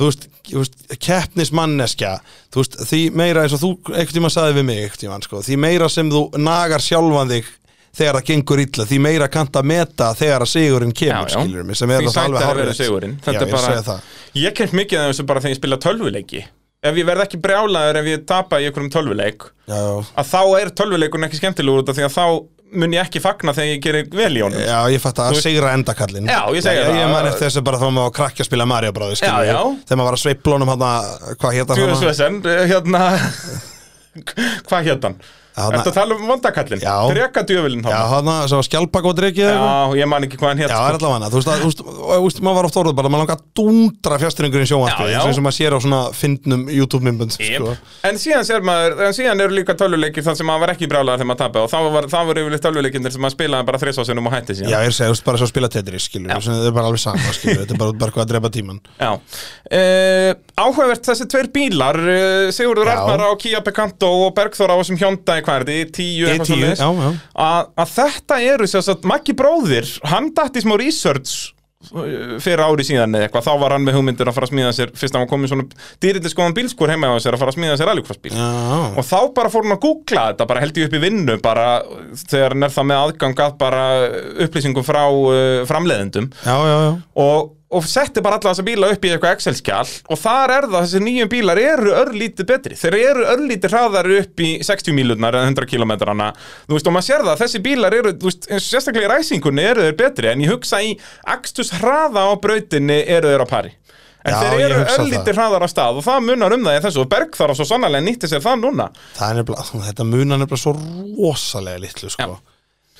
Speaker 2: þú veist, þú veist, keppnismanneskja Þú veist, því meira eins og þú einhvern tímann sagði við mig einhvern tímann, sko Því meira sem þú nagar sjálfan þig þegar það gengur illa Því meira kannt að meta þegar að sigurinn kemur, skiljum við, Sem er það
Speaker 3: Því
Speaker 2: alveg
Speaker 3: sætara verður
Speaker 2: hárrétt.
Speaker 3: sigurinn
Speaker 2: Já, ég
Speaker 3: Þetta er bara,
Speaker 2: segi það
Speaker 3: ég kemst mikið af þessu bara þegar ég spila tölvuleiki Ef ég verð ekki brjálaður ef ég tapa í einhverjum tölvuleik
Speaker 2: Já,
Speaker 3: að þá er tölvuleikun ekki skemmtilegur út af því að þá mun ég ekki fagna þegar ég gerir vel í honum
Speaker 2: já, ég fatt að
Speaker 3: Þú-
Speaker 2: sigra endakallin
Speaker 3: Já, ég segi
Speaker 2: Ég,
Speaker 3: það.
Speaker 2: ég man eftir þessu bara þá maður var krakki að spila Mario Bróði, skiljum
Speaker 3: Já, já.
Speaker 2: Þegar maður var að sveipla honum hann að, hvað hétt hann
Speaker 3: Tjóðsvesen, eh, hérna Hvað hétt hann?
Speaker 2: Þarna-
Speaker 3: Ertu að tala um vondakallin?
Speaker 2: Já.
Speaker 3: Drekadjöfilin þá?
Speaker 2: Já, hana, sem var skjálpak og drekið
Speaker 3: Já, ég man ekki hvað hann sko. hér
Speaker 2: Já, það er allavega hana, þú veist, að, þú veist, þú veist maður var oft orðið bara, maður langar að dúndra fjastringurinn sjónvarpið,
Speaker 3: Já, já.
Speaker 2: eins og eins og maður sér á svona fyndnum YouTube-mymbund, sko.
Speaker 3: Yep. En síðan sér maður, en síðan eru líka tölvuleikir þar sem maður var ekki brálaðar þegar maður tappa og þá var, það voru yfirleitt tölvuleikindir sem maður spilaði bara þrisvásunum og hætti síðan.
Speaker 2: Já, ég er að segja, þú veist, bara svo að spila Tetris, skilur, þú veist, þetta er bara alveg sama, skilur, þetta er bara, bara hvað að drepa tíman.
Speaker 3: Já. Uh, áhugavert þessi tveir bílar, uh, Sigurður
Speaker 2: Já.
Speaker 3: Arnar á Kia Picanto og Bergþór á þessum Hyundai, hvað er þetta, E10 eitthvað
Speaker 2: E10,
Speaker 3: svoleiðis?
Speaker 2: E já, já.
Speaker 3: Að- Að þetta eru sem sagt, Maggi bróðir, hann datt í smá research eh, fyrir ári síðan eða eitthvað, þá var hann með hugmyndir að fara að smíða sér fyrst að hann komið svona dýrindiskoðan bílskur heima á sér að fara að smíða sér alíkvarsbíl
Speaker 2: Já,
Speaker 3: og þá bara fór hann að googla þetta bara held ég upp í vinnu bara þegar hann er það með aðgang að bara upplýsingum frá uh, framleiðendum
Speaker 2: já, já, já.
Speaker 3: og, og setti bara alla þessa bíla upp í eitthvað Excel-skjal og þar er það að þessir nýjum bílar eru örlítið betri þeir eru örlítið hraðari upp í 60 mílurnar eða 100 kilometrana þú veist og maður sér það að þessi bílar eru þú veist, eins og sérstaklega í ræsingunni eru þeir betri en ég hugsa í akstus hraða á brautinni eru þeir á pari En
Speaker 2: Já,
Speaker 3: þeir
Speaker 2: ég
Speaker 3: eru
Speaker 2: hugsa
Speaker 3: örlítið hraðar af stað og það munar um það í þessu og Bergþar á svo sannarlega nýtti sér það núna
Speaker 2: Það er nefnilega, þetta munar nefnilega svo rosalega litlu, sko.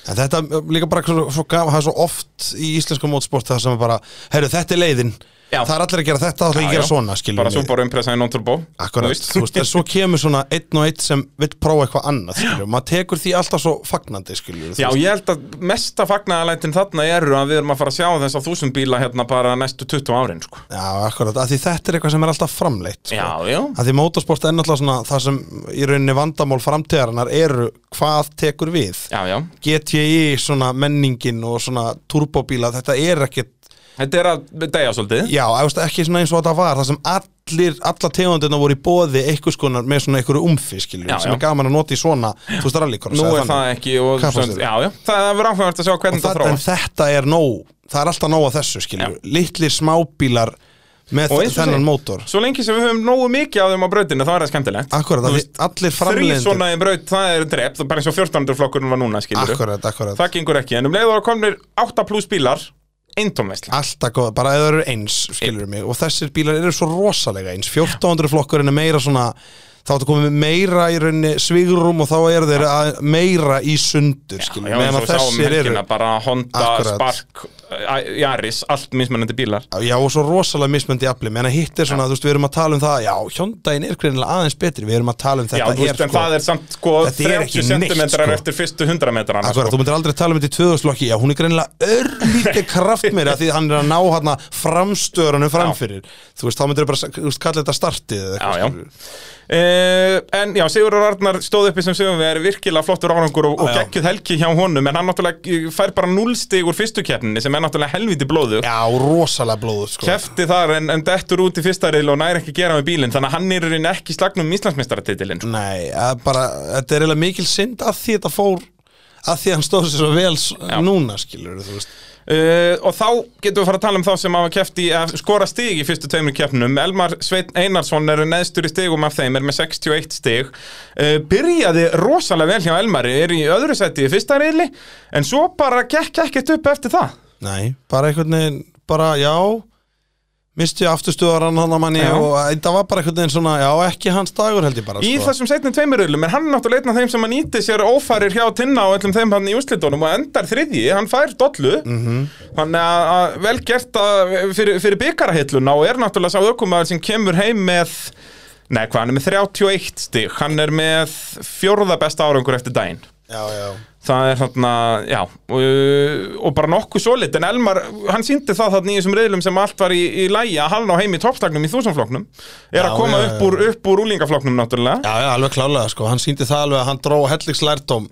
Speaker 2: En þetta er líka bara svo, svo gaf, það er svo oft í íslensku mótsport það sem er bara, herru, þetta er leiðin,
Speaker 3: Já.
Speaker 2: það er allir að gera þetta, það er
Speaker 3: Já,
Speaker 2: að gera
Speaker 3: já.
Speaker 2: svona, skilur
Speaker 3: Bara Subaru Impreza í non-turbo
Speaker 2: Akkurat,
Speaker 3: Þú veist.
Speaker 2: þú veist, en svo kemur svona einn og einn sem vill prófa eitthvað annað, skilur, maður tekur því alltaf svo fagnandi, skilur,
Speaker 3: Já, ég held að mesta fagnaðalætin þarna eru að við erum að fara að sjá þess að þúsund bíla hérna bara næstu 20 árin sko.
Speaker 2: já, akkurat, af því þetta er eitthvað sem er alltaf framleitt, sko,
Speaker 3: Já, já
Speaker 2: af því mótorsport er náttúrulega svona það sem í rauninni vandamál framtíðarinnar eru hvað tekur við,
Speaker 3: Já, já
Speaker 2: GTI, svona menningin og svona turbóbíla, þetta er ekkit,
Speaker 3: Þetta er að degja svolítið
Speaker 2: já, þú veist, ekki svona eins og þetta var, það sem allir, alla tegundina voru í bóði einhvers konar með svona einhverju umfi, skilur,
Speaker 3: Já,
Speaker 2: sem
Speaker 3: já.
Speaker 2: er gaman að nota í svona, þú veist, rallycross
Speaker 3: Nú
Speaker 2: eða
Speaker 3: er það ekki og,
Speaker 2: Hvað fannst þér?
Speaker 3: Já, já Það verður áhugavert að sjá
Speaker 2: Og
Speaker 3: hvernig það
Speaker 2: það, en
Speaker 3: þróast
Speaker 2: þetta er nóg það er alltaf nóg að þessu skilju litlir smábílar með
Speaker 3: Og eins og
Speaker 2: þennan
Speaker 3: segir-
Speaker 2: mótor
Speaker 3: Svo lengi sem við höfum nógu mikið af þeim á brautinu þá er það skemmtilegt
Speaker 2: akkurat,
Speaker 3: Þú
Speaker 2: að
Speaker 3: veist,
Speaker 2: veist, allir
Speaker 3: Þrý
Speaker 2: framleiðendur
Speaker 3: svona í braut, það er drept bara eins og 14. flokkurinn var núna, skilur
Speaker 2: akkurat, akkurat,
Speaker 3: Það gengur ekki, en um leiður að komnir 8 pluss bílar eintómveisla
Speaker 2: alltaf góð bara eða eru eins, skilur mig og þessir bílar eru svo rosalega eins 1400 flokkurinn er meira svona þá áttu komið meira í rauninni svigrum og þá eru þeir að meira í sundur skilur,
Speaker 3: Já, eins
Speaker 2: meðan
Speaker 3: og
Speaker 2: að
Speaker 3: Sko, við sáum um
Speaker 2: þessir eru
Speaker 3: helgina bara Honda,
Speaker 2: Akkurat.
Speaker 3: Spark, Ä- Yaris, allt mismunandi bílar
Speaker 2: Já, og svo rosalega mismöndi afli menn að hitt er svona, þú veist, við erum að tala um það já, hjóndaginn er greinilega aðeins betri, við erum að tala um
Speaker 3: Já,
Speaker 2: þetta
Speaker 3: þú veist, en
Speaker 2: sko-
Speaker 3: það er samt sko
Speaker 2: Þetta er ekki
Speaker 3: 30
Speaker 2: neitt,
Speaker 3: cm
Speaker 2: sko.
Speaker 3: eftir fyrstu 100 metrana
Speaker 2: Akkurat,
Speaker 3: sko.
Speaker 2: þú myndir aldrei tala um þetta í 2000 flokki Já, hún er greinilega örlítið kraftmeira Því hann er að ná hann framstörunum framfyrir Þú veist, þá myndir bara þú veist, kalla þetta startið eða
Speaker 3: Já,
Speaker 2: eitthvað,
Speaker 3: já
Speaker 2: skilurðu.
Speaker 3: uh, En já, Sigurður Arnar stóð uppi sem segum við er virkilega flottur árangur og, og
Speaker 2: Já, já.
Speaker 3: geggjuð helgi hjá honum en hann náttúrulega eh, fær bara 0 stig úr fyrstu keppninni sem er náttúrulega helviti blóðu
Speaker 2: Já, rosalega blóður sko.
Speaker 3: Kefti þar en, en dettur út í fyrsta reyðl og næri ekki að gera með bílinn þannig að hann er í rauninni ekki í slagnum Íslandsmeistaratitilin sko.
Speaker 2: Nei, að bara, þetta er eiginlega mikil synd að því þetta fór að því hann stóð sér svo vel s- núna skilur þú veist
Speaker 3: Uh, og þá getum við fara að tala um þá sem hafa kefti að skora stig í fyrstu tveimur keppnum Elmar Sveinn Einarsson er neðstur í stigum af þeim, er með 61 stig uh, byrjaði rosalega vel hjá Elmari er í öðru seti í fyrsta reyli en svo bara gekk ekkert upp eftir það
Speaker 2: Nei, bara einhvern veginn, bara já misti afturstuðaran hann að manni
Speaker 3: Já.
Speaker 2: og þetta var bara einhvern veginn svona já, ekki hans dagur held ég bara
Speaker 3: í
Speaker 2: sko.
Speaker 3: þessum setnum tveimur reylum er hann náttúrulega einn af þeim sem hann íti sér ófærir hjá Tinna og öllum þeim hann í úrslitunum og endar þriðji, hann fær dollu
Speaker 2: Mhm.
Speaker 3: þannig að, að vel gert að, fyrir, fyrir byggarahilluna og er náttúrulega sá aukumæður sem kemur heim með Nei, hvað, hann er með 31 stig, hann er með fjórða besta árangur eftir daginn.
Speaker 2: Já, já
Speaker 3: Það er þarna, já, og, og bara nokkuð svolít, en Elmar, hann síndi það þarna í þessum reyðlum sem allt var í, í lægi að hann á heim í toppstagnum í þúsumflokknum, er
Speaker 2: Já,
Speaker 3: að koma
Speaker 2: já,
Speaker 3: upp úr, upp úr úlingaflokknum náttúrulega.
Speaker 2: Já, já, alveg klálega, sko, hann síndi það alveg að hann dró helliks lærdóm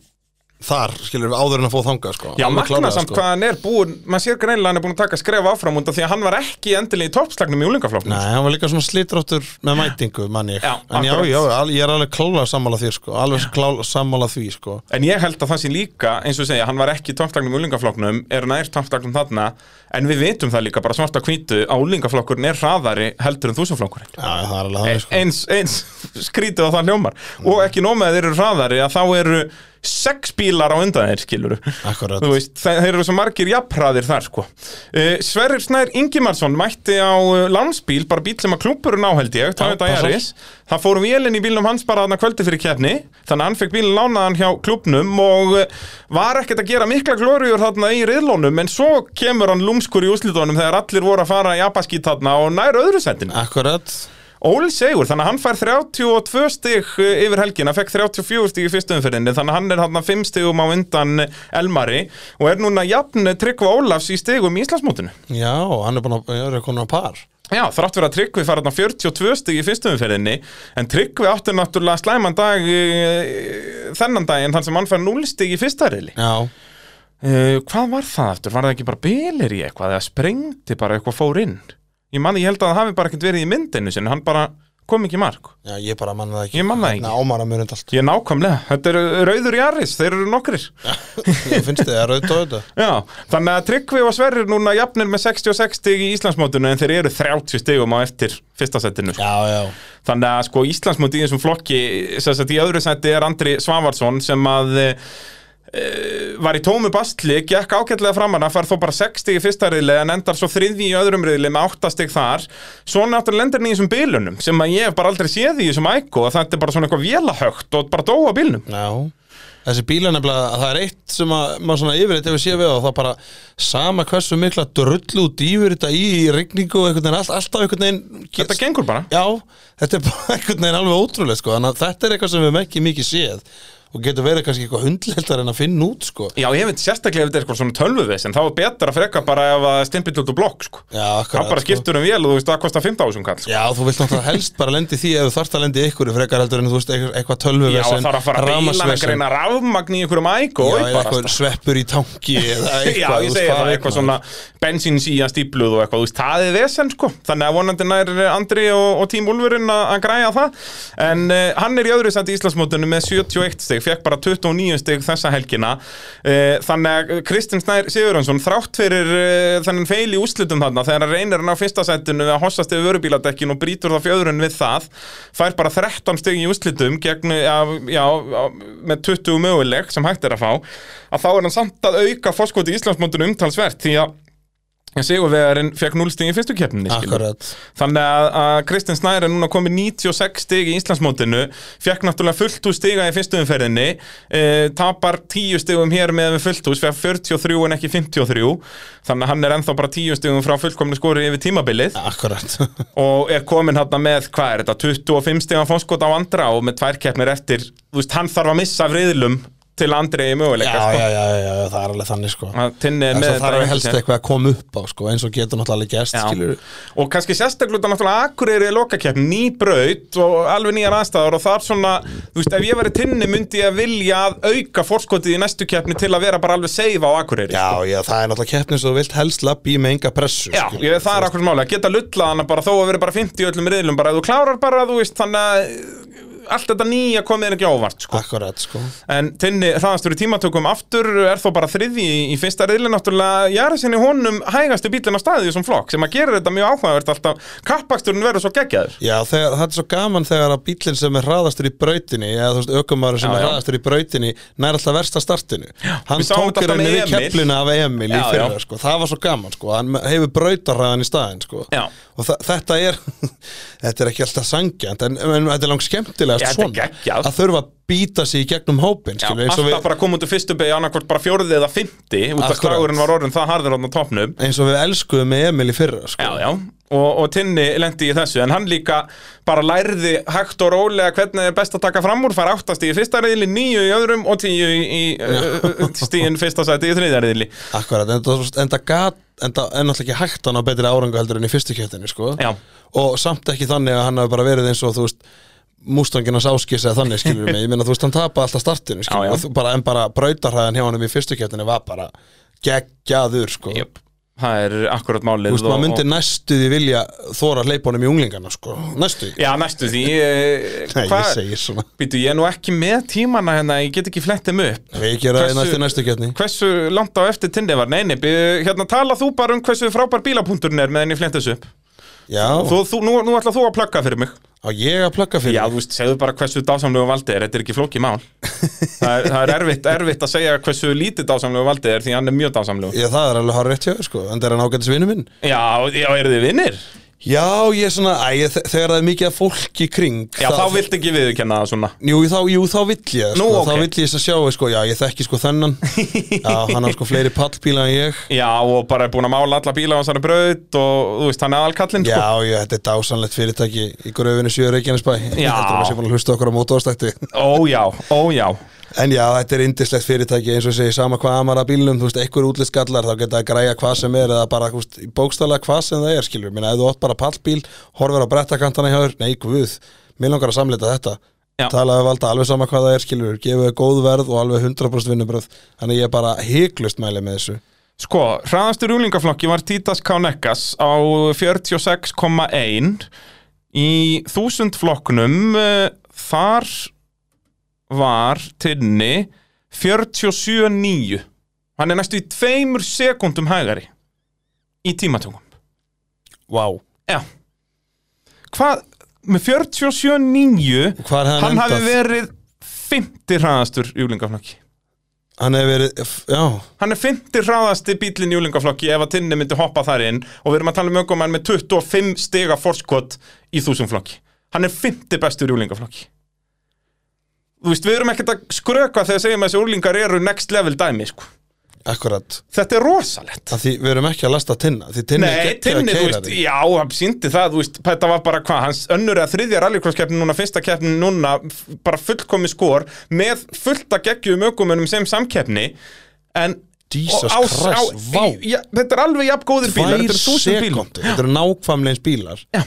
Speaker 2: þar, skilur við, áður en að fóð þanga, sko
Speaker 3: Já,
Speaker 2: Alveg
Speaker 3: magna samt
Speaker 2: sko.
Speaker 3: hvað hann er búin, maður sér greinlega hann er búin að taka skref áfram undan því að hann var ekki endilega í toppslagnum í úlingaflokknum.
Speaker 2: Nei, hann var líka svona slítróttur með mætingu, mann ég
Speaker 3: Já,
Speaker 2: En já,
Speaker 3: akkurat.
Speaker 2: já, al- ég er alveg klálega sammála því, sko Alveg klálega sammála því, sko
Speaker 3: En ég held að það sé líka, eins og ég segja, hann var ekki í toppslagnum í úlingaflokknum, er nær toppslagnum þarna, en við vitum það líka bara svart á hvítu að úlingaflokkurinn er hraðari heldur en þúsumflokkurinn.
Speaker 2: Já, það er alveg það, sko
Speaker 3: eins, eins skrítið að það hljómar og ekki nómið að þeir eru hraðari að þá eru sex bílar á undan þeir skilur
Speaker 2: Akkurat.
Speaker 3: þú veist, þe- þeir eru svo margir jafnhraðir þar sko uh, Sverrir Snær Ingimarsson mætti á uh, landsbíl, bara bíl sem að klúpurinn á held ég, Toyota
Speaker 2: passar.
Speaker 3: Yaris það fór vélinn í bílnum hans bara þarna kvöldi fyrir kefni þannig að hann fekk bílinn lánaðan hjá klúpnum og uh, var ekkert að gera mikla glóriur þarna í riðlónum en svo kemur hann lúmskur í úslitónum þegar allir voru að fara í abaskít þarna og nær öðru sendin
Speaker 2: Akkurat
Speaker 3: Óli Sigur, þannig að hann fær 32 stig uh, yfir helgina, fekk 34 stig í fyrstu umferðinni, þannig að hann er hann 5 stigum á undan uh, Elmari og er núna jafn Tryggva Ólafs í stigum í Íslandsmótinu.
Speaker 2: Já, hann er búin að, ég er komin á par
Speaker 3: Já, þrátt fyrir að Tryggvi fær hann 42 stig í fyrstu umferðinni, en Tryggvi átti náttúrulega slæman dag uh, þennan dag en þann sem hann fær 0 stig í fyrsta reyli.
Speaker 2: Já,
Speaker 3: Uh, hvað var það aftur? Var það ekki bara bilir í eitthvað eða sprengdi bara eitthvað fór inn? Ég manni, ég held að það hafi bara ekkert verið í myndinu sinni, hann bara kom ekki í mark.
Speaker 2: já ég bara manna það ekki
Speaker 3: Ég manna það ekki.
Speaker 2: Hérna, Ámar að munið allt
Speaker 3: Ég nákvæmlega, þetta eru rauður jaris, þeir eru nokkrir
Speaker 2: Ég finnst þið að rauðt á þetta
Speaker 3: Já, þannig að Tryggvi og Sverrir núna jafnir með 66 stig í Íslandsmótinu en þeir eru 30 stigum á eftir fyrsta setinu sko.
Speaker 2: Já, já,
Speaker 3: Þannig að sko Íslandsmóti í þessum flokki, sem sagt í öðru seti er Andri Svavarsson sem að e, var í tómu bastli, gekk ágætlega framanna, fær þó bara 6 stig í fyrsta riðli en endar svo þriðji í öðrum riðli með 8 stig þar Svo náttúrulega lendir hann í þessum bilunum sem að ég hef bara aldrei séð í þessum æko að þetta er bara svona eitthvað vélahögt og bara dóa bilnum
Speaker 2: já Þessi bíla nefnilega, það er eitt sem að, maður svona yfirleitt hefur séð við og það bara sama hversu mikla drullu og dýfur þetta í, í rigningu og einhvern veginn, all, alltaf einhvern veginn get-
Speaker 3: Þetta gengur bara
Speaker 2: Já, þetta er bara einhvern veginn alveg ótrúlega sko, þannig að þetta er eitthvað sem við hefum ekki mikið séð og getur verið kannski eitthvað hundleldar en að finna út sko
Speaker 3: Já, ég veit sérstaklega ef þetta er eitthvað svona tölvuvesin þá er betra að freka bara ef að stimpill út úr blokk sko.
Speaker 2: Já,
Speaker 3: þá
Speaker 2: akkurat
Speaker 3: bara skiptur um vél og þú veist það kostar 5.000 kall sko.
Speaker 2: Já, þú vilt náttúrulega helst bara lendi því ef þú þarft að lendi ykkur í frekar heldur en þú veist eitthvað eitthvað
Speaker 3: Já,
Speaker 2: tölvuvesen,
Speaker 3: það er að fara bílan að
Speaker 2: rafmagnsvesen.
Speaker 3: greina rafmagn í einhverjum æg og
Speaker 2: Já, eða
Speaker 3: bara sko.
Speaker 2: eitthvað sveppur í tanki eða eitthvað,
Speaker 3: Já,
Speaker 2: þú
Speaker 3: ég
Speaker 2: veist,
Speaker 3: segi
Speaker 2: hvað
Speaker 3: það,
Speaker 2: veit maður?
Speaker 3: eitthvað svona bensínsýja stípluð og eitthvað, þú veist, það er vesen sko þannig að vonandi nær Andri og, og tím Úlfurinn að að græja það en uh, hann er í öðru sendi í Íslandsmótinu með 71 stig, fekk bara 29 stig þessa helgina uh, þannig að Kristinn Snær Sigurjónsson þrátt fyrir uh, þennan feil í úslitum þarna þegar hann reynir hann á fyrsta setinu að hossast yfir vörubíladekkin og brýtur það fjöðrun við það fær bara 13 stig í úslitum gegn, já, já, á- með 20 möguleg sem hægt er að fá að þá er hann samt að auka fórskoti í Íslandsmótinu umtalsvert því að Sigurvegarinn fekk 0 stig í fyrstu keppninni skilur.
Speaker 2: Akkurat
Speaker 3: Þannig að, að Kristinn Snær er núna komið 96 stig í Íslandsmótinu Fekk náttúrulega fullt hús stiga í fyrstu umferðinni e, Tapar 10 stigum hér með fullt hús Fekk 43 en ekki 53 Þannig að hann er ennþá bara 10 stigum frá fullkomni skori yfir tímabilið
Speaker 2: Akkurat
Speaker 3: Og er komin hann með, hvað er þetta, 25 stigan fónskot á andra Og með tvær keppnir eftir, þú veist, hann þarf að missa vriðlum Til andri í
Speaker 2: já,
Speaker 3: möguleika
Speaker 2: já, já, já, já, það er alveg þannig sko
Speaker 3: Að Tinni er
Speaker 2: Það
Speaker 3: með
Speaker 2: þarf
Speaker 3: þetta
Speaker 2: að
Speaker 3: í
Speaker 2: helst
Speaker 3: höndinni.
Speaker 2: eitthvað að koma upp á sko eins og getur náttúrulega alveg gest skilur
Speaker 3: Já. og kannski sérstaklega út af náttúrulega Akureyri er lokakeppn, ný braut og alveg nýjar aðstæður og það er svona þú veist, ef ég verið tinni myndi ég að vilja að auka fórskotið í næstu keppni til að vera bara alveg seifa á Akureyri
Speaker 2: Já, já, það er náttúrulega keppnir sem þú vilt helst lapp í með enga pressu sko.
Speaker 3: Já,
Speaker 2: skilur.
Speaker 3: ég, það er akkur máli, að geta lullað hana bara þó að vera bara 50 í öllum riðlum bara, ef þú klárar bara, þú veist, þannig að eh, allt þetta nýja komið er ekki á óvart, sko
Speaker 2: Akkurat sko
Speaker 3: En Tinni, þaðastur í tímatökum aftur er þó bara þriði í, í fyrsta riðli náttúrulega Jarisinni honum hægasti bílinn á staði í þessum flokk sem að gera þetta mjög áhugavert alltaf kappaksturinn verður svo geggjaður
Speaker 2: Já, þegar, það er svo gaman þegar að bílinn sem er hraðastur í brautinni eða þú veist, ökumæður sem
Speaker 3: Já,
Speaker 2: er
Speaker 3: já.
Speaker 2: hraðastur í brautinni nær alltaf versta startinu Hann
Speaker 3: við sáum
Speaker 2: tók í
Speaker 3: þetta alltaf
Speaker 2: rauninni
Speaker 3: með
Speaker 2: við
Speaker 3: Emil.
Speaker 2: kefluna af Emil í
Speaker 3: Já, já.
Speaker 2: fyrir sko. Það var svo gaman, sko Hann hefur brautarraðan í staðinn, sko
Speaker 3: Já.
Speaker 2: Og þa- þetta er Þetta er ekki alltaf sangjant en, en þetta er langt
Speaker 3: Já,
Speaker 2: skemmtilegast
Speaker 3: þetta er
Speaker 2: svona
Speaker 3: geggjað.
Speaker 2: Að þurfa að býta sig í gegnum hópin
Speaker 3: Já,
Speaker 2: skilur, eins
Speaker 3: alltaf
Speaker 2: og við-
Speaker 3: bara koma út úr fyrstu beigja annarkvort bara fjórðið eða fymti út af
Speaker 2: Akkurat.
Speaker 3: slagurinn var orðin það harður hann á topnum
Speaker 2: eins og við elskuðum með Emil í fyrra sko.
Speaker 3: Já, já, og, og Tinni lendi í þessu en hann líka bara lærði hægt og rólega hvernig er best að taka fram úr fær áttast í fyrsta reyðli, níu í öðrum og tíu í, í uh, stíin fyrsta sæti í þriðja reyðli
Speaker 2: Akkurat, en, það- en það gat en það er náttúrulega ekki hægt hann á betri árangu heldur en í fyrstu kjöftinu sko.
Speaker 3: Já.
Speaker 2: og samt ekki þannig að hann hafi bara verið eins og þú veist mústanginas áskissa þannig skilur mig ég meina þú veist hann tapaði alltaf startinu skilur
Speaker 3: Já, já.
Speaker 2: mig, og þú- bara, en bara brautarhæðan hjá hann í fyrstu kjöftinu var bara geggjaður sko. þú
Speaker 3: Jöp, það er akkurat málið
Speaker 2: veist maður myndi næstu því vilja þóra að hleypa honum í unglingana sko. næstu því
Speaker 3: Já, næstu því eh,
Speaker 2: Nei, ég
Speaker 3: hvað-
Speaker 2: segir svona
Speaker 3: Býtu, ég er nú ekki með tímana hérna, ég get ekki flett þeim upp
Speaker 2: Við gera það í
Speaker 3: Hversu-
Speaker 2: næstu næstu kjöftni
Speaker 3: Hversu langt á eftir Tinni var? Nei, nei, byrju, hérna tala þú bara um hversu frábær bílapunkturinn er meðan ég flett þessu upp
Speaker 2: Já,
Speaker 3: Þú, þú, nú, nú ætla þú að plugga fyrir mig
Speaker 2: Á ég að plugga fyrir
Speaker 3: Já, þú veist, segðu bara hversu dásamlegu valdið er, þetta er ekki flókið mál það, er, það er erfitt, erfitt að segja hversu lítið dásamlegu valdið er því hann er mjög dásamlegu
Speaker 2: Ég, það er alveg hár rétt hjá, þér, sko, en það er hann ágætis vinnu minn
Speaker 3: Já, já, eru þið vinnir?
Speaker 2: Já, ég er svona, æ, ég- þe- þegar það er mikið af fólki í kring
Speaker 3: Já, þá vilt ekki viðurkenna það svona
Speaker 2: Jú, þá, jú, þá vill ég, sko,
Speaker 3: Nú, ok.
Speaker 2: þá vill ég þess að sjá, sko, já, ég þekki sko þennan Já, hann har sko fleiri pallbíla en ég
Speaker 3: Já, og bara er búin að mála alla bíla á hans hann braut og þú veist, hann er aðalkallinn sko.
Speaker 2: Já, já, þetta er dásanlegt fyrirtæki í gröfinu 7 Reykjanesbæ
Speaker 3: Já.
Speaker 2: Ég heldur að maður sé búin að hlusta okkur á mótóðastætti
Speaker 3: Ó já, ó já
Speaker 2: En já, þetta er indislegt fyrirtæki eins og ég segi sama hvað amara bílnum, þú veist, einhver útlitskallar þá geta að græja hvað sem er eða bara þú veist, bókstælega hvað sem það er, skilur minna, ef þú átt bara pallbíl, horfir á brettakantana hjá þér nei, guð, mér langar að samlita þetta
Speaker 3: Já.
Speaker 2: talaðu við alltaf alveg sama hvað það er, skilur gefið góð verð og alveg 100% vinnubröð þannig ég er bara hyglust mæli með þessu
Speaker 3: Sko, hraðastu rúlingaflokki var Títas Kánekas á 46,1 Í þúsundflokknum eh, þar var tinni 47,9 Hann er næstu í tveimur sekundum hægari í tímatökum
Speaker 2: Vá wow.
Speaker 3: Já Hvað, með 47,9
Speaker 2: Hvar hefði
Speaker 3: Hann
Speaker 2: hann
Speaker 3: hafi
Speaker 2: endað?
Speaker 3: verið 50 hraðastur júlingaflokki
Speaker 2: Hann hefur verið, f- já,
Speaker 3: Hann er 50 hraðasti bílinn í júlingaflokki ef að tinni myndi hoppa þar inn og við erum að tala um ökumann með 25 stiga forskot í þúsumflokki. Hann er 50 bestur í júlingaflokki. Þú veist, við erum ekkert að skröka þegar segjum að þessi úlingar eru next level dæmi, sko.
Speaker 2: akkurat
Speaker 3: Þetta er rosalegt.
Speaker 2: að því við erum ekki að lasta tinna því tinna er
Speaker 3: Nei,
Speaker 2: geggjaður
Speaker 3: tinni, þú veist,
Speaker 2: keyrari.
Speaker 3: já, hann síndi það, þú veist, þetta var bara hvað, hans önnur eða þriðja rallycrosskeppni núna, fyrsta keppni núna, f- bara fullkomi skor með fullt að geggjum ökumunum sem samkeppni, en
Speaker 2: Jesus
Speaker 3: og á-
Speaker 2: Christ,
Speaker 3: á-
Speaker 2: vá.
Speaker 3: í- já, þetta er alveg jafn góðir bílar,
Speaker 2: Tvær
Speaker 3: þetta er þúsund bílar
Speaker 2: sekúndur, þetta eru nákvæmlega eins bílar
Speaker 3: Já,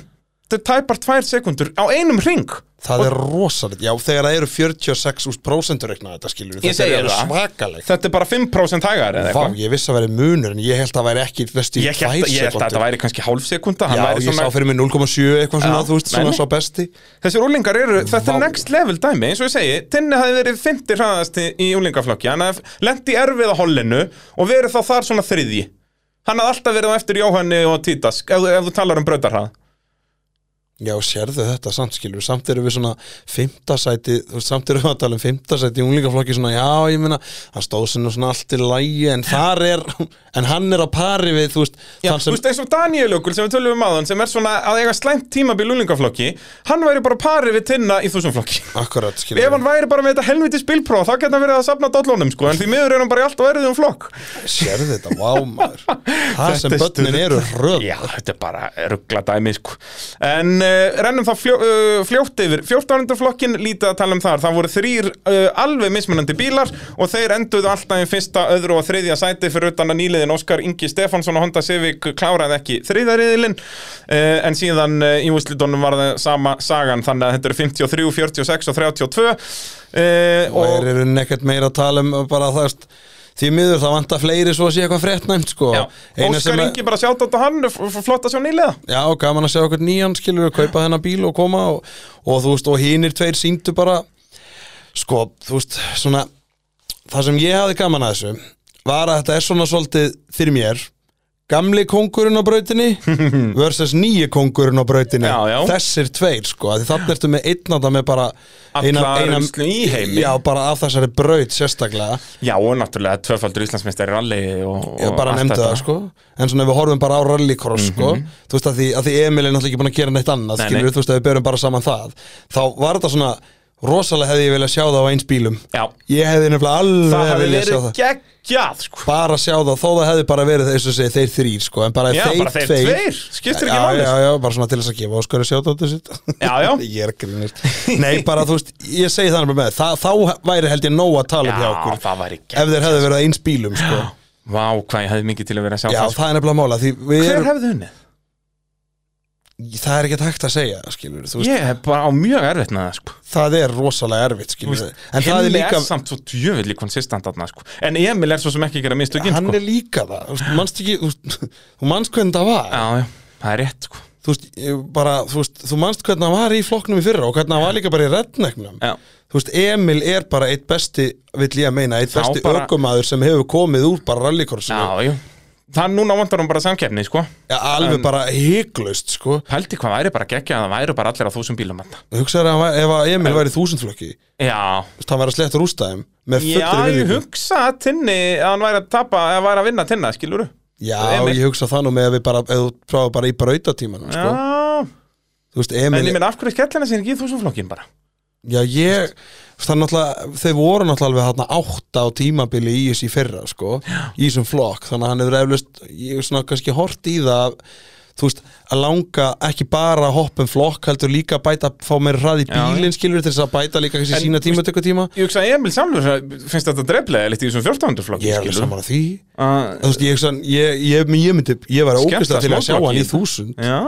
Speaker 3: þetta er tæpar tvær sekundur á einum ring
Speaker 2: það er rosalegt, já þegar það eru 46% reikna þetta skilur
Speaker 3: Ég segi það.
Speaker 2: svakalegt
Speaker 3: þetta er bara 5% hægari eða
Speaker 2: Vá,
Speaker 3: eitthvað
Speaker 2: ég vissi að veri munur en ég held að það væri ekki vestu,
Speaker 3: Ég held ég held að þetta væri kannski hálf sekunda hann
Speaker 2: já,
Speaker 3: væri
Speaker 2: ég
Speaker 3: svona,
Speaker 2: sá fyrir mig 0,7 eitthvað svona,
Speaker 3: Já,
Speaker 2: þú veist,
Speaker 3: nei,
Speaker 2: svona
Speaker 3: nei.
Speaker 2: svo besti
Speaker 3: Þessir úlingar eru, þetta er
Speaker 2: Vá.
Speaker 3: next level dæmi eins og ég segi, Tinni hafi verið 50 hraðasti í úlingaflokki, hann hafi lent í erfiða hollinu og verið þá þar svona þriðji Hann hafði alltaf verið á eftir Jóhanni og Títas, ef, þú- ef þú talar um brautarhað
Speaker 2: já, sérðu þetta samt skilur, samt eru við svona fymtasæti, þú veist, samt eru við að tala um fymtasæti í unglingaflokki svona, já, ég meina hann stóð sinna svona allt í lægi en þar er, en hann er á pari við, þú veist,
Speaker 3: Já,
Speaker 2: þann
Speaker 3: þú
Speaker 2: sem
Speaker 3: veist eins og Daniel Ökul sem við tölum um aðan sem er svona að eiga slæmt tímabil úlingaflokki hann væri bara parið við tinna í þúsumflokki
Speaker 2: akkurat, skilur
Speaker 3: Ef hann væri bara með þetta helviti spilpróf þá geta hann verið að safna dollónum sko en því miður er hann bara í alltaf erðið um flokk
Speaker 2: Sérðu þetta, vá maður Það sem
Speaker 3: Þetta er
Speaker 2: börnin
Speaker 3: stuð.
Speaker 2: eru röð
Speaker 3: Já, þetta er bara ruggla dæmi sko En uh, rennum þá fljó, uh, fljótt yfir 14. flokkin lítið að tala um þar Það voru þrýr uh, alveg mismunandi bílar og þeir enduðu alltaf í fyrsta, öðru og þriðja sæti fyrir utan að nýliðin Óskar Ingi Stefánsson og Honda Civic kláraði ekki þriðariðilinn uh, en síðan uh, í úrslitunum var það sama sagan þannig að þetta eru 53, 46 og 32 uh,
Speaker 2: Og er eru nekkert meira að tala um bara það veist, Því miður það vanta fleiri svo að sé eitthvað frettnæmt sko.
Speaker 3: Já,
Speaker 2: Eina sem
Speaker 3: Óskar
Speaker 2: að-
Speaker 3: Ingi bara sjátt átt á hann, f- f- flott að sjá nýlega
Speaker 2: Já, gaman að sjá okkur nýjan skilur að kaupa þennan bíl og koma og, og þú veist, og hinir tveir síndu bara sko, þú veist, svona það sem ég hafði gaman að þessu var að þetta er svona svolítið fyrir mér gamli kongurinn á brautinni versus nýji kongurinn á brautinni
Speaker 3: Já, já.
Speaker 2: þessir tveir sko, af því þannig ertu með einn að það með bara
Speaker 3: Alla reynslu í heimi.
Speaker 2: Já, bara af þessari braut sérstaklega
Speaker 3: Já, og náttúrulega tvöfaldur Íslandsmeistar í rally og, og
Speaker 2: Ég bara
Speaker 3: allt
Speaker 2: nefndi
Speaker 3: þetta. Mhm.
Speaker 2: það sko En svona ef við horfum bara á rallycross sko Þú veist að því, að því Emil er náttúrulega ekki búin að gera neitt annað
Speaker 3: Nei,
Speaker 2: skilur,
Speaker 3: nei.
Speaker 2: Þú veist að við berum bara saman það Þá var þetta svona Rosalega hefði ég viljað sjá það á eins bílum
Speaker 3: Já,
Speaker 2: Ég hefði nefnilega
Speaker 3: það
Speaker 2: alveg
Speaker 3: hefði
Speaker 2: viljað sjá
Speaker 3: verið
Speaker 2: það
Speaker 3: geggjað sko
Speaker 2: Bara sjá það, þó það hefði bara verið eins og segi þeir þrýr sko En bara
Speaker 3: Já,
Speaker 2: þeir,
Speaker 3: bara þeir tveir, skiptir ekki
Speaker 2: Já,
Speaker 3: máli, sko.
Speaker 2: Já, já, bara svona til þess að gefa Óskari sjátóttu sitt
Speaker 3: Já, já.
Speaker 2: Ég er að grínast Nei, bara þú veist, ég segi þannig bara með Þa, Þá væri held ég nóg að tala um hjá okkur
Speaker 3: Já, það var í gegn
Speaker 2: Ef þeir hefði verið á eins bílum sko
Speaker 3: Vá, hvað ég hefði mikið til að vera að sjá
Speaker 2: Já,
Speaker 3: það, sko.
Speaker 2: það er nefnilega mála Því við
Speaker 3: Hver
Speaker 2: erum
Speaker 3: hefði unnið?
Speaker 2: það er ekkert hægt að segja skilur, þú veist,
Speaker 3: Ég hef bara á mjög erfitt með það sko
Speaker 2: það er rosalega erfitt skilur,
Speaker 3: Þú veist,
Speaker 2: en það er
Speaker 3: Hilmi
Speaker 2: líka
Speaker 3: er samt svo djöfulli konsistant þarna sko En Emil er svo sem ekki að gera mistökin
Speaker 2: hann
Speaker 3: sko
Speaker 2: er líka það, þú veist, manst ekki þú veist, þú manst hvernig það var
Speaker 3: Já, já, það er rétt sko
Speaker 2: þú, veist, ég bara, þú, veist, þú manst hvernig það var í flokknum í fyrra og hvernig það var líka bara í reddneknum
Speaker 3: Já.
Speaker 2: þú veist, Emil er bara eitt besti vill ég að meina, eitt
Speaker 3: Já,
Speaker 2: besti
Speaker 3: bara-
Speaker 2: ökumaður sem hefur komið úr bara rallykorsinu
Speaker 3: Já, já það núna vantar hún bara samkeppni, sko
Speaker 2: ja, alveg bara hygglust sko
Speaker 3: Pældi hvað væri bara geggja að það væri bara allir á þúsund bílum þarna.
Speaker 2: hugsaður að ef að Emil væri í þúsundflokki
Speaker 3: Já,
Speaker 2: það væri að sletta rústaðum með
Speaker 3: já,
Speaker 2: fullri
Speaker 3: ég
Speaker 2: virðingu
Speaker 3: hugsa að tinni að hann væri að tapa, að hann væri að vinna tinna, skilur
Speaker 2: já,
Speaker 3: Emil.
Speaker 2: ég hugsa það nú með að við bara eða þú prófaðu bara í brautatímanum sko.
Speaker 3: Já,
Speaker 2: þú veist,
Speaker 3: en ég
Speaker 2: Emil,
Speaker 3: meina af hverju skellina sér ekki í þúsundflokkin bara
Speaker 2: já ég þú veist, það er náttúrulega, þau voru náttúrulega alveg hérna átta á tímabili í þessi fyrra sko, í þessum flokk, þannig að hann hefur eflust, ég hef svona kannski hort í það þú veist, að langa ekki bara að hoppa um flokk, heldur líka að bæta fá meira hrað í
Speaker 3: Já,
Speaker 2: bílinn, skilur til þess að bæta líka kannski
Speaker 3: En,
Speaker 2: sína
Speaker 3: þú veist,
Speaker 2: tímatöku
Speaker 3: Ég hugsa að Emil Samlur finnst þetta dreflega litt í þessum 1400 flokkin
Speaker 2: ég er alveg saman að því
Speaker 3: Uh,
Speaker 2: Þú veist, ég, sann, ég, ég, ég myndi, ég var
Speaker 3: Skemmta hérna.
Speaker 2: ógæslega til að sjá
Speaker 3: smáflokki.
Speaker 2: hann í þúsund
Speaker 3: já,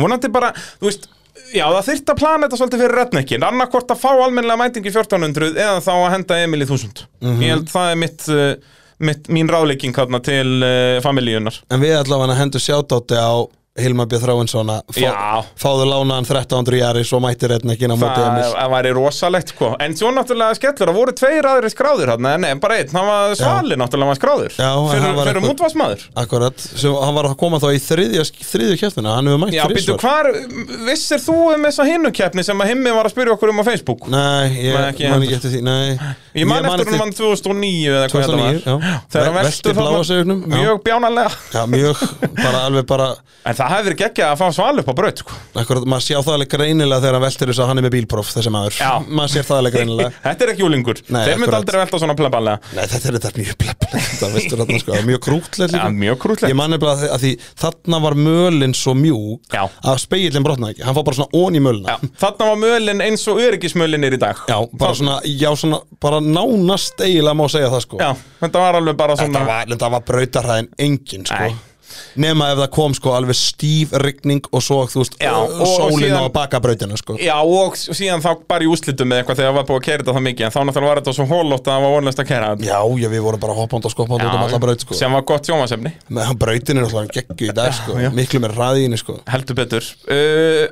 Speaker 3: vonandi bara, þú veist, já það þyrfti að plana þetta svolítið fyrir röddnekkin, annarkvort að fá almennilega mætingi 1400 eða þá að henda Emil í 1000.
Speaker 2: Mhm.
Speaker 3: Ég held það er mitt, uh, mitt mín ráleiking hérna til uh, familíunar.
Speaker 2: En við allavega hendur sjátátti á Hilma B. Þráinsson að
Speaker 3: Já.
Speaker 2: fá, fáðu lánaðan 1300 jari svo mættir þetta ekki inn á móti
Speaker 3: Það
Speaker 2: Emil
Speaker 3: það væri rosalegt, sko. En svo náttúrulega skellur, það voru tveir aðri skráðir hérna, en nei, bara einn, hann var svali náttúrulega var skráður.
Speaker 2: Já, en
Speaker 3: fyrir,
Speaker 2: hann var
Speaker 3: fyrir
Speaker 2: eitthvað-
Speaker 3: mútvarsmaður.
Speaker 2: Akkurat, sem hann var að koma þá í þriðja, þriðju kjæftuna, hann hefur mætt
Speaker 3: Já,
Speaker 2: þrisvar
Speaker 3: býttu, hvar, vissir þú um þessa hinnukeppni sem að himmi var að spyrja okkur um á Facebook?
Speaker 2: Nei, ég
Speaker 3: Nei, ekki
Speaker 2: man
Speaker 3: heldur.
Speaker 2: ekki eftir því, nei
Speaker 3: Ég man eftir hún vann 2009 eða hvað
Speaker 2: 2009,
Speaker 3: þetta var
Speaker 2: já.
Speaker 3: Þegar
Speaker 2: Ve-
Speaker 3: hann
Speaker 2: velti
Speaker 3: veltu
Speaker 2: bláa
Speaker 3: þarna
Speaker 2: seignum, já.
Speaker 3: Mjög bjánalega
Speaker 2: Já, mjög, bara alveg bara
Speaker 3: En það hefði verið geggjað að fá sval upp á braut sko.
Speaker 2: Akkurat, maður sjá það alveg greinilega þegar hann veltir þess að hann er með bílpróf þessi maður
Speaker 3: Já.
Speaker 2: Maður sér það alveg greinilega
Speaker 3: Þetta er ekki úlingur
Speaker 2: Nei,
Speaker 3: Þeir myndi
Speaker 2: akkurat.
Speaker 3: aldrei velta svona plebanlega
Speaker 2: Nei, þetta er þetta er mjög blepplega, það veistur þarna sko, það er mjög krútlegt líka.
Speaker 3: Já, mjög krúttlegt.
Speaker 2: Ég man nefnilega að því- að því þarna var mölin svo mjúk
Speaker 3: Já.
Speaker 2: að speillin brotnaði ekki, hann fór bara svona ón í mölina.
Speaker 3: Þarna var mölin eins og öryggismölin er í dag
Speaker 2: Já, bara
Speaker 3: Það-
Speaker 2: svona, já svona, bara nánast eiginlega má segja það sko.
Speaker 3: Já, þetta var alveg bara svona
Speaker 2: Þetta var, þetta var brautarhæðin engin sko.
Speaker 3: Nei.
Speaker 2: Nema ef það kom sko alveg stíf rigning og svo, þú veist,
Speaker 3: Já,
Speaker 2: og,
Speaker 3: og- og
Speaker 2: sólin
Speaker 3: síðan-
Speaker 2: á að baka brautina sko.
Speaker 3: Já, og s- síðan þá bara í úslitum með eitthvað þegar var búið að kæra þetta það mikið En þá náttúrulega var þetta svo hólótt að það var vonlust að kæra þetta
Speaker 2: Já, já, við vorum bara hoppand og skoppand út um alla braut sko.
Speaker 3: Sem var gott sjómasefni
Speaker 2: Með brautin er alltaf geggu í dag sko, miklu með ræðinni sko.
Speaker 3: heldur betur uh,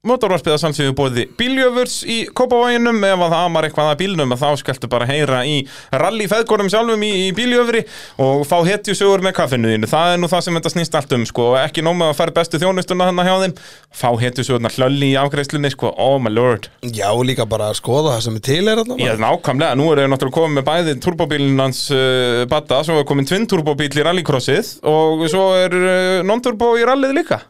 Speaker 3: Motorvarpið að samsögðu bóði bíljöfurs í Kópavoginum ef að það amar eitthvað að bílnum að þá skaltu bara heyra í rallyfeðgórum sjálfum í, í bíljöfri og fá hetjusögur með kaffinu þínu það er nú það sem þetta snýst allt um sko og ekki nóma að fara bestu þjónustuna þannig hjá þeim fá hetjusögurna hlölli í afgreiðslunni sko oh my lord
Speaker 2: Já, líka bara að skoða það sem er til er allavega.
Speaker 3: Já, nákvæmlega, nú eru við náttúrulega komið með bæði turbóbílinn hans uh, Batta, svo er komin tvinn turbóbíl í rallycrossið og svo er uh, non-turbó í rallið líka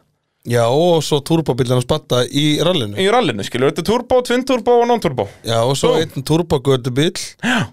Speaker 2: Já, og svo turbobillin að spatta í rallinu
Speaker 3: í rallinu, skilur, þetta er turbo, tvinn turbo og non-turbo
Speaker 2: Já, og svo
Speaker 3: Búm.
Speaker 2: einn turbogötubill
Speaker 3: Já.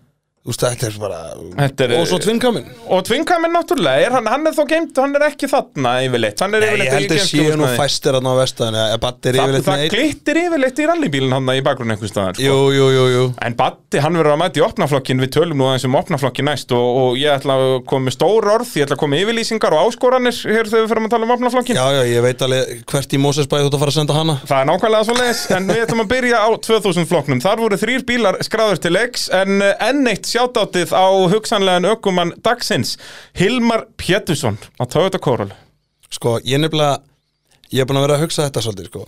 Speaker 2: Þú veist, þetta er bara
Speaker 3: Þetta er-
Speaker 2: Og svo tvinnkaminn
Speaker 3: og tvinnkaminn náttúrulega, er, hann, hann er þó geimt hann er ekki þarna yfirleitt hann er
Speaker 2: Ég
Speaker 3: yfirleitt
Speaker 2: held
Speaker 3: í
Speaker 2: að séu nú
Speaker 3: geymsluhúsnæði.
Speaker 2: fæstir hann á vestæðinu Eða Batti er
Speaker 3: það,
Speaker 2: yfirleitt
Speaker 3: það
Speaker 2: með einn
Speaker 3: glittir yfirleitt í rallybílinn hann í bakgrunn einhvers staðar sko.
Speaker 2: Jú, jú, jú, jú
Speaker 3: en Batti, hann verður að mæta í opnaflokkin við tölum nú aðeins um opnaflokkin næst og, og ég ætla að koma með stór orð ég ætla að koma með yfirlýsingar og áskoranir hér þegar við fyrir að tala um opnaflokkin
Speaker 2: Já, já, ég veit alveg hvert í Mósesbæði þú ert að fara að senda hana
Speaker 3: Það er nákvæmlega svo leiðis, en við ætlum að byrja á 2000 flokknum. Þar voru þrýr bílar skráður til leiks, en eh, enn eitt sjátátið á hugsanlegan ökumann dagsins, Hilmar Pétursson á Toyota Corolla.
Speaker 2: Sko, ég nefnilega Ég er búin að vera að hugsa þetta svolítið, sko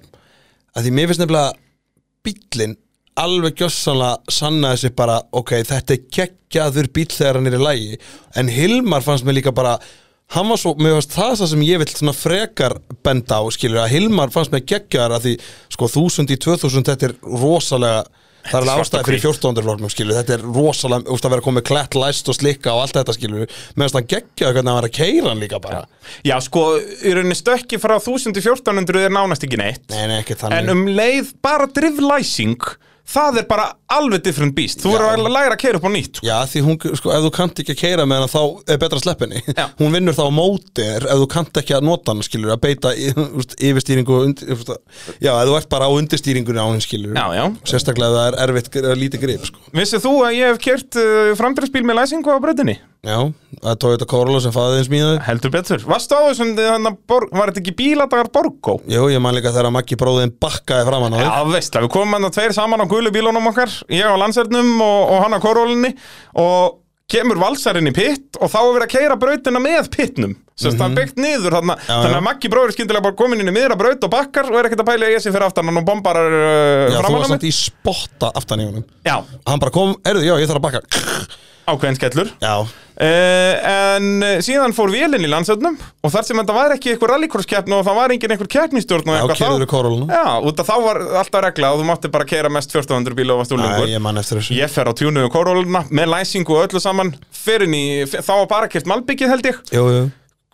Speaker 2: að Því mér finnst nefnilega bíllinn alveg gjössanlega sannaði sér bara ok, þetta er kekkjaður bíll þegar hann er í lægi en Hilmar fannst mér líka bara hann var svo, mér fannst það það sem ég vill svona frekar benda á, skilur að Hilmar fannst mér kekkjaður að því sko 1000 í 2000 þetta er rosalega það er alveg
Speaker 3: svart og
Speaker 2: ástæði fyrir
Speaker 3: hvítt.
Speaker 2: 1400 floknum skilur þetta er rosalega, úst að vera komið klætt, læst og slikka og allt þetta skilur mér fannst hann geggjaður hvernig hann var að keira hann líka bara
Speaker 3: Já, sko, í rauninni stökki frá 1400 er nánast ekki neitt,
Speaker 2: nei, nei, ekki þannig
Speaker 3: en um leið bara drivlæsing, það er bara alveg different beast. Þú verður að læra að keira upp á nýtt, sko.
Speaker 2: Já, því hún, sko, ef þú kannt ekki að keira með hana þá er betra að sleppa henni
Speaker 3: Já.
Speaker 2: Hún vinnur þá á móti þér ef þú kannt ekki að nota hana, skilur að beita í- þú veist, yfirstýringu og undir, þú veist, að- Já, ef þú ert bara á undirstýringunni á henni, skilur
Speaker 3: Já, já.
Speaker 2: Sérstaklega ef það er erfitt, gr- lítið grip, sko
Speaker 3: Vissið þú að ég hef kert uh, framdriftsbíl með læsingu á breytinni?
Speaker 2: Já, að Toyota Corolla sem faðið eins mýðaði
Speaker 3: Heldur betur. Varstu á þessum, þarna borg- var þetta ekki bíladagar Borgó?
Speaker 2: Jú, ég man líka þegar að Maggi bróðin bakkaði framan á þig
Speaker 3: Já, veist, við komum hann að tveir saman á gulu bílunum okkar, ég á landsernum og, og hann á korólinni og kemur valsarinn í pitt og þá er verið að keira brautina með pittnum sem mm -hmm.
Speaker 2: Mhm.
Speaker 3: byggt niður þarna, þannig að Maggi bróður skyndilega bara komin inn í miðra braut og bakkar og er ekkert að pæla í þessi fyrir aftan hann og bombar uh,
Speaker 2: Já, þú
Speaker 3: framan á
Speaker 2: var
Speaker 3: mig
Speaker 2: samt í spotta aftan í honum
Speaker 3: Já,
Speaker 2: Hann bara kom, erðu, já, ég þarf að bakka
Speaker 3: á ákveðin skellur
Speaker 2: Já,
Speaker 3: Uh, en eh, síðan fór vélinn í landsöndum og þar sem þetta var ekki einhver rallycross-keppni og það var engin einhver keppnistjórn og
Speaker 2: já kýrður
Speaker 3: eitthvað þá
Speaker 2: koróluna
Speaker 3: Já, út af þá var alltaf regla og þú mátti bara keira mest 1400 bíla og varst úrlingur
Speaker 2: Æ, ég man eftir þessu
Speaker 3: Ég fer á tjúnuðu kóróluna með læsingu og öllu saman fer inn í, fer- þá var bara kert malbyggið held ég
Speaker 2: Jú, jú,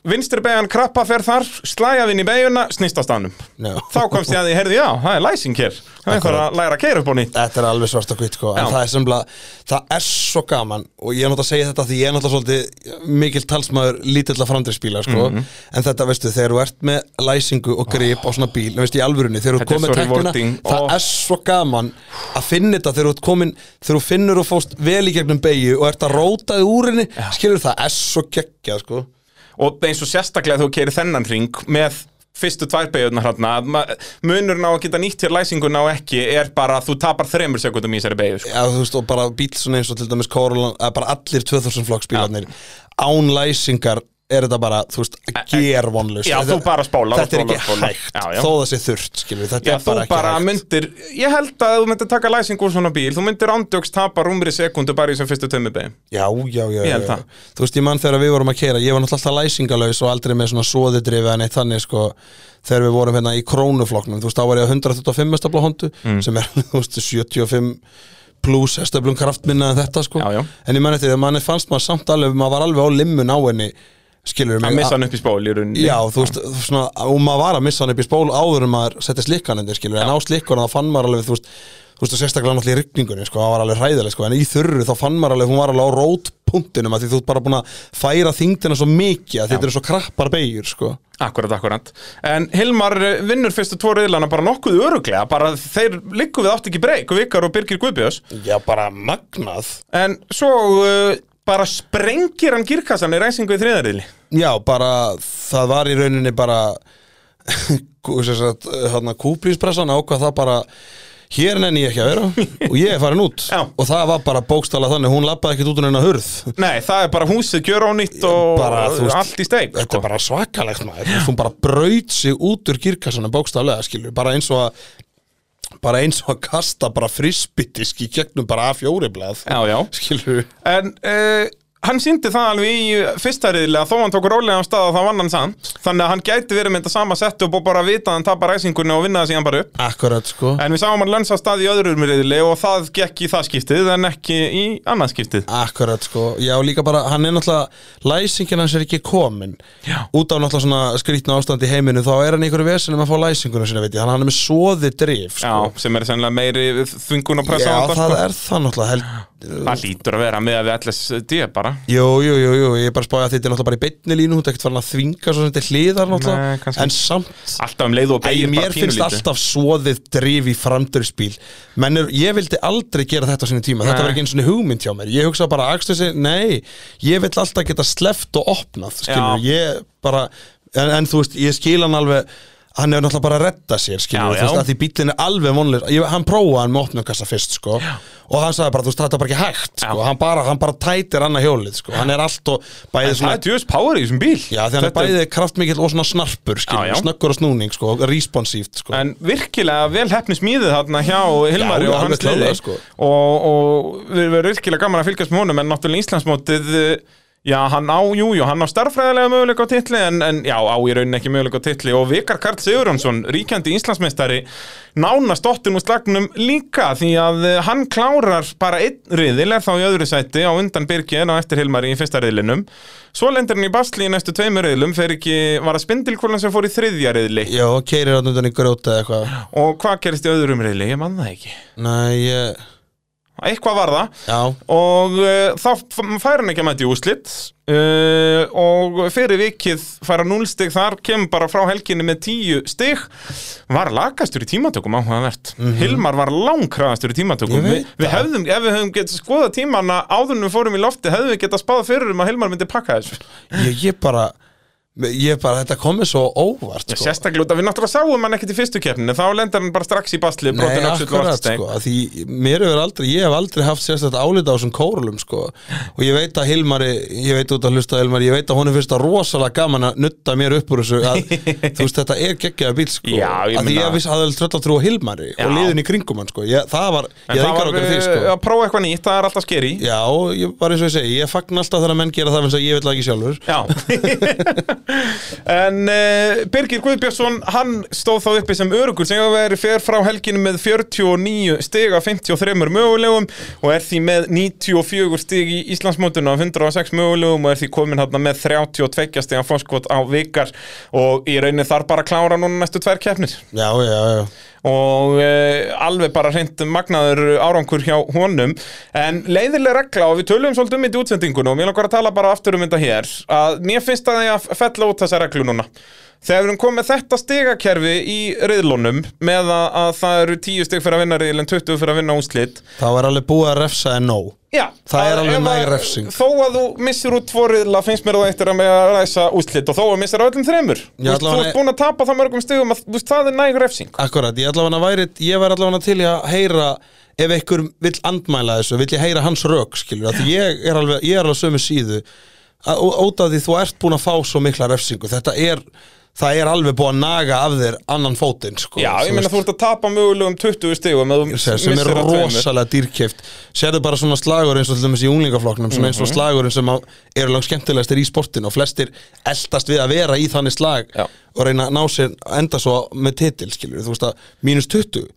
Speaker 3: vinstri beigjan krabba fer þar slæjað inn í beiguna, snýst á stanum
Speaker 2: já
Speaker 3: þá komst ég að ég herði, já, það er læsing hér það er einhver að læra að keira upp á nýtt
Speaker 2: Þetta er alveg svart og hvitt sko, en
Speaker 3: Já.
Speaker 2: það er semlega, það er svo gaman og ég er náttúrulega að segja þetta því ég er náttúrulega svolítið mikil talsmaður lítilla framdreifspíla sko,
Speaker 3: Mhm.
Speaker 2: en þetta veistu, þegar þú ert með læsingu og grip á svona bíl, veistu, í alvörunni, þegar þú ert
Speaker 3: Þetta er
Speaker 2: komin
Speaker 3: svo
Speaker 2: tæknina,
Speaker 3: rewarding.
Speaker 2: það
Speaker 3: Ó.
Speaker 2: er svo gaman að finna þetta þegar þú ert komin, þegar þú finnur og fóst vel í gegnum beigju og ert að rótaði úr henni, skilur það, er svo geggjað sko,
Speaker 3: og eins og sérstaklega þú keirir þennan ring með fyrstu tvær beigurnar hérna að ma- munurinn á að geta nýtt hér læsinguna og ekki er bara að þú tapar þremur sekundum í þessari beigur sko.
Speaker 2: Já, þú veist, og bara bíl svona eins og til dæmis Corolla, eða bara allir 2000 flokks bílarnir án læsingar er þetta bara, þú veist, gervonlust
Speaker 3: Já, þú bara spólar og
Speaker 2: Þetta er
Speaker 3: spólar
Speaker 2: ekki
Speaker 3: og spólar.
Speaker 2: hægt,
Speaker 3: Já, já.
Speaker 2: þó það sé þurrt, skilur við, þetta
Speaker 3: Já,
Speaker 2: er
Speaker 3: þú
Speaker 2: bara ekki
Speaker 3: bara
Speaker 2: hægt
Speaker 3: myndir, ég held að þú myndir taka læsing úr svona bíl, þú myndir ándjóks tapa rúmri sekundu bara í þessum fyrstu tömmu beigum.
Speaker 2: Já, já, já,
Speaker 3: Ég
Speaker 2: já,
Speaker 3: held
Speaker 2: já.
Speaker 3: það.
Speaker 2: Þú veist, ég mann þegar við vorum að keira Ég var náttúrulega alltaf læsingalaus og aldrei með svona svoðidrifið en eitt þannig, sko Þegar við vorum hérna í krónuflokknum Þú veist, þá var ég á 125 stabla hondu
Speaker 3: Mm.
Speaker 2: sem er, þú veist, 75 pluss stöflum kraftminna en þetta, sko
Speaker 3: Já, já.
Speaker 2: En ég mann eftir því að manni fannst maður samt alveg maður var alveg á limmun á henni skilur mig
Speaker 3: Að missa hann upp í spól í rauninni.
Speaker 2: Já, þú veist, svona, og maður var að missa hann upp í spól áður en maður setti slikkan endur, skilur, en á slikkan þá fann maður alveg, þú veist, þú veist, og sérstaklega náttúrulega í rigningunni, sko, það var alveg hræðileg, sko, en í þurru þá fann maður alveg, hún var alveg á rótpunktinum, af því þú ert bara búin að færa þyngdina svo mikið, að þetta eru svo krappar beigur, sko.
Speaker 3: Akkurat, akkurat. En Hilmar eh, vinnur fyrstu tvo reyðlana bara nokkuð öruglega, bara þeir liggu við átt ekki breyk og vikar og Birgir Guðbjörns.
Speaker 2: Já, bara magnað.
Speaker 3: En svo uh, bara sprengir hann girkassan í ræsingu í þriðarriðli.
Speaker 2: Já, bara, það var í rauninni bara, kú- sem sagt, hérna, kúplíspressan ákvað það bara, hér nenni ég ekki að vera og ég er farin út
Speaker 3: Já.
Speaker 2: og það var bara bókstala þannig, hún lappaði ekkert út um hennar hurð
Speaker 3: Nei, það er bara húsið gjör á nýtt og
Speaker 2: Bara, þú veist,
Speaker 3: allt í steik.
Speaker 2: Þetta er bara svakalegt maður Þú veist, Hún bara braut sig út úr kirkassanum bókstaflega skilur Bara eins og að bara eins og að kasta bara frisbytisk í gegnum bara A4 blað
Speaker 3: Já, já.
Speaker 2: skilur
Speaker 3: En uh, hann síndi það alveg í eh, fyrsta riðli að þó hann tók rólega af stað að það vann hann samt. Þannig að hann gæti verið með þetta sama setup og bara vita að hann tapar ræsingunni og vinna það síðan bara upp.
Speaker 2: akkurat sko
Speaker 3: En við sáum hann lönsa af stað í öðrum riðli og það gekk í það skiptið en ekki í annað skiptið.
Speaker 2: akkurat sko, já líka bara hann er náttúrulega, læsingin hans er ekki komin
Speaker 3: Já.
Speaker 2: út af náttúrulega svona skrýtna ástand í heiminu þá er hann í einhverju vesinum að fá læsinguna sinna veit ég, hann hann er með soði drif
Speaker 3: Já,
Speaker 2: sko.
Speaker 3: sem er sennilega meiri þungun og pressa á
Speaker 2: já
Speaker 3: þetta,
Speaker 2: það
Speaker 3: sko.
Speaker 2: er það náttúrulega held,
Speaker 3: Það lítur að vera með að við LSD bara.
Speaker 2: Jú, jú, jú, jú, ég er bara að spája að þetta er náttúrulega bara í beinni línu, hún er ekkert farin að þvinga svo sem þetta er hliðar
Speaker 3: Nei,
Speaker 2: náttúrulega,
Speaker 3: kannski.
Speaker 2: en samt
Speaker 3: Alltaf um leið og
Speaker 2: Æ,
Speaker 3: beigir bara
Speaker 2: mér finnst
Speaker 3: pínulítið.
Speaker 2: alltaf svoðið drif í framdurspíl menn er, ég vildi aldrei gera þetta á sinni tíma, þetta
Speaker 3: Nei.
Speaker 2: var ekki einu svona hugmynd hjá mér ég hugsa bara, axtu þessi, nei ég vill alltaf geta sleft og opnað skilur, ég bara en, en þú veist, ég skil hann alveg hann er náttúrulega bara að redda sér, skilur, þú
Speaker 3: Já,
Speaker 2: veist,
Speaker 3: já.
Speaker 2: að því bíllinn er alveg vonleir, ég, hann prófaði hann með opnumkassa fyrst, sko, og hann sagði bara, þú veist, þetta er bara ekki hægt, sko,
Speaker 3: Já.
Speaker 2: hann bara, hann bara tætir annað hjólið, sko, hann er allt og bæði
Speaker 3: Það
Speaker 2: svona
Speaker 3: er djöðs power í þessum bíl
Speaker 2: Já, því hann er
Speaker 3: Þetta
Speaker 2: bæði kraftmikill og svona snarpur, skilur,
Speaker 3: Já, já.
Speaker 2: snöggur og snúning, sko, responsíft, sko.
Speaker 3: En virkilega vel hefni smíðið þarna hjá Hilmari
Speaker 2: Já,
Speaker 3: og
Speaker 2: alveg
Speaker 3: hans liði
Speaker 2: klárlega, sko.
Speaker 3: og, og við verðum virkilega gaman að fylgjast með honum en náttúrulega Íslandsmótið eh, Já, hann á, jú, jú, hann á starffræðilega möguleika á titli en, en já, á í rauninni ekki möguleika á titli og Vikar Karl Sigurjónsson, ríkjandi Íslandsmeistari nána stottin úr slagnum líka því að eh, hann klárar bara einn riðil, er þá í öðru sæti á undan Birgi en á eftir Hilmari í fyrsta riðlinum svo lendir hann í basli í næstu tveimur riðlum fer ekki, var það spindilkúlan sem fór í þriðja riðli
Speaker 2: Já, keirir hann undan í grjóta eða eitthvað.
Speaker 3: Og hvað gerist í öðrum reyli? Ég man það ekki.
Speaker 2: Nei, ég...
Speaker 3: Eitthvað var það
Speaker 2: Já,
Speaker 3: og uh, þá f- fær hann ekki að mæta í úslit uh, og fyrir vikið fær hann 0 stig þar, kemur bara frá helginni með 10 stig var lakastur í tímatökum áhugavert Hilmar var langkraðastur í tímatökum
Speaker 2: Mhm. Ég
Speaker 3: Vi,
Speaker 2: veit
Speaker 3: við hefðum, ef við hefðum getað skoðað tímana áðurnum við fórum í lofti, hefðum við getað spáð fyrir um að Hilmar myndi pakka þessu
Speaker 2: ég, ég bara ég bara, þetta komið svo óvart
Speaker 3: Já,
Speaker 2: sko.
Speaker 3: sérstaklega út að við náttúrulega sáum hann ekkert í fyrstu keppninu þá lendar hann bara strax í basli
Speaker 2: Nei,
Speaker 3: brotin öxull og
Speaker 2: akkurat,
Speaker 3: afturstein.
Speaker 2: sko, að því mér hefur aldrei, ég hef aldrei haft sérstætt álita á þessum kórlum, sko og ég veit að Hilmari, ég veit út að hlusta Hilmari, ég veit að honum finnst það rosalega gaman að nutta mér upp úr þessu að, þú veist, þetta er geggjaða bíl, sko
Speaker 3: Já, ég
Speaker 2: að því
Speaker 3: meina-
Speaker 2: ég vissi aðeins tröll að trúa Hilmari
Speaker 3: Já.
Speaker 2: og liðin í kringum hann, sko, ég, það var
Speaker 3: En
Speaker 2: ég
Speaker 3: það
Speaker 2: engar
Speaker 3: var
Speaker 2: okkur því,
Speaker 3: uh,
Speaker 2: sko
Speaker 3: að prófa eitthvað nýtt, það er alltaf skeri
Speaker 2: Já, ég, bara eins og ég segi, ég fagn alltaf þegar að menn gera það finnst að ég vil það ekki sjálfur
Speaker 3: Já En uh, Birgir Guðbjörnsson hann stóð þá uppi sem örugur sem hefur verið fer frá helginu með 49 stig af 53 mögulegum og er því með 94 stig í Íslandsmótinu af 106 mögulegum og er því komin hann með 32 stig af fórskot á vikar og í rauninni þarf bara að klára núna næstu tvær keppnir
Speaker 2: Já, já, já
Speaker 3: og uh, alveg bara hreint magnaður árangur hjá honum en leiðileg regla og við tölum svolítið um þetta í útsendingunum og mér langar að tala bara aftur um þetta hér að mér finnst að ég að fella út þessa reglu núna þegar við erum komið þetta stigakerfi í riðlunum með að, að það eru 10 stig fyrir að vinna riðlun 20 fyrir að vinna úslit
Speaker 2: Það var alveg búið að refsa en nóg
Speaker 3: Já,
Speaker 2: Það er alveg
Speaker 3: ef að-
Speaker 2: næg refsing.
Speaker 3: Þó að þú missir út tvo riðla finnst mér það eittir að með að ræsa úslit og þó að missir á öllum þremur Þú
Speaker 2: Já,
Speaker 3: veist, Þú
Speaker 2: allavega-
Speaker 3: ert búin að tapa það mörgum stigum að, þú veist, það er næg refsing
Speaker 2: Akkurat, ég allavega væri, ég væri allavega til í að heyra ef einhver vill andmæla þessu, vill ég heyra hans rök, skilur, að ég er alveg, ég er alveg sömu síðu, að, ó- út af því þú ert búin að fá svo mikla refsingu, þetta er, það er alveg búið að naga af þér annan fótinn, sko.
Speaker 3: Já, ég meina þú ert að tapa mögulegum 20 stigum ef þú
Speaker 2: sem, sem er
Speaker 3: missir af tveimur.
Speaker 2: rosalega dýrkeft sérðu bara svona slagur eins og til dæmis í unglingaflokknum svona
Speaker 3: Mhm.
Speaker 2: eins og slagurinn sem á- eru langt skemmtilegastir í sportinu og flestir eldast við að vera í þannig slag
Speaker 3: Já.
Speaker 2: og reyna að ná sér enda svo með titil skilur, þú veist að mínus 20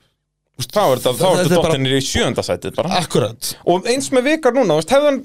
Speaker 3: Þá er þetta, þá
Speaker 2: Það-
Speaker 3: er
Speaker 2: þetta
Speaker 3: þetta
Speaker 2: er bara-
Speaker 3: dottinir í sjönda sætið bara
Speaker 2: akkurat,
Speaker 3: Og eins með vikar núna, þú veist, hefði hann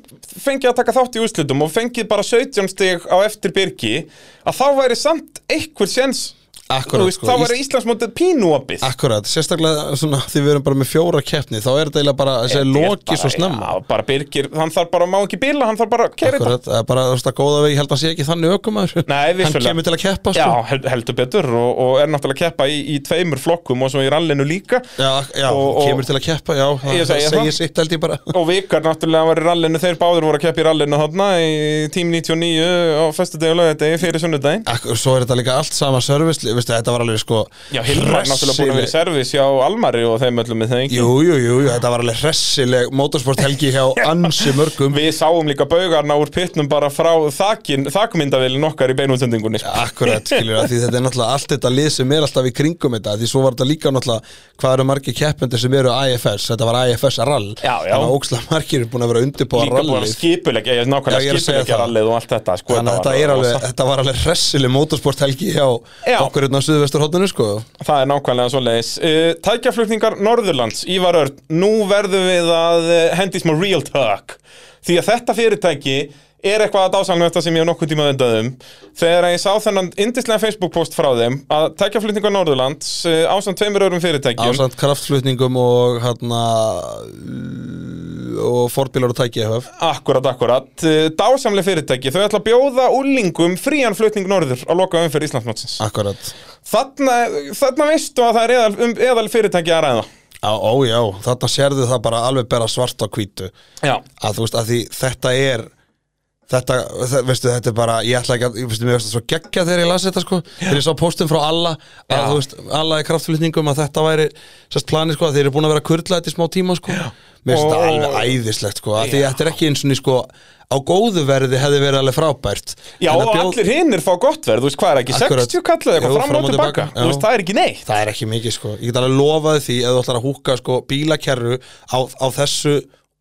Speaker 3: fengið að taka þátt í úrslitum og fengið bara 17 stig á eftir Birgi að þá væri samt einhver séns
Speaker 2: akkurat, sko.
Speaker 3: þú veist, þá væri Íslandsmótið pínu opið
Speaker 2: akkurat sérstaklega svona, því við erum bara með fjóra keppni þá er þetta eiginlega bara, þessi
Speaker 3: Þetta er
Speaker 2: loki
Speaker 3: bara-
Speaker 2: svo snemma
Speaker 3: Já, bara Birgir, hann þarf bara, má ekki bila, hann þarf bara að kæra þetta
Speaker 2: akkurat, sko. það er bara, þú veist að góða vegi held að sé ekki þannig ökumar
Speaker 3: Nei,
Speaker 2: hann
Speaker 3: vissulega.
Speaker 2: kemur til að keppa
Speaker 3: Já,
Speaker 2: sko.
Speaker 3: hel- heldur betur og, og er náttúrulega að keppa í, í tveimur flokkum og svo í rallinu líka
Speaker 2: já, já
Speaker 3: Og- og-
Speaker 2: kemur til að keppa, já, það
Speaker 3: Ég segi það.
Speaker 2: segir sitt held ég bara
Speaker 3: Og vikar náttúrulega var í rallinu, þeir báður voru að keppa í rallinu þarna í tím 99 á föstudegi og lögadegi fyrir sunnudaginn.
Speaker 2: Akkur, svo er þetta líka allt sama service veistu, þetta var alveg sko
Speaker 3: Já, Hilmar er náttúrulega búin að
Speaker 2: hressileg-
Speaker 3: vera í servis hjá Almari og þeim öllum með þeim ekki.
Speaker 2: Jú, jú, jú, jú, þetta var alveg hressileg motorsport helgi hjá ansi mörgum
Speaker 3: Við sáum líka baugarna úr pitnum bara frá þakin, þakmyndavillin okkar í beinútsendingunni. sko.
Speaker 2: Akkurat, skilur að því þetta er náttúrulega allt þetta lið sem er alltaf í kringum þetta því svo var þetta líka náttúrulega hvað eru margir keppendur sem eru IFS þetta var IFS rall
Speaker 3: Já, já.
Speaker 2: þannig að ókslega margir er búin að vera undirbúa
Speaker 3: Líka búin að
Speaker 2: rallið
Speaker 3: skipulegja,
Speaker 2: Já, ég
Speaker 3: ég er nákvæmlega
Speaker 2: er að segja
Speaker 3: skipulegja
Speaker 2: það.
Speaker 3: rallið og allt þetta. Sko,
Speaker 2: þannig að þetta, er alveg, þetta var alveg hressileg motorsport helgi hjá
Speaker 3: Já.
Speaker 2: okkur hérna á Suðvesturhóttinu sko
Speaker 3: Það er nákvæmlega svoleiðis. Uh, tækjaflutningar Norðurlands, Ívar Örn, nú verðum við að uh, hendi í smá real talk. Því að þetta fyrirtæki er eitthvað að dásalnvesta sem ég hef nokkuð tíma undaðum. Þegar ég sá þennan indislega Facebook-post frá þeim að tækjaflutningar Norðurlands uh, ásamt tveimur öðrum fyrirtækjum
Speaker 2: ásamt kraftflutningum og hérna og forbílar og tæki EHF
Speaker 3: Akkurat, akkurat. Uh, dásamlega fyrirtæki. Þau ætla að bjóða úlingum frían flutning norður að loka umferð Íslandsmótsins.
Speaker 2: Ah. Akkurat
Speaker 3: Þarna, þarna veistu að það er eðal, um, eðal fyrirtæki að ræða.
Speaker 2: Á, ó já, þarna sérðu það bara alveg bara svart á hvítu
Speaker 3: Já.
Speaker 2: að þú veist að því þetta er þetta, þe- veistu, þetta er bara ég ætla ekki að, ég veistu, mér veist það svo geggja þegar ég las þetta sko, þegar ég sá postum frá Alla að
Speaker 3: Já.
Speaker 2: þú veist, Alla í kraftflutningum að þetta væri sérst planið sko, að þeir eru búin að vera að kurla þetta í smá tíma sko, mér finnst
Speaker 3: Og-
Speaker 2: þetta alveg æðislegt sko, að því
Speaker 3: Já.
Speaker 2: þetta er ekki eins og ný sko á góðu verði hefði verið alveg frábært
Speaker 3: Já,
Speaker 2: En að
Speaker 3: og
Speaker 2: bjóð-
Speaker 3: allir hinnir fá gott verð, þú veist hvað er ekki,
Speaker 2: Akkurat.
Speaker 3: 60 kallið eitthvað
Speaker 2: Jú,
Speaker 3: fram og tilbaka,
Speaker 2: já.
Speaker 3: þú veist það er ekki neitt
Speaker 2: Það er ekki mikið sko, ég get alveg lofaði því að þú ætlar að húka sko bílakerru á, á þessu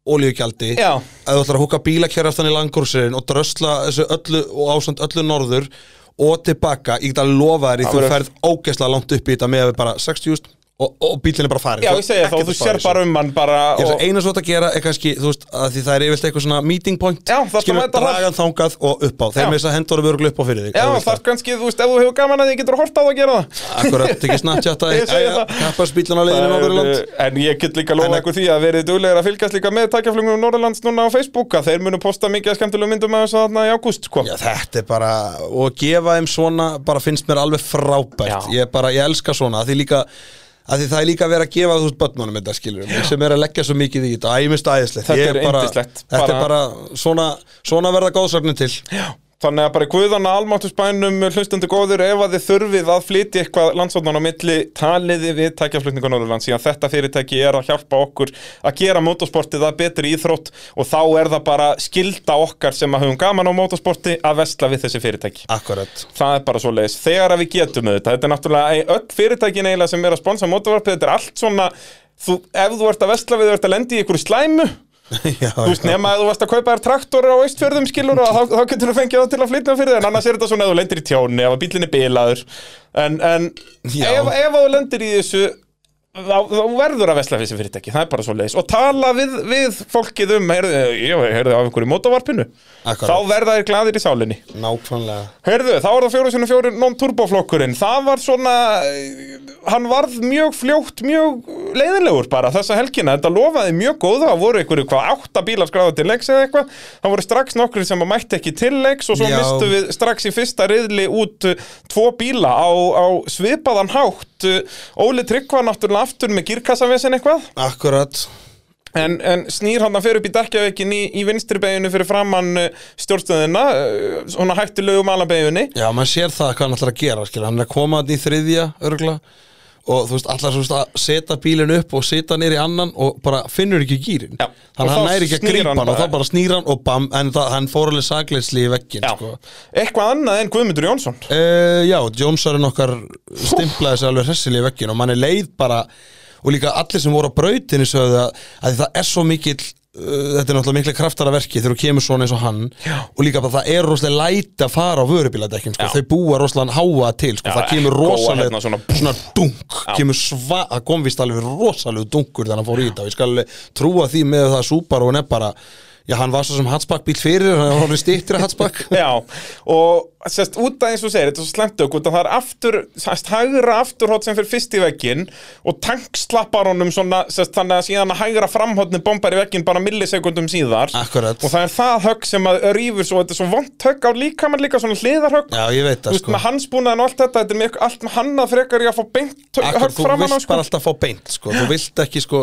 Speaker 2: olíugjaldi
Speaker 3: Já.
Speaker 2: að þú ætlar að húka bílakerru aftan í langkursirinn og drösla þessu öllu og ásamt öllu norður og tilbaka, ég get alveg lofaði því
Speaker 3: Það
Speaker 2: þú
Speaker 3: verður-
Speaker 2: ferð ógeðslega langt upp í þetta með að við bara 60 júst og, og bílinn er bara sko. farin
Speaker 3: Já, ég segja þá, þú sér bara um hann bara
Speaker 2: Ég
Speaker 3: og,
Speaker 2: veist, eina svo þetta að gera er kannski, þú veist, að því það er yfirleitt eitthvað svona meeting point
Speaker 3: Já, þarftu að
Speaker 2: skilur,
Speaker 3: mæta þar.
Speaker 2: dragan þangað og upp á
Speaker 3: Já.
Speaker 2: þeir með þess að hendur öruglu upp á fyrir þig
Speaker 3: Já,
Speaker 2: ef þú vilt
Speaker 3: það er kannski, þú veist, ef þú hefur gaman að því getur hort á það að gera það
Speaker 2: Akkurat, ekki snapchatta
Speaker 3: Ég segi það.
Speaker 2: Kapparsbílan á leiðinu
Speaker 3: Það
Speaker 2: Norðurland
Speaker 3: eru- En ég get líka
Speaker 2: En-
Speaker 3: lofa ykkur því að verið duglegir að fylgjast líka með takjaflugum Norðurlands núna á Facebook að þeir munu posta mikið af skemmtilegum myndum að þessu þarna í ágúst, sko
Speaker 2: Já, þetta er bara, og að gefa þeim svona bara finnst mér alveg frábært
Speaker 3: Já.
Speaker 2: ég, bara, ég elska svona, að því líka að því það er líka verið að gefa þú veist börnunum þetta skilur mig, sem er að leggja svo mikið í þetta æmist æðislegt
Speaker 3: Þetta
Speaker 2: Ég
Speaker 3: er
Speaker 2: bara,
Speaker 3: yndislegt.
Speaker 2: þetta
Speaker 3: Bara-
Speaker 2: er bara svona, svona verða góðsögnin til
Speaker 3: Já, Þannig að bara í guðana almáttu spænum hlustandi góður ef að þið þurfið að flytja eitthvað landsóðnan á milli taliði við tækjaflutningu Norðurlands síðan þetta fyrirtæki er að hjálpa okkur að gera motorsportið að betri íþrótt og þá er það bara skilda okkar sem að höfum gaman á motorsporti að vestla við þessi fyrirtæki.
Speaker 2: Akkurat
Speaker 3: Það er bara svo leiðis. Þegar að við getum auðvitað, þetta er náttúrulega ei, öll fyrirtækin eiginlega sem er að sponsa mótorvarpið, þetta er allt svona, þú, ef þú ert að vestla við, þú ert að lendi í ykkur slæmu,
Speaker 2: Já,
Speaker 3: þú veist, nema að þú varst að kaupa þér traktora á eistfjörðum skilur og þá, þá getur þú fengið það til að flytna fyrir þér, en annars er þetta svona ef þú lendir í tjóni, ef að bílinn er bilaður, en, en
Speaker 2: Já.
Speaker 3: ef, ef að þú lendir í þessu, þá, þá verður að vesla fyrir þessi fyrirtæki, það er bara svo leiðis, og tala við, við fólkið um, heyrðu, ég heyrðu af einhverju mótavarpinu,
Speaker 2: Akkurat.
Speaker 3: þá verða þér gladir í sálinni.
Speaker 2: nákvæmlega
Speaker 3: Heyrðu, þá var það fjóru sinni fjóru non-turboflokkurinn. Það var svona, eh, hann varð mjög fljótt, mjög leiðinlegur bara þessa helgina. Þetta lofaði mjög góða, það voru einhverju hvað átta bílar skráði til leiks eða eitthvað. Það voru strax nokkri sem að mætti ekki til leiks og svo
Speaker 2: Já.
Speaker 3: mistu við strax í fyrsta riðli út eh, tvo bíla á, á svipaðan hátt. Eh, Óli Tryggva náttúrulega aftur með girkassavesen eitthvað.
Speaker 2: Akkurat
Speaker 3: En, en snýr hann að fyrir upp í dekkjaveikin í, í vinstri beginu fyrir framann eh, stjórnstöðina, eh, svona hættilegu malabeginni.
Speaker 2: Já, maður sér það hvað hann ætlar að gera skilur. Hann er að koma hann í þriðja örgla og þú veist, allar veist, að setja bílinn upp og setja nýr í annan og bara finnur ekki gýrin
Speaker 3: Já.
Speaker 2: þannig
Speaker 3: Og
Speaker 2: að hann
Speaker 3: þá
Speaker 2: næri ekki að
Speaker 3: snýr
Speaker 2: grípa
Speaker 3: hann
Speaker 2: hann og
Speaker 3: bara.
Speaker 2: þá bara snýr hann og bam en það, hann fór alveg sakleysli í veggin
Speaker 3: Já,
Speaker 2: sko.
Speaker 3: eitthvað annað en Guðmundur Jónsson
Speaker 2: uh, já Jónsarinn okkar stimplaði sig alveg hressilega í veggin og mann er leið bara og líka allir sem voru á brautinu sögðu að, að það er svo mikill uh, þetta er náttúrulega mikla kraftara verki þegar þú kemur svona eins og hann já. og líka bara það er rosalega læti að fara á vörubíladekkin sko.
Speaker 3: Já.
Speaker 2: þau búa rosalega háa til sko.
Speaker 3: Já,
Speaker 2: það kemur
Speaker 3: echo og
Speaker 2: rosalega
Speaker 3: hérna svona-
Speaker 2: svona dunk kemur sva, það kom vist alveg rosalegu dunkur þannig að hann fór í þetta og ég skal alveg trúa því með það að Subaru er bara já hann var svo sem hatsbakk bíl fyrir hann var alveg stýttir að hatsbakk
Speaker 3: Já, og sérst, út að eins og segir, þetta er svo slemt okkur það er aftur, sérst, hægra afturhótt sem fyrir fyrst í veggin og tankslappar honum svona, sérst, þannig að síðan að hægra framhóttni bombar í veggin bara millisekundum síðar
Speaker 2: Akkurat.
Speaker 3: og það er það högg sem að rýfur svo, þetta er svo vont högg á líkamann líka, svona hliðarhögg
Speaker 2: já ég veit
Speaker 3: Þú
Speaker 2: það
Speaker 3: veist,
Speaker 2: sko
Speaker 3: með hansbúnaðin og allt þetta, þetta er mjög allt með hannað frekar í að fá beint högg
Speaker 2: Akkur,
Speaker 3: högg
Speaker 2: þú
Speaker 3: framan á,
Speaker 2: vilt
Speaker 3: sko.
Speaker 2: bara alltaf fá beint sko. þú vilt ekki sko,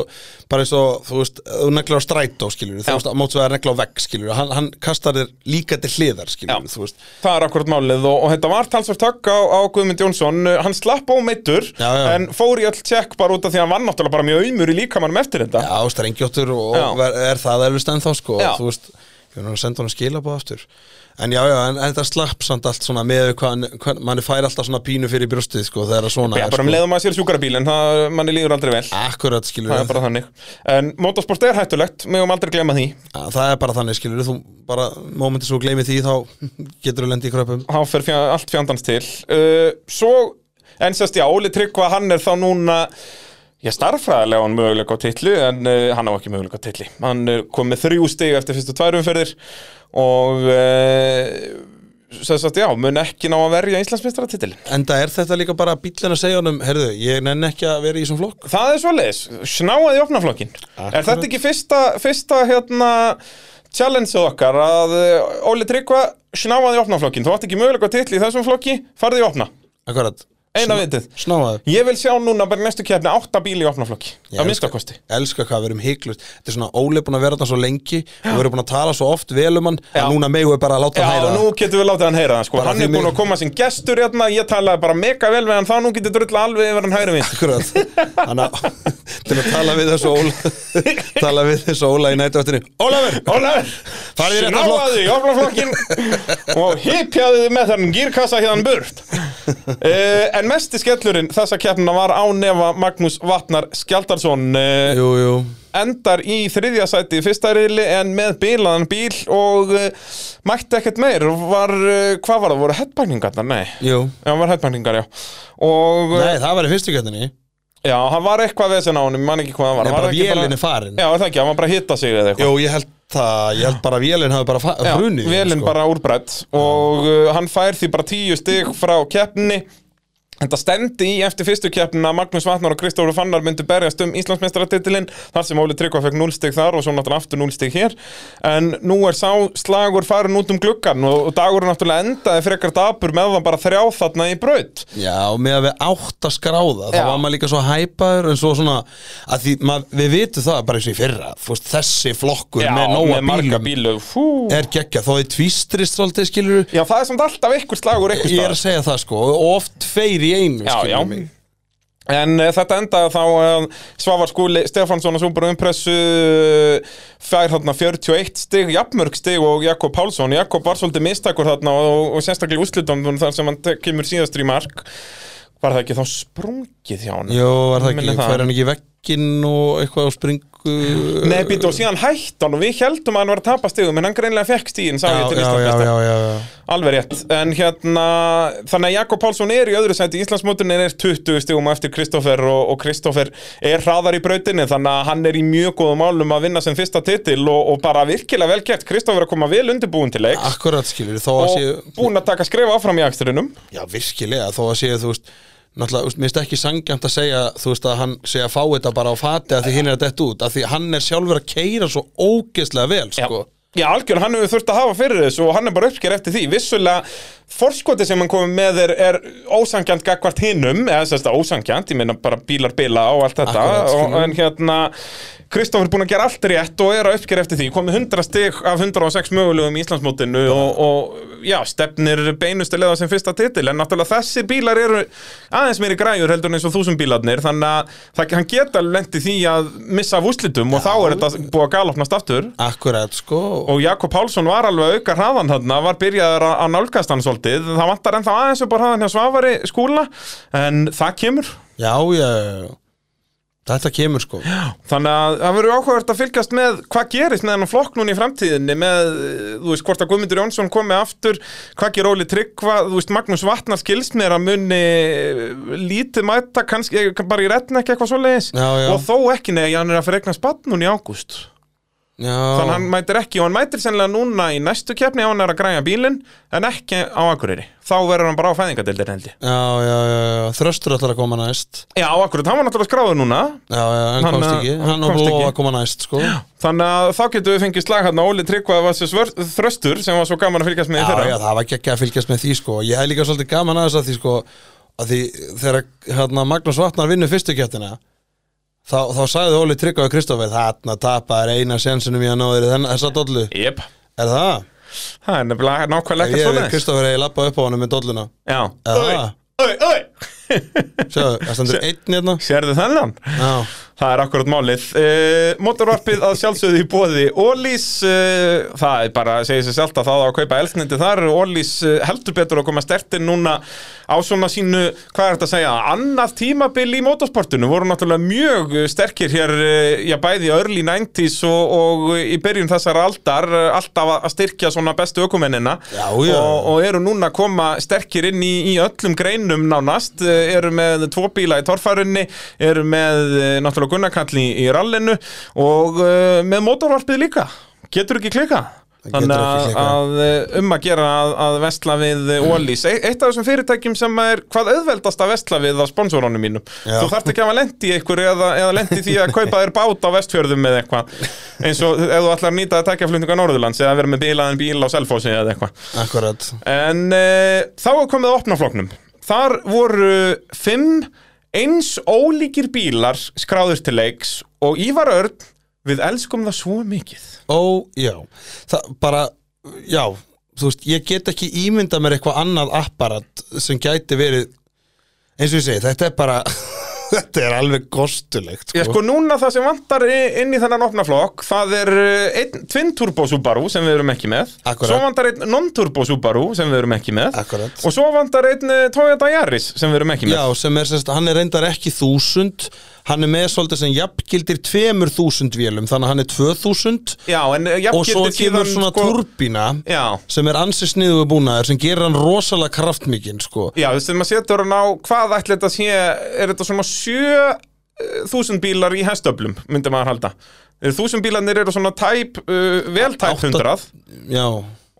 Speaker 2: bara eins og þú veist, þú neglar á strætó skilur þú veist, mótsvegar neglar á vegg skilur hann, hann kastar þér líka til hliðar skilur
Speaker 3: Já.
Speaker 2: þú veist,
Speaker 3: Það er akkurat málið og, og þetta var talsvert högg á, á Guðmund Jónsson Uh, Hann slapp ómeittur
Speaker 2: Já, já.
Speaker 3: en fór í öll tjekk bara út af því að hann var náttúrulega bara mjög auðmur í líkamannum eftir þetta
Speaker 2: já, strengjóttur og
Speaker 3: Já.
Speaker 2: og er, er það erfist ennþá sko,
Speaker 3: Já.
Speaker 2: og þú veist, ég er að senda hann skilabóð aftur en já, já, en, en þetta slapp samt allt svona með hvað, hann- hvað mann fær alltaf svona pínu fyrir brjóstið sko, þegar það svona
Speaker 3: Já,
Speaker 2: er
Speaker 3: bara um
Speaker 2: sko.
Speaker 3: leiðum að sér sjúkarabílinn, það manni líður aldrei vel
Speaker 2: akkurat skilur
Speaker 3: Það er bara þannig En motorsport er hættulegt, megum aldrei glemma því
Speaker 2: það er bara þannig skilur þú bara, mómentið svo gleymi því þá getur þú lendi í kröpum
Speaker 3: Há fer fjö, allt fjandans til uh, Svo, en sérst já, Óli Tryggva, hann er þá núna Ég starffræðilega á hann möguleika á titli En uh, hann á ekki möguleika á titli Hann er kom með þrjú stig eftir fyrstu tværumferðir Og uh, Sérst já, mun ekki ná að verja Íslandsmeistaratitil
Speaker 2: Enda er þetta líka bara bíllinn að segja honum Herðu, ég nenn ekki að vera í þessum flokk
Speaker 3: Það er svoleiðis, snáaði í opnaflokkin Er þetta ekki fyrsta, fyrsta hérna, challengeð okkar að eh, Óli Tryggva snáaði í opnaflokkin Þú átt ekki möguleika titli í þessum flokki, farði í opna
Speaker 2: Akkurat
Speaker 3: Eina vitið
Speaker 2: Snáðaðu
Speaker 3: Ég vil sjá núna bara í næstu keppni átta bíl í opnaflokki Á minnstakosti
Speaker 2: Elskar hvað, við erum hygglust Þetta er svona Óli er búin að vera þetta svo lengi og við erum búin að tala svo oft vel um hann
Speaker 3: Já.
Speaker 2: að núna megu er bara að láta
Speaker 3: Já,
Speaker 2: hann heyra
Speaker 3: nú getum við látið hann heyra það sko.
Speaker 2: Bara
Speaker 3: Hann
Speaker 2: því
Speaker 3: er búinn
Speaker 2: mig-
Speaker 3: að koma sem gestur hérna Ég talaði bara mega vel við hann þá Nú getur drulla alveg yfir hann hægri vinn
Speaker 2: Akkurat Þannig að til að tala við þessu Óla tala við þessu Óla í nættuvættinu Ólafur
Speaker 3: Ólafur,
Speaker 2: Farðu í réttan flokk.
Speaker 3: snáðaðu í ofnaflokkin og hipjaðu þið með þann gírkassa hérna burt uh, En mesti skellurinn þessa keppna var ánefa Magnús Vatnar Skjaldarsson uh,
Speaker 2: Jú, jú
Speaker 3: endar í þriðja sæti í fyrsta riðli en með bilaðan bíl og uh, mætti ekkert meir og var, uh, hvað var það, voru headbæningarnar? Nei,
Speaker 2: Jú
Speaker 3: já, var headbæningar, já og eh,
Speaker 2: Nei, það var í fyrstu gættinni Nei,
Speaker 3: já, hann var eitthvað vesen á honum, ég man ekki hvað það var Hann
Speaker 2: bara
Speaker 3: var ekki
Speaker 2: vélinn er farin
Speaker 3: Já, er það ekki, hann var bara að hitta sig eða eitthvað
Speaker 2: Jú, ég held það Ég held bara að vélinn hafi bara fa-
Speaker 3: Já,
Speaker 2: hrunið sko.
Speaker 3: Vélinn bara úrbrætt og uh, hann fær því bara tíu stig frá keppni Þetta stendi í eftir fyrstu keppnina að Magnús Vatnar og Kristófur Fannar myndu berjast um Íslandsmeistaratitilinn þar sem Óli Tryggva fekk 0 stig þar og svo náttúrulega aftur 0 stig hér en nú er sá slagur farin út um gluggan og, og dagur náttúrulega endaði frekar dapur með það bara þrjá þarna í braut
Speaker 2: Já, með að við átt að skráða þá
Speaker 3: Já.
Speaker 2: var maður líka svo hæpaður en svo svona að því, mað, við vitum það bara eins og í fyrra þú veist, þessi flokkur
Speaker 3: Já,
Speaker 2: með nóa Eh.
Speaker 3: með marga
Speaker 2: bílum
Speaker 3: bílu Fú.
Speaker 2: er geggja, þó þið tvístrist svolítið skilur
Speaker 3: Já, það er samt alltaf ykkur slagur ykkur
Speaker 2: ég er að segja það sko, og oft tveir í einu
Speaker 3: Já,
Speaker 2: skilurðu
Speaker 3: já.
Speaker 2: mig.
Speaker 3: En uh, þetta endaði þá uh, Svavar Skúli Stefansson og Súbara Umpressu uh, fær þarna 41 stig, jafnmörg stig og Jakob Pálsson. Jakob var svolítið mistakur þarna og, og sérstaklega úslutum þar sem hann te- kemur síðast í mark. Var það ekki þá sprungið hjá hann?
Speaker 2: Jó, var það
Speaker 3: Minni
Speaker 2: ekki,
Speaker 3: það.
Speaker 2: fær hann ekki í vegginn og eitthvað á springu
Speaker 3: Nei, býttu og síðan hætti hann og við heldum að hann var að tapa stigum en hann greinlega fekk stíðin, sá
Speaker 2: já,
Speaker 3: ég til
Speaker 2: já, já,
Speaker 3: Íslandsmeistara.
Speaker 2: já, já, já.
Speaker 3: Alveg rétt, en hérna þannig að Jakob Pálsson er í öðru sæti Íslandsmótin er 20 stigum á eftir Kristoffer og, og Kristoffer er hraðar í brautinni þannig að hann er í mjög góðum álum að vinna sem fyrsta titil og, og bara virkilega vel gert Kristoffer er að koma vel undirbúin til leiks
Speaker 2: Akkurat skilur, þó að séu
Speaker 3: og búin að taka skrifa áfram í akstrinum
Speaker 2: Já, virkilega, þó að séu, þú veist Náttúrulega, þú veist, mér finnst ekki sangjant að segja þú veist, að hann segja að fá þetta bara á fati að því hinn er að detta út, að því hann er sjálfur að keira svo ógeðslega vel,
Speaker 3: Já,
Speaker 2: sko
Speaker 3: já algjörn, hann hefur þurft að hafa fyrir þessu og hann er bara uppsker eftir því Vissulega, forskoti sem hann komið með er, er ósangjant gagvart hinnum eða þess að ósangjant, ég meina bara bílar bila og allt þetta
Speaker 2: Akkurat,
Speaker 3: og,
Speaker 2: skilur.
Speaker 3: En hérna, Kristofur er búin að gera allt rétt og er að uppsker eftir því Komið 100 stig af 106 mögulegum í Íslandsmótinu og, og já, stefnir beinustu leða sem fyrsta titil En náttúrulega þessir bílar eru aðeins meiri græjur heldur en eins og þúsund bílarnir Þannig að það, hann geta lendi því að missa af úslitum og þá er þetta búið að galopnast aftur
Speaker 2: Akkurat, sko
Speaker 3: og Jakob Pálsson var alveg að auka hraðan þarna, var byrjaður að að nálgast hann svolítið, það vantar ennþá aðeins upp á hraðan hjá Svavari skúla, en það kemur
Speaker 2: Já, já, já, já. þetta kemur, sko Já,
Speaker 3: þannig að það verður áhugavert að fylgjast með hvað gerist með hennan flokk núna í framtíðinni með, eh, þú veist, hvort að Guðmundur Jónsson komi aftur, hvað ger Óli Tryggva þú veist, Magnús Vatnar skils mér að munni eh, lítið mæta kannski, eh, bara í retna ekki eitthvað svoleiðis
Speaker 2: Já, já.
Speaker 3: og þó ekki nei, hann er að fyrir eignast barn núna í ágúst Þannig að hann mætir ekki og hann mætir sennilega núna í næstu keppni á hann er að græja bílinn en ekki á Akureyri. Þá verður hann bara á fæðingadeildin held ég.
Speaker 2: já, já, já, já, þröstur ætlar að koma næst
Speaker 3: Já, á Akureyri, hann var náttúrulega skráður núna
Speaker 2: Já, já, hann,
Speaker 3: Hann,
Speaker 2: komst
Speaker 3: uh,
Speaker 2: ekki,
Speaker 3: hann
Speaker 2: hann og
Speaker 3: komst
Speaker 2: blóa
Speaker 3: ekki.
Speaker 2: að koma næst, sko Já,
Speaker 3: þannig að þá getum við fengið slag hérna Óli Tryggvað var sér svör, þröstur sem var svo gaman að fylgjast með í
Speaker 2: já,
Speaker 3: þeirra.
Speaker 2: já, það var geggja að fylgjast með því sko Ég hef líka svolítið gaman að þess að því sko að því þegar hérna, Magnús Vatnar vinnur fyrstu kettina þá, þá sagði Óli Tryggva og Kristoffer þarna tapaðir eina sensinum í að ná þér í þennan- þessa dollu,
Speaker 3: Jep,
Speaker 2: er það?
Speaker 3: það er nefnilega
Speaker 2: Ef
Speaker 3: nákvæmlega ekkert
Speaker 2: ég
Speaker 3: svona
Speaker 2: er Kristoffer eða ég lappa upp á honum með dolluna
Speaker 3: Já.
Speaker 2: Aha.
Speaker 3: Oi, oi, oi.
Speaker 2: Sjáðu, það stendur einn hérna
Speaker 3: Sérðu þennan?
Speaker 2: Já,
Speaker 3: Það er akkurat málið. Uh, Motorvarpið að sjálfsögðu í bóði Ólís, uh, það er bara, segir sér sjálft að það á að kaupa elsnindi þar. Ólís uh, heldur betur að koma stertinn núna á svona sínu, hvað er þetta að segja, annað tímabil í motorsportinu. Voru náttúrulega mjög uh, sterkir hér, uh, já bæði í early 90s og, og í byrjun þessar aldar, uh, alltaf að styrkja svona bestu ökumennina.
Speaker 2: Já, já.
Speaker 3: Og, og eru núna að koma sterkir inn í, í öllum greinum nánast, eh, eru með tvo bíla í torfærunni, eru með eh, náttúrulega Gunnarkalli í rallinu og uh, með mótorvarpið líka getur ekki klika
Speaker 2: Það getur
Speaker 3: Þannig
Speaker 2: ekki
Speaker 3: að,
Speaker 2: klikkað.
Speaker 3: að eh, um að gera að, að vestla við Ólís Eitt af þessum fyrirtækjum sem er hvað auðveldast að vestla við á sponsorunum mínum
Speaker 2: Já.
Speaker 3: Þú þarft ekki að hafa lent í einhverju eða, eða lent í því að kaupa þér bát á vestfjörðum eða eitthvað eins og ef þú ætlar að nýta að tekja flutninga Norðurlands eða vera með bílaðan bíl á Selfossi eða eitthvað
Speaker 2: akkurat
Speaker 3: En uh, þá er komið að opna floknum Þar voru fimm eins ólíkir bílar skráður til leiks og Ívar Örn við elskum það svo mikið
Speaker 2: Ó, já, það bara, já, þú veist, ég get ekki ímynda mér eitthvað annað apparat sem gæti verið, eins og ég segi, þetta er bara, þetta er alveg kostulegt,
Speaker 3: Já sko núna það sem vantar i- inn í þennan opna flokk það er eh, einn twin-turbo Subaru sem við erum ekki með
Speaker 2: Akkurat.
Speaker 3: Svo vantar einn non-turbo Subaru sem við erum ekki með
Speaker 2: Akkurat.
Speaker 3: Og svo vantar einn eh, Toyota Yaris sem við erum ekki með
Speaker 2: Já, sem er, sérst, hann er reyndar ekki þúsund, hann er með svolítið sem jafngildir tveimur þúsund vélum, þannig að hann er tvö þúsund
Speaker 3: Já en eh, jafn
Speaker 2: og svo
Speaker 3: gildir
Speaker 2: kemur
Speaker 3: síðan, sko-
Speaker 2: svona turbína
Speaker 3: Já
Speaker 2: sem er ansi sniðugu búnaður sem gerir hann rosalega kraftmikinn, sko.
Speaker 3: Já, þess að maður setur hann á hvað ætli þetta sé, er þetta svona 7000 bílar í hestöflum myndi maður halda 1000 bílarnir eru svona tæp, uh, eh, vel tæp
Speaker 2: Átta-
Speaker 3: 100
Speaker 2: Já,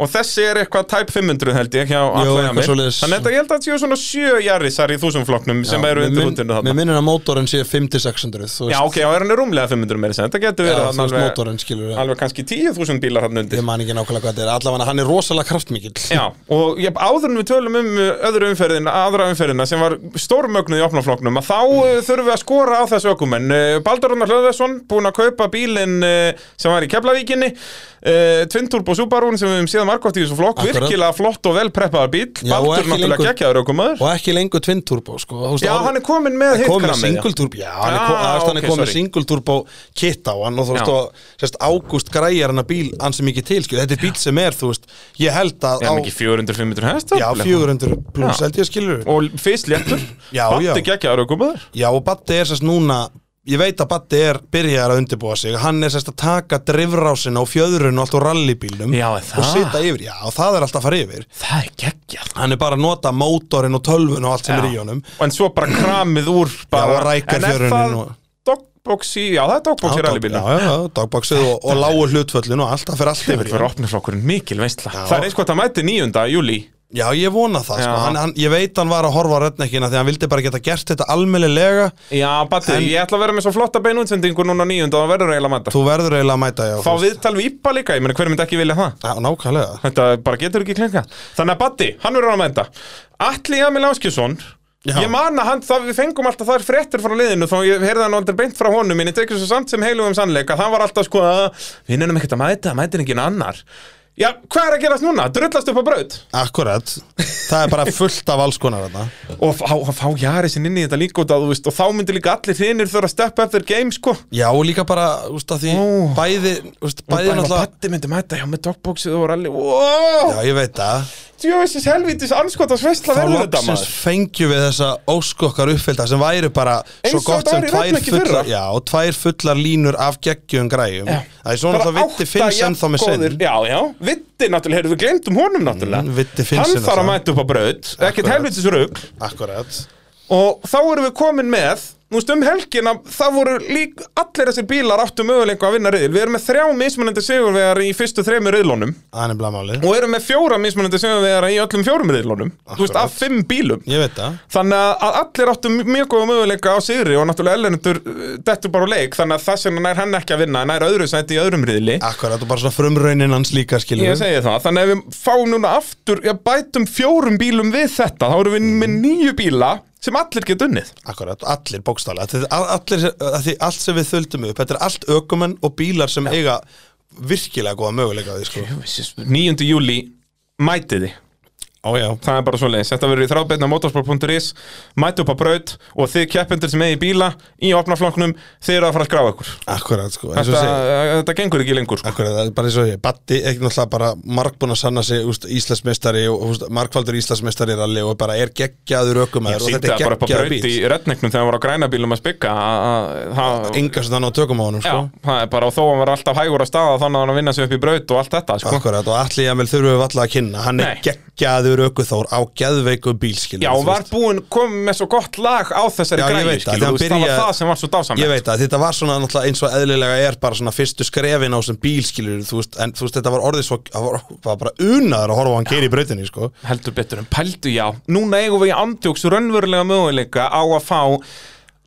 Speaker 3: og þessi er eitthvað type 500 held ég hjá
Speaker 2: Jú,
Speaker 3: Atla Jamir
Speaker 2: eitthvað svoleiðis.
Speaker 3: þannig að þetta- ég held að þetta séu svona sjö jarrisar í þúsumflokknum sem eru undir hundinu
Speaker 2: Mér
Speaker 3: þarna
Speaker 2: minnir að mótorinn sé 5-600 þú veist.
Speaker 3: Já, ok, já, er hann er rúmlega 500 meira sem þetta getur
Speaker 2: Já,
Speaker 3: verið
Speaker 2: þú
Speaker 3: þarna
Speaker 2: veist
Speaker 3: alveg,
Speaker 2: mótorinn skilur við
Speaker 3: alveg kannski 10.000 bílar hann undir
Speaker 2: Ég man ekki nákvæmlega hvað þetta er Allavega hann er rosalega kraftmikill
Speaker 3: Já, og ég, áður en við tölum um uh, öðru umferðina, aðra umferðina sem var stórmögnuð í opnafloknum að þá uh, þurfum við að skora á þessu ökumenn uh, Baldur Rúnar Hlöðvesson, búinn að kaupa bílinn uh, sem var í Keflavíkinni uh, Twinturbo Subaru sem við höfum séð margótt í þessu flokk,
Speaker 2: Akkurat.
Speaker 3: virkilega flott og vel preppaðar bíl,
Speaker 2: Já, og
Speaker 3: Baldur
Speaker 2: ekki
Speaker 3: náttúrulega
Speaker 2: lengur-
Speaker 3: geggjaður ökumaður
Speaker 2: Og ekki lengur Twin Turbo sko. Þú veist,
Speaker 3: Já,
Speaker 2: áður-
Speaker 3: hann er kominn með
Speaker 2: hann er komið með
Speaker 3: hitkrammið, já.
Speaker 2: single turbo Já, hann er,
Speaker 3: Já,
Speaker 2: kom, ah, hann er
Speaker 3: ok,
Speaker 2: komið með
Speaker 3: sorry.
Speaker 2: single turbo kit á hann og þú veist
Speaker 3: Já.
Speaker 2: og sérst, Ágúst græjar hann að bíl hann sem ekki til, skilur, þetta er bíl sem er þú veist, ég held að á,
Speaker 3: Er hann ekki 400-500 hest?
Speaker 2: já, 400 pluss
Speaker 3: Já.
Speaker 2: held ég skilur
Speaker 3: Og fyrst léttur,
Speaker 2: Já, já.
Speaker 3: Baldur geggjaður ökumaður
Speaker 2: Já, og Batti er sérst núna ég veit að Batti er byrjaðar að undirbúa sig hann er sérst að taka drifrásina og fjöðrun og allt úr rallybílnum
Speaker 3: Já, er
Speaker 2: og
Speaker 3: það?
Speaker 2: sita yfir, já, og það er alltaf að fara yfir
Speaker 3: Það er geggjað
Speaker 2: hann er bara að nota mótorinn og tölvun og allt sem
Speaker 3: Já.
Speaker 2: er í honum
Speaker 3: En svo bara kramið úr bara,
Speaker 2: Já, og rækarfjörunin
Speaker 3: En er það
Speaker 2: og-
Speaker 3: dogbox í, já það er dogbox í rallybílum
Speaker 2: já, já, dagbaksið og, og lágu hlutföllin og allt, það fyrir allt
Speaker 3: Þetta
Speaker 2: yfir í
Speaker 3: verður
Speaker 2: hann.
Speaker 3: opnuflokkurinn mikil veistla
Speaker 2: Já.
Speaker 3: Það er eins gott að mæti 9. júli
Speaker 2: Já, ég vona það, sko.
Speaker 3: Já.
Speaker 2: hann, hann, ég veit hann var að horfa á röddnekkina því hann vildi bara geta gert þetta almennilega
Speaker 3: Já, Batti,
Speaker 2: En-
Speaker 3: ég ætla að vera með svo flotta bein útsendingu núna 9. og það verður eiginlega að mæta
Speaker 2: þú verður eiginlega að mæta já,
Speaker 3: Fá viðtal við Ípa líka, ég meina hver myndi ekki vilja það
Speaker 2: Já, nákvæmlega
Speaker 3: Þetta bara getur ekki klinga Þannig að Batti, hann verður að mæta Atli Jamil Áskjusson
Speaker 2: Já.
Speaker 3: Ég man að hann, það, við fengum alltaf þar fréttur frá liðinu þá ég heyrði hann aldrei beint frá honum en ég tekur svo samt sem heilugum sannleika það var alltaf sko að við nefnum ekkert að mæta, það mætir enginn annar Já, hvað er að gerast núna? Drullast upp á braut?
Speaker 2: Akkurat, það er bara fullt af alls konar þetta
Speaker 3: og fá, að fá Jarisinn inn í þetta líka út að þú veist og þá myndir líka allir hinnir þurfa að steppa eftir game sko
Speaker 2: Já, og líka bara, úst, að því
Speaker 3: Ó.
Speaker 2: bæði, úst, bæði náttúrulega
Speaker 3: Patti myndi mæta hjá með dogboxið og rally wow,
Speaker 2: Já, ég veit það
Speaker 3: djöfisins helvitis anskotas veistla
Speaker 2: Þá
Speaker 3: verður þetta
Speaker 2: loksins
Speaker 3: maður
Speaker 2: fengjum við þessa óskokkar uppfylta sem væri bara svo
Speaker 3: Eins og
Speaker 2: gott
Speaker 3: þetta
Speaker 2: sem
Speaker 3: var í
Speaker 2: tvær
Speaker 3: Rafnaki
Speaker 2: fullar,
Speaker 3: fyrra.
Speaker 2: já, og tvær fullar línur af geggjum græjum
Speaker 3: Já.
Speaker 2: Það er svona það vitti Finns en þá með
Speaker 3: jafngóðir-
Speaker 2: sinn
Speaker 3: Já, já, vitti náttúrulega, heyrðu við glemdum honum náttúrulega
Speaker 2: Mm, Viddi Finns
Speaker 3: Hann
Speaker 2: er
Speaker 3: þarf
Speaker 2: það.
Speaker 3: að mæta upp á braut, ekkert
Speaker 2: Akkurat.
Speaker 3: helvitis rugg
Speaker 2: Akkurat
Speaker 3: Og þá erum við komin með Nú veist, um helgina, það voru lík allir þessir bílar áttu möguleika að vinna riðil Við erum með þrjá mismunandi sigurvegar í fyrstu þremur riðlunum
Speaker 2: Það er nefnilega málið
Speaker 3: og erum með fjóra mismunandi sigurvegara í öllum fjórum riðlunum þú veist, af fimm bílum
Speaker 2: Ég veit það
Speaker 3: þannig að- að allir áttu mjög góða möguleika á sigri og náttúrulega ellendur dettur bara á leik þannig að þess vegna nær hann ekki að vinna nær öðru sæti í öðrum riðli
Speaker 2: Akkurat og bara svona frumraunin hans líka skilur
Speaker 3: ég segi það, þannig að við fáum núna aftur já, bætum fjórum bílum við þetta þá erum við með nýju bíla sem allir geta unnið
Speaker 2: Akkurat, allir bókstálega Þetta er all- allir, að Því allt sem við þöldum upp Þetta er allt ökumenn og bílar sem eiga virkilega góða möguleika á því sko
Speaker 3: 9. júli mætiði
Speaker 2: Ó já
Speaker 3: það er bara svo leiðis, þetta verður í þráðbeinna motorsport.is, mæti upp á braut og þið keppendur sem eigi bíla í opnaflokknum, þið eru að fara að skrafa ykkur
Speaker 2: Akkurat sko eins og
Speaker 3: þetta,
Speaker 2: ég segi.
Speaker 3: þetta gengur ekki lengur sko.
Speaker 2: Akkurat, það er bara eins og ég Batti, ekki náttúrulega bara markbúin að sanna sig úst, Íslandsmeistari og úst, markvaldur Íslandsmeistari ralli og bara er geggjaður ökumæður og
Speaker 3: Sýndi
Speaker 2: þetta
Speaker 3: það bara
Speaker 2: er
Speaker 3: upp á
Speaker 2: geggjaður
Speaker 3: braut í
Speaker 2: bíl
Speaker 3: retneknum þegar hann var á græna bílum að spikka að- að- það-
Speaker 2: Enga sem þannig á tökum á honum
Speaker 3: Já,
Speaker 2: sko
Speaker 3: það er bara og þó hann var alltaf hægur að staða þannig að hann að vinna sig upp í braut og allt þetta sko.
Speaker 2: Akkurat, og allir ég að vel þurfum við alltaf að kynna Hann er
Speaker 3: Nei.
Speaker 2: geggjaður ökuþór á geðveiku bílskilur
Speaker 3: Já, og var búinn komið með svo gott lag á þessari
Speaker 2: Já, ég
Speaker 3: græni
Speaker 2: veit það,
Speaker 3: skilur,
Speaker 2: hann
Speaker 3: þú veist, það var
Speaker 2: byrjaði-
Speaker 3: það sem var svo dásamlegt
Speaker 2: Ég veit að þetta var svona náttúrulega eins og eðlilega er bara svona fyrstu skrefin á sem bílskilur þú veist, en þú veist þetta var orðið svo það var, var bara unaður að horfa á hann keiri í brautinni sko.
Speaker 3: heldur betur en pældu já núna eigum við í andjóks raunverulega möguleika á að fá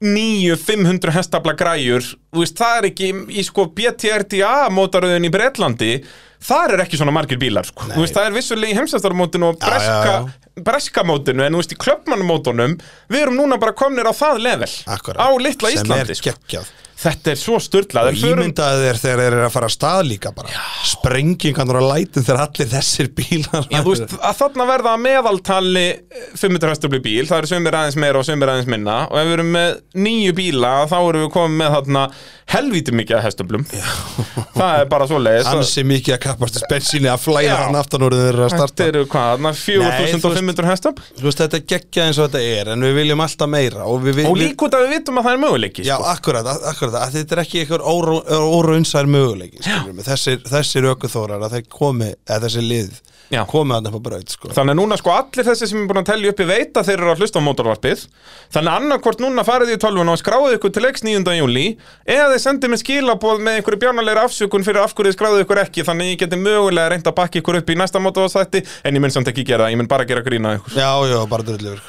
Speaker 3: nýju 500 hestafla græjur Þú veist, það er ekki í sko BTRDA mótaröðin í Bretlandi þar er ekki svona margir bílar sko. Þú veist, það er vissulega í heimsastarmótinu og breska,
Speaker 2: já,
Speaker 3: breskamótinu en þú veist, í klöppmannmótunum við erum núna bara komnir á það level
Speaker 2: Akkurat.
Speaker 3: á litla Íslandi
Speaker 2: sem
Speaker 3: sko.
Speaker 2: er geggjað
Speaker 3: þetta er svo styrlað
Speaker 2: og ímyndaði þér þegar þeir eru að fara að stað líka bara sprengingan og lætin þegar allir þessir bílar
Speaker 3: Já, þú veist, að þarna verða að meðaltali eh, 500 hestöfli bíl, það eru sömur aðeins meira og sömur aðeins minna og ef við erum með nýju bíla þá erum við komið með þarna helvíti mikið af hestöflum það er bara svo leiðis
Speaker 2: ansi mikið að kappast í bensíni að flæða
Speaker 3: Já.
Speaker 2: hann aftan úr þegar þeir eru að
Speaker 3: Þetta
Speaker 2: starta
Speaker 3: eru hvað, þarna
Speaker 2: Nei, þú
Speaker 3: 4500 hestöfl
Speaker 2: Þú veist, þetta er geggjað eins og þetta er en við viljum alltaf meira og, við,
Speaker 3: og
Speaker 2: við,
Speaker 3: líka út að við vitum að það er möguleiki
Speaker 2: Já,
Speaker 3: sko.
Speaker 2: akkurat, akkurat, þetta að þetta er ekki einhver óraunsær möguleiki skilurðu mig. þessir, þessir ökuþórar að þeir komi, eða þessi lið
Speaker 3: Já.
Speaker 2: komi að nefna braut sko.
Speaker 3: Þannig að núna sko allir þessi sem er búin að telja upp í veita þeir eru að hlusta á mótorvarpið Þannig að annarkvort núna farið í tölvuna og skráðu ykkur til leiks 9. júli eða þeir sendið mér skilaboð með einhverju bjánalegra afsökun fyrir af hverju þið skráðu ykkur ekki þannig að ég geti mögulega reynd að bakka ykkur upp í næsta mótorvarsætti en ég mun samt ekki gera það, ég mun bara gera grína ykkur
Speaker 2: já, já, bara drullur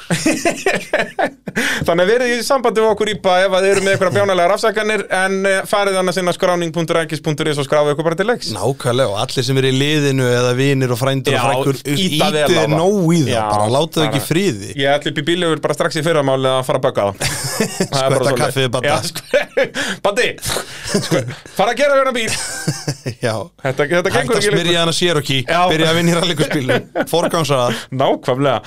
Speaker 3: Þannig að verið í sambandi við okkur ípa ef að þið eru með einhverja bjánalegar afsakanir en eh, farið annars inn á skráning.rækis.is og skráðu ykkur bara til leiks
Speaker 2: nákvæmlega og allir sem eru í liðinu eða vinir og frændur og
Speaker 3: Já,
Speaker 2: frængur
Speaker 3: ýta vel á
Speaker 2: ítið
Speaker 3: það.
Speaker 2: nóg í það,
Speaker 3: Já,
Speaker 2: bara látið það ekki
Speaker 3: bara-
Speaker 2: í friði
Speaker 3: Ég ætla upp í bílöfur bara strax í fyrramáli að fara að baka það Það er
Speaker 2: Skvetta
Speaker 3: bara svoleiðis.
Speaker 2: kaffið í Badda.
Speaker 3: Já, skve- Baddi, skve- fara að gera hérna bíl
Speaker 2: já,
Speaker 3: Þetta, þetta
Speaker 2: hægt
Speaker 3: gengur
Speaker 2: að
Speaker 3: ekki lengur.
Speaker 2: smyrja hana sér og kí
Speaker 3: Já.
Speaker 2: byrja að vinna í rallikuspílum, forgámsa það
Speaker 3: Nákvæmlega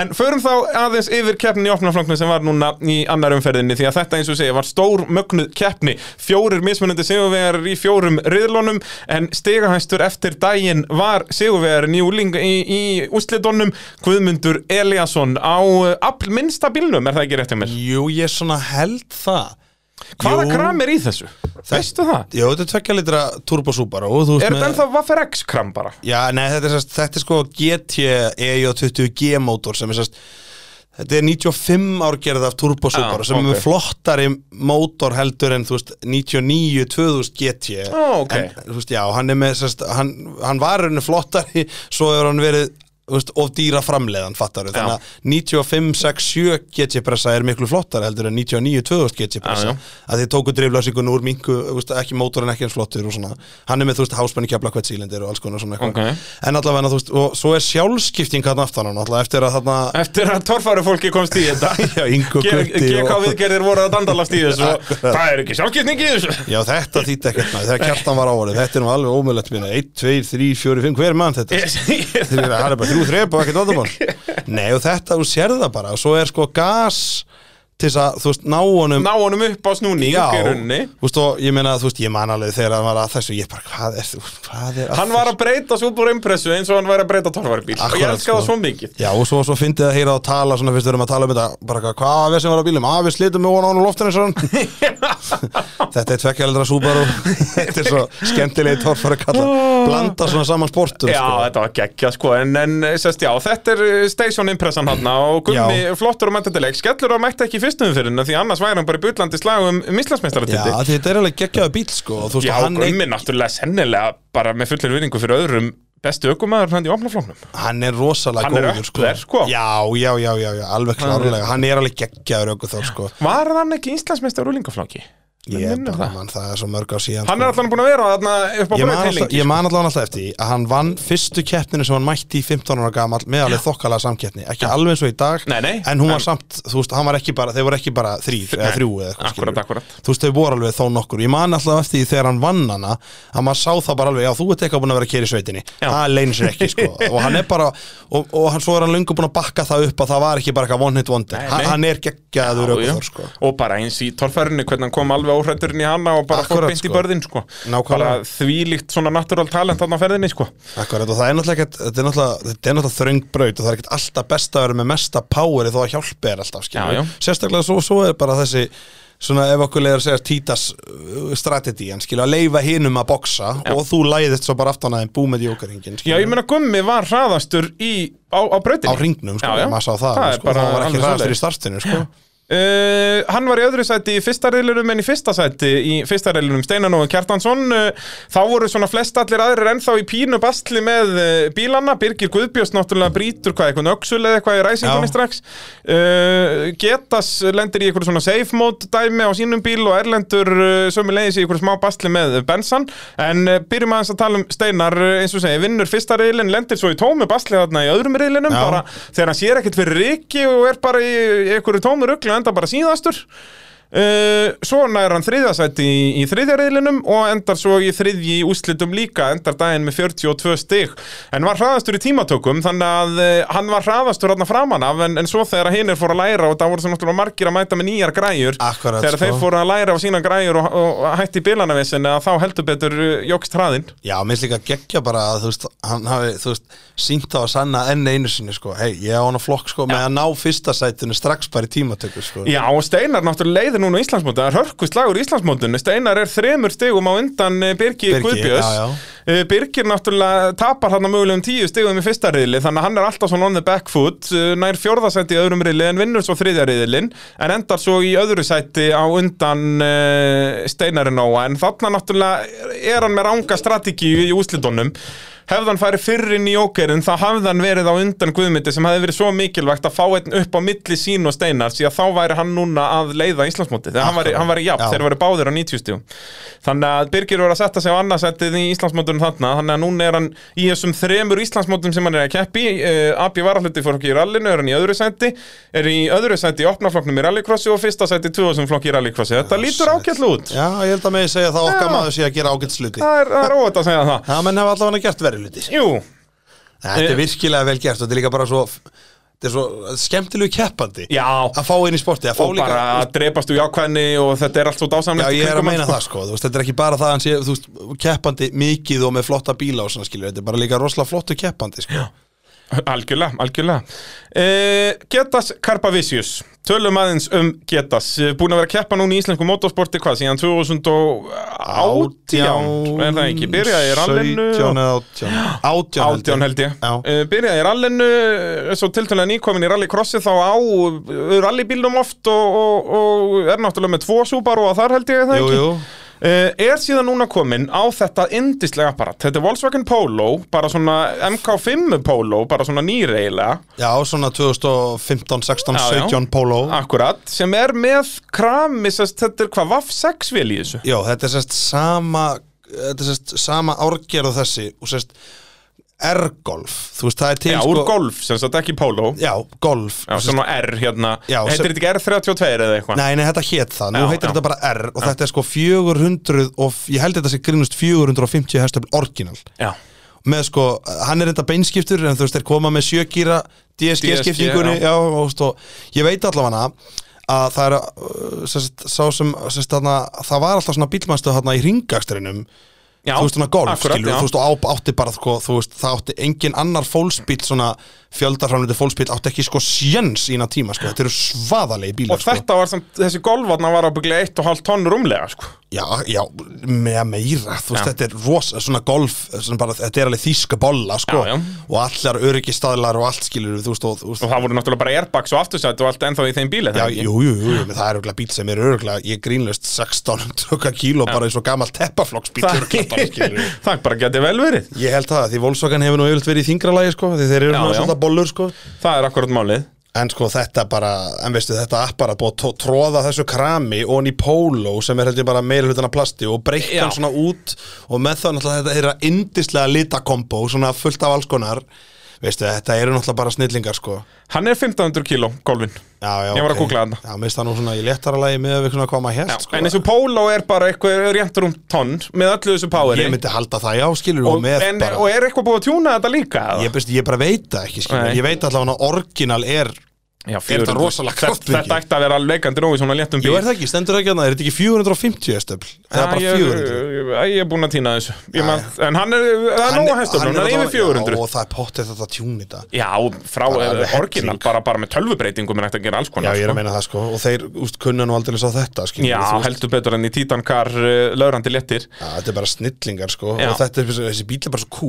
Speaker 3: En förum þá aðeins yfir keppnin í opnafloknu sem var núna í annar umferðinni Því að þetta eins og segja var stór mögnuð keppni Fjórir mismunandi sigurvegar í fjórum riðlunum En stigahæstur eftir daginn var sigurvegar njúling í, í úslitunum Guðmundur Eliasson á afl minnsta bílnum, er það ekki rétt hjá mér?
Speaker 2: jú, ég svona held það
Speaker 3: Hvaða
Speaker 2: Jú.
Speaker 3: kram er í þessu? Veistu það?
Speaker 2: Jú, þetta er tvekja litra turbo Subaru og þú veist
Speaker 3: Er
Speaker 2: með-
Speaker 3: þetta ennþá Vaffer X kram bara?
Speaker 2: Já, nei, þetta er, sest, þetta er sko E GT EJ20G mótor sem er sest, þetta er 95 árgerð af Turbo Subaru sem er
Speaker 3: Ah, ok.
Speaker 2: með flottari mótor heldur en þú veist 99-2000 GT
Speaker 3: Ó, Ah, ok.
Speaker 2: en, þú veist, já, hann er með sest, hann, hann var henni flottari svo hefur hann verið þú veist, of dýra framleiðan fattar
Speaker 3: Já.
Speaker 2: þannig að 95-67 GT pressa er miklu flottari heldur en 99-2000 GT
Speaker 3: Já,
Speaker 2: pressa
Speaker 3: já.
Speaker 2: að þið tóku driflasingun úr minku veist, ekki mótorin ekki eins flottur og svona hann er með þú veist háspenni kjafla hvert sílindir og alls konar svona eitthvað
Speaker 3: Ok.
Speaker 2: en allavega þú veist og svo er sjálfskipting hann aftan hann allavega eftir að þarna
Speaker 3: Eftir að torfæru fólki komst í þetta
Speaker 2: Já, Ingo
Speaker 3: Eh, G-
Speaker 2: Gutti
Speaker 3: GK
Speaker 2: og-
Speaker 3: viðgerðir voru að dandalast í þessu og Það er ekki sjálfskipning í þessu
Speaker 2: já þetta þýtti ekkert maður þegar kjartan var á orðið þetta er nú alveg ómöðlegt minna 1, 2, 3, 4, 5 hver mann þetta
Speaker 3: Ég- ég-
Speaker 2: Þeir eru að- það er bara þrjú þreip og ekkert vandamál nei og þetta þú sérð það bara og svo er sko gas til þess að þú veist ná honum
Speaker 3: Ná honum upp á snúning
Speaker 2: Já,
Speaker 3: í rauninni
Speaker 2: þú veist og ég meina, þú veist, ég man alveg þegar hann var að þessu, ég bara, hvað er þú, hvað er að
Speaker 3: Hann var að breyta Subaru Impressu eins og hann væri að breyta torfærubíl Og ég
Speaker 2: Akkúrat,
Speaker 3: elska
Speaker 2: sko.
Speaker 3: það svo mikið
Speaker 2: Já, og svo, svo fyndið að heyra og tala svona fyrst við erum að tala um þetta bara eitthvað, hvað að við sem var á bílum, að við slitum með vona á hann og loftin eins og hann Þetta er tvekkjaldra Subaru Þetta er svo skemmtilegi torfari kalla Blanda svona saman sportum
Speaker 3: Já,
Speaker 2: sko.
Speaker 3: þetta var geggja sko En, en sest, já, þetta er eh, station impressan hann Og gummi
Speaker 2: Já.
Speaker 3: flottur og mættatileg Skellur og mætti ekki í fyrstu umfyrirna Því annars væri hann bara í bullandi slagum
Speaker 2: Já,
Speaker 3: Mislasmeistaratindi
Speaker 2: þetta er alveg geggjaðu bíl sko og þú veist,
Speaker 3: Já,
Speaker 2: og hann,
Speaker 3: Gummi náttúrulega sennilega bara með fullir vinningu fyrir öðrum bestu ökumæður hann í opnaflóknum.
Speaker 2: er, hann er rosalega
Speaker 3: Hann er
Speaker 2: góður
Speaker 3: upp þér, sko.
Speaker 2: Já, já, já, já, já, alveg klárlega Hann er alveg geggjaður öku þá sko
Speaker 3: Var hann ekki Íslandsmeistar úlingaflokki?
Speaker 2: Ég er
Speaker 3: minnir
Speaker 2: bara,
Speaker 3: það.
Speaker 2: man, það er svo mörg á síðan
Speaker 3: Hann
Speaker 2: sko.
Speaker 3: er allan búin að vera þarna upp á sko.
Speaker 2: Ég man, alltaf,
Speaker 3: brauðteilingi.
Speaker 2: ég man allavega alltaf eftir því að hann vann fyrstu keppninu sem hann mætti í 15 ára gamall með alveg þokkalega samkeppni, ekki alveg eins og í dag
Speaker 3: Nei, nei.
Speaker 2: en hún var
Speaker 3: En-
Speaker 2: samt, þú veist, hann var ekki bara þeir voru ekki bara þrýr eða
Speaker 3: Nei.
Speaker 2: þrjú eða eitthvað
Speaker 3: Akkúrat,
Speaker 2: skilurðu.
Speaker 3: akkúrat.
Speaker 2: þú veist, þau voru alveg þó nokkur ég man alltaf eftir því þegar hann vann hana að maður sá það bara alveg, já, þú ert eitthvað búin að vera að kera í sveitinni
Speaker 3: Já.
Speaker 2: það leynir sér ekki, sko og hann er bara, og, og hann svo er hann löngu búin að bakka það upp að það var ekki bara eitthvað one hit wonder
Speaker 3: Nei,
Speaker 2: Hann-
Speaker 3: nei.
Speaker 2: hann er geggjaður
Speaker 3: Já, já.
Speaker 2: ökuþór, sko.
Speaker 3: Og bara eins í torfærinu, hvernig hann kom alveg óhrætturinn í hana og bara fór
Speaker 2: Akkúrat,
Speaker 3: beint í
Speaker 2: sko.
Speaker 3: börðin, sko.
Speaker 2: Nákvæmlega.
Speaker 3: Bara þvílíkt svona natural talent þarna á ferðinni, sko.
Speaker 2: Akkurat, og það er náttúrulega ekkert, þetta er náttúrulega, þetta er náttúrulega þröng braut og það er ekkert alltaf best að vera með mesta poweri þó að hjálpi er alltaf, skiljum
Speaker 3: Já, já.
Speaker 2: Sérstaklega svo, svo er bara þessi, svona ef okkur leiður að segja títas strategían, skiljum, að leifa hinum að boksa og þú læðist svo bara aftan aðeins búmið jókaringin,
Speaker 3: Já, ég meina Gummi var hraðastur í, á, á brautinni.
Speaker 2: á ringnum, sko,
Speaker 3: Já, já.
Speaker 2: maður sá það,
Speaker 3: Það er
Speaker 2: sko,
Speaker 3: bara
Speaker 2: það var
Speaker 3: alveg
Speaker 2: ekki ræðastur
Speaker 3: svoleiðis.
Speaker 2: í startinu, sko
Speaker 3: Uh, hann var í öðru sæti í fyrsta reilunum en í fyrsta sæti í fyrsta reilunum Steinan og Kjartansson uh, þá voru svona flest allir aðrir ennþá í pínu bastli með uh, bílanna Birgir Guðbjörns náttúrulega brýtur hvað eitthvað öksul eða eitthvað í
Speaker 2: Já.
Speaker 3: ræsingunni strax uh, Getas lendir í eitthvað svona safe mode dæmi á sínum bíl og Erlendur uh, sömulegis í eitthvað smá bastli með Bensan en uh, byrjum aðeins að tala um Steinar uh, eins og segja vinnur fyrsta reilin lendir svo í tómu bastli þarna í öðrum reilinum
Speaker 2: Já.
Speaker 3: bara þegar hann sér ekkert fyrir riki og er bara í, í einhverju tómu rugli og enda bara síðastur Uh, svo nær hann þriðasæti í, í þriðjariðlinum og endar svo í þriðji í úslitum líka, endar daginn með 42 stig en var hraðastur í tímatökum þannig að uh, hann var hraðastur hann framan af en, en svo þegar hinnir fór að læra og það voru sem náttúrulega margir að mæta með nýjar græjur
Speaker 2: Akkurat,
Speaker 3: þegar
Speaker 2: sko.
Speaker 3: þeir fóru að læra á sína græjur og, og hætti bílanavessin að þá heldur betur uh, jókst hraðinn
Speaker 2: Já, minnst líka geggja bara að þú veist, hann hafi, þú veist, sínt á að sanna enn einu sinni, sko, hei, ég á hana flokk, sko, með að ná fyrsta sætinu strax bara í tímatöku, sko
Speaker 3: Já, og Steinar náttúrulega leiðir er núna Íslandsmóndin, það er hörku slagur Íslandsmóndinu Steinar er þremur stegum á undan eh, Birgi
Speaker 2: Birgi,
Speaker 3: Guðbjörns
Speaker 2: já, já.
Speaker 3: Eh, Birgir náttúrulega tapar hann að mögulegum tíu stegum í fyrsta riðli þannig að hann er alltaf svona on the back foot eh, nær fjórðasæti í öðrum riðli en vinnur svo þriðja riðlin en endar svo í öðru sæti á undan uh, Steinarinn Óa en þarna náttúrulega er hann með ranga strategíu í úslitunum hefðan farið fyrr inn í ókerinn þá hafði hann verið á undan Guðmyndi sem hefði verið svo mikilvægt að fá einn upp á milli sín og steinar því að þá væri hann núna að leiða Íslandsmótið þegar hann væri, hann væri jafn,
Speaker 2: Já.
Speaker 3: þeir væri báðir á 90 stíu þannig að Birgir var að setja sig á annarsættið í Íslandsmótunum þarna þannig að núna er hann í þessum þremur Íslandsmótum sem hann er að keppi uh, Abbi varahluti fór okkur í rallinu, er hann í öðru sætti er í öðru sætti í opnaflokknum í rallycrossi og fyrsta sætti í 2000 flokki í rallycrossi þetta lítur ákjall út
Speaker 2: Já, ég held að með ég segja það okkar
Speaker 3: Já.
Speaker 2: maður sé að gera ágætsluti
Speaker 3: það er, það er óvægt að segja það
Speaker 2: Það menn hafa allavega gert verið luti
Speaker 3: Jú, Eh.
Speaker 2: Þetta er virkilega vel gert og þetta er líka bara svo Þetta er svo skemmtilegu keppandi
Speaker 3: Já.
Speaker 2: Að fá inn í sporti að fá
Speaker 3: og
Speaker 2: líka,
Speaker 3: bara að drepast úr jákvæðni og þetta er allt svo
Speaker 2: Já,
Speaker 3: dásamlegt í
Speaker 2: ég er að
Speaker 3: kringum
Speaker 2: meina
Speaker 3: allt,
Speaker 2: það sko, þú veist, þetta er ekki bara það að hann sé, þú veist, keppandi mikið og með flotta bíla og svona skilur, þetta er bara líka rosalega flottu keppandi sko.
Speaker 3: sko. algjörlega, algjörlega uh, Getas Karpavisius tölum aðeins um Getas búin að vera að keppa núna í íslensku motorsporti hvað síðan 2018 er það ekki, byrjaði í rallinu
Speaker 2: 17 eða 18 18 held ég.
Speaker 3: 18 held ég
Speaker 2: Já.
Speaker 3: uh, Byrjaði í rallinu, eh, svo tiltölulega nýkomin í rallycrossi þá á eh, rallybílnum oft og, og, og er náttúrulega með tvo Subaru og þar held ég er það
Speaker 2: Jú,
Speaker 3: ekki
Speaker 2: jú.
Speaker 3: Eh, er síðan núna komin á þetta indislega apparat, þetta er Volkswagen Polo bara svona MK5 Polo bara svona nýreilega
Speaker 2: Já, svona 2015, 16,
Speaker 3: Já, já.
Speaker 2: 17 Polo
Speaker 3: akkurat, sem er með krami, sest, þetta er hvað, Vaff 6 vil í þessu
Speaker 2: Já, þetta er sérst sama þetta er sérst sama árgerð og þessi og sérst R-golf þú veist, það er til
Speaker 3: Já, úr golf, sem sagt ekki Polo
Speaker 2: sko- Já, golf
Speaker 3: Já,
Speaker 2: Þú veist,
Speaker 3: svona R hérna,
Speaker 2: Já, sem-
Speaker 3: heitir þetta ekki R32 eða eitthvað
Speaker 2: Nei, nei, þetta hét það, nú
Speaker 3: Já,
Speaker 2: heitir
Speaker 3: já.
Speaker 2: þetta bara R og þetta er sko 400 og f- ég held þetta sé grínust 450 hestöfl orginal
Speaker 3: Já,
Speaker 2: með sko, hann er enda beinskiptur en þú veist, þeir koma með sjögýra DSG
Speaker 3: DSG,
Speaker 2: skiptingunni, já,
Speaker 3: já.
Speaker 2: og, veist, og ég veit allavega að það er uh, sérst, sá sem, sérst, þarna, það var alltaf svona bílmannstu þarna í um ringakstrinum
Speaker 3: já
Speaker 2: þú veist, svona golf,
Speaker 3: akkurat,
Speaker 2: skilur,
Speaker 3: já.
Speaker 2: þú veist, og á- átti bara, sko, þú veist, það átti engin annar fólksbíl, svona fjöldarframlöndi fólksbíl, átti ekki, sko, sjens ína tíma, sko, þetta eru svaðalegi bílar,
Speaker 3: Og
Speaker 2: sko.
Speaker 3: þetta var samt, þessi golfarna var ábygglega 1,5 tonn rúmlega, sko
Speaker 2: Já, já, með meira, þú veist,
Speaker 3: Já.
Speaker 2: þetta er rosa, svona golf, svona bara, þetta er alveg þýska bolla, sko,
Speaker 3: Já, já.
Speaker 2: og allar öryggistadlar og allt, skilur, þú veist, og, þú
Speaker 3: Og
Speaker 2: veist,
Speaker 3: það voru náttúrulega bara airbags og aftursætt og allt ennþá í þeim bíl,
Speaker 2: Já,
Speaker 3: eða ekki?
Speaker 2: jú, jú, jú, jú, menn það er örgulega bíl sem er örgulega, ég grínlaust 16 tökka kíló bara eins og gammal teppaflokksbíl örugglega bara, skilurðu.
Speaker 3: það, það bara geti vel verið
Speaker 2: Ég held það, því Volkswagen hefur nú yfirleitt verið í þingralagi, sko, því þeir eru
Speaker 3: Já,
Speaker 2: nú
Speaker 3: já.
Speaker 2: svolítið bollur, sko.
Speaker 3: Það er akkurat málið
Speaker 2: En sko þetta bara, en veistu þetta apparat búið að tó- tróða þessu krami og í póló sem er held ég bara meira hlutin af plasti og breytt
Speaker 3: Já.
Speaker 2: hann svona út og með það náttúrulega þetta er að indislega litakombo, svona fullt af alls konar veistu þetta eru náttúrulega bara snillingar sko
Speaker 3: Hann er 1500 kíló, golfin
Speaker 2: já, já,
Speaker 3: Ég var að
Speaker 2: ok.
Speaker 3: googla þarna.
Speaker 2: Já, minnst það nú svona í léttara lagi með að við svona koma hér sko
Speaker 3: En eins og póló er bara eitthvað rétt rúm tonn með öllu þessu poweri
Speaker 2: Ég myndi halda það, já, skilur
Speaker 3: og,
Speaker 2: og með
Speaker 3: en,
Speaker 2: bara
Speaker 3: og er eitthvað búið að tjúna þetta líka? eða?
Speaker 2: Ég, veist, ég bara veit það ekki, skilur
Speaker 3: Nei.
Speaker 2: Ég veit allavega að orginal er
Speaker 3: Já,
Speaker 2: þetta
Speaker 3: 400.
Speaker 2: rosalega
Speaker 3: Þetta-
Speaker 2: kraftmikið?
Speaker 3: Þetta ætti að vera leikandi rói svona léttum bíl
Speaker 2: Jú, er það ekki, stendur það ekki að það, er þetta ekki 450 stöfl? Það er
Speaker 3: Já,
Speaker 2: bara
Speaker 3: ég-
Speaker 2: 400
Speaker 3: ég- Ég ég er búin að týna þessu Ég man, En hann er, það er
Speaker 2: Hann-
Speaker 3: nóg að hestum, hann er
Speaker 2: náttúrulega-
Speaker 3: yfir 400
Speaker 2: já, og það er pottið þetta tjún í dag
Speaker 3: Já, frá
Speaker 2: Bara alveg
Speaker 3: orginal,
Speaker 2: helling.
Speaker 3: bara, bara með tölvubreytingum er hægt að gera alls
Speaker 2: já
Speaker 3: konar
Speaker 2: ég er
Speaker 3: sko.
Speaker 2: að meina það sko og þeir úst, kunna nú aldrei sá þetta skilur,
Speaker 3: Já,
Speaker 2: við, þú veist.
Speaker 3: heldur betur enn í títankar uh, laurandi léttir
Speaker 2: Já, þetta er bara snillingar sko
Speaker 3: Já.
Speaker 2: og þetta er þessi bíl er bara svo cool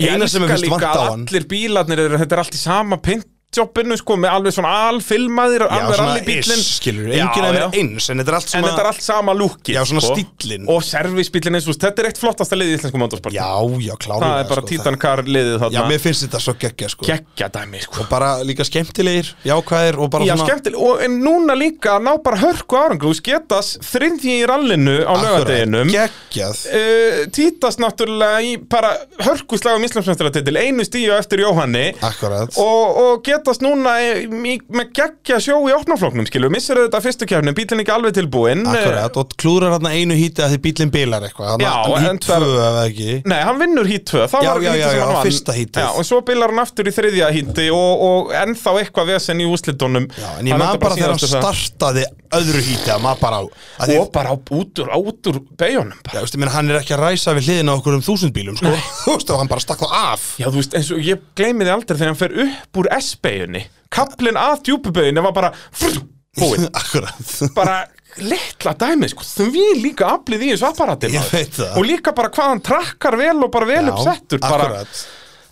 Speaker 3: Ég
Speaker 2: eina sem
Speaker 3: elska
Speaker 2: ég finnst
Speaker 3: líka
Speaker 2: vant á
Speaker 3: að
Speaker 2: hann
Speaker 3: Allir bílarnir, eru, þetta er allt í sama pintjobbinu sko, með alveg svona alfilmaðir
Speaker 2: já
Speaker 3: alveg
Speaker 2: svona
Speaker 3: allir bílinn
Speaker 2: iss skilur enginn er
Speaker 3: En
Speaker 2: eins en þetta er allt svona
Speaker 3: þetta er allt sama lúkið sko.
Speaker 2: Já, svona stíllinn.
Speaker 3: Og servisbílinn eins og þetta er eitt flottasta liðið í íslensku motorsport
Speaker 2: já já klárum
Speaker 3: Það er bara títankar liðið
Speaker 2: já
Speaker 3: þarna
Speaker 2: mér finnst þetta svo geggja sko
Speaker 3: Gekkja dæmi sko
Speaker 2: bara líka skemmtilegir jákvæðir og bara
Speaker 3: Já,
Speaker 2: svona
Speaker 3: skemmtileg, og en núna líka ná bara hörku árangur, þú sketast þriðji í rallinu á lögadeginum
Speaker 2: geggjað
Speaker 3: uh, Títast náttúrulega í bara hörku slagum Íslandsmjöndstæðatitil einu stíu eftir Jóhanni
Speaker 2: akkurat
Speaker 3: og, og getast núna í, í, með geggja sjó í opnafloknum skilur, missir þetta fyrstu kefni, bílinn ekki alveg tilbúinn Eh,
Speaker 2: akkurat og klúrar hann einu híti að því bílinn bilar eitthvað
Speaker 3: Já,
Speaker 2: hann
Speaker 3: en
Speaker 2: hít
Speaker 3: það-
Speaker 2: tvö ef ekki
Speaker 3: Nei, hann vinnur hít 2, það
Speaker 2: Já,
Speaker 3: var
Speaker 2: já,
Speaker 3: hítið
Speaker 2: já,
Speaker 3: sem
Speaker 2: já,
Speaker 3: hann vann
Speaker 2: fyrsta hítið.
Speaker 3: Já, og svo bilar hann aftur í þriðja híti og, og ennþá eitthvað vesen í úslitunum
Speaker 2: Já, en ég maður bara þegar hann startaði öðru híti að maður bara á að því,
Speaker 3: Og bara á- út úr, út úr beigjónum bara
Speaker 2: já, veistu, minn, hann er ekki að ræsa við hliðina á okkur um þúsund bílum sko. Þú veistu, og hann bara stakk þá af
Speaker 3: Já, þú veist, eins og ég gleymi þið aldrei þegar hann fer upp úr S-beigjunni Kaplinn að djúpubeginni var bara frú, búinn
Speaker 2: Akkurat
Speaker 3: Bara litla dæmi, sko, því líka aflið í þessu apparati
Speaker 2: Ég
Speaker 3: maður.
Speaker 2: veit það.
Speaker 3: og líka bara hvað hann trakkar vel og bara vel uppsettur bara,
Speaker 2: akkurat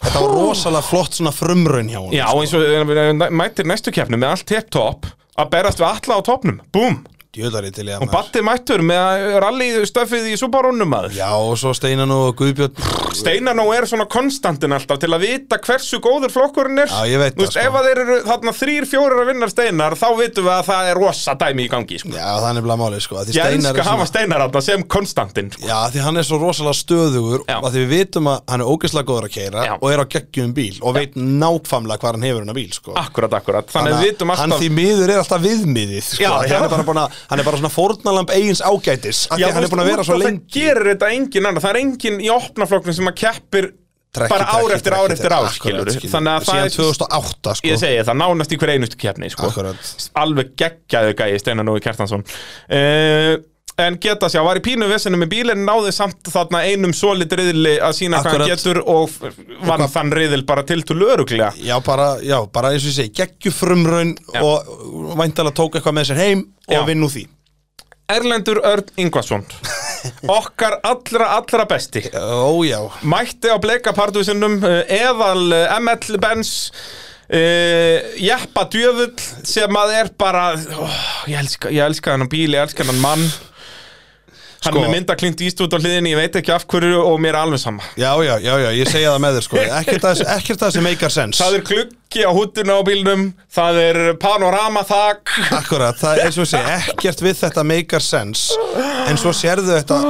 Speaker 2: Þetta var rosalega flott svona frumraun hjá hann
Speaker 3: já, eins og eh, mætir næstu keppni með allt tip top að berast við alla á topnum, búm
Speaker 2: Djöðlari til ég að
Speaker 3: og Batti mættur með rally stöfið í Subaru-num aður
Speaker 2: Já, og svo Steinan og Guðbjörn
Speaker 3: Steinar nú er svona konstantin alltaf til að vita hversu góður flokkurinn er
Speaker 2: Já, ég veit það,
Speaker 3: Þú veist,
Speaker 2: sko.
Speaker 3: Ef að þeir eru þarna þrýr, fjórir að vinna Steinar þá vitum við að það er rosa dæmi í gangi sko.
Speaker 2: Já, það er nefnilega málið sko að því
Speaker 3: Ég
Speaker 2: Steinar
Speaker 3: elska
Speaker 2: er
Speaker 3: að hafa Steinar alltaf sem konstantin sko.
Speaker 2: Já, því hann er svo rosalega stöðugur
Speaker 3: Já.
Speaker 2: og að því við vitum að hann er ógeðslega góður að keira
Speaker 3: Já.
Speaker 2: og er á geggjum bíl og veit nákvæmlega hvað hann hefur hennar bíl sko.
Speaker 3: Akkurat, akkurat Þannig að við vitum
Speaker 2: hann
Speaker 3: alltaf
Speaker 2: því miður er alltaf viðmiðið sko.
Speaker 3: Já,
Speaker 2: já,
Speaker 3: já.
Speaker 2: Hann, er bara búin að, hann er bara svona fórnalamb eigins ágætis af
Speaker 3: Já,
Speaker 2: því að hann
Speaker 3: þú
Speaker 2: er búin að
Speaker 3: veist,
Speaker 2: vera
Speaker 3: út
Speaker 2: svo
Speaker 3: af
Speaker 2: lengi
Speaker 3: Það gerir þetta engin annar Það er engin í opnaflokknum sem að keppir
Speaker 2: Trekki,
Speaker 3: bara ár
Speaker 2: trekki,
Speaker 3: eftir
Speaker 2: trekki,
Speaker 3: ár eftir ár
Speaker 2: akkurat,
Speaker 3: skilur
Speaker 2: skilur.
Speaker 3: Þannig að það
Speaker 2: síðan
Speaker 3: er
Speaker 2: 2008 sko.
Speaker 3: Ég segi það, nánast í hver einustu keppni sko.
Speaker 2: Akkurat.
Speaker 3: Alveg geggjaðu gæi Steinar Nói Kjartansson uh, En geta sér, var í pínu vesinu með bíl en náði samt þarna einum solid riðli að sína hvað hann
Speaker 2: Akkurat.
Speaker 3: getur og f- vann þann riðil bara til til öruglega
Speaker 2: Já, bara, já, bara eins og ég segi, geggjufrumraun
Speaker 3: Já.
Speaker 2: og væntalega tók eitthvað með sér heim og
Speaker 3: Já.
Speaker 2: vinn úr því
Speaker 3: Erlendur Örn Ingvason Okkar allra, allra besti
Speaker 2: Ó, já,
Speaker 3: Mætti á bleikapartúsinum Eðal eh, ML Benz Uh, jeppa djöfull sem að er bara oh, ég, elska, ég elska hennan bíl, ég elska hennan mann hann
Speaker 2: Sko.
Speaker 3: er með mynda klint ístút á hliðinni, ég veit ekki af hverju og mér er alveg sama
Speaker 2: já, já, já, já ég segja það með þér sko Ekkert að ekkert að þessi meikar sens
Speaker 3: það er klukki á húttuna á bílnum það er panoramaþak
Speaker 2: Akkurat, það er eins og sé ekkert við þetta meikar sens En svo sérðu þetta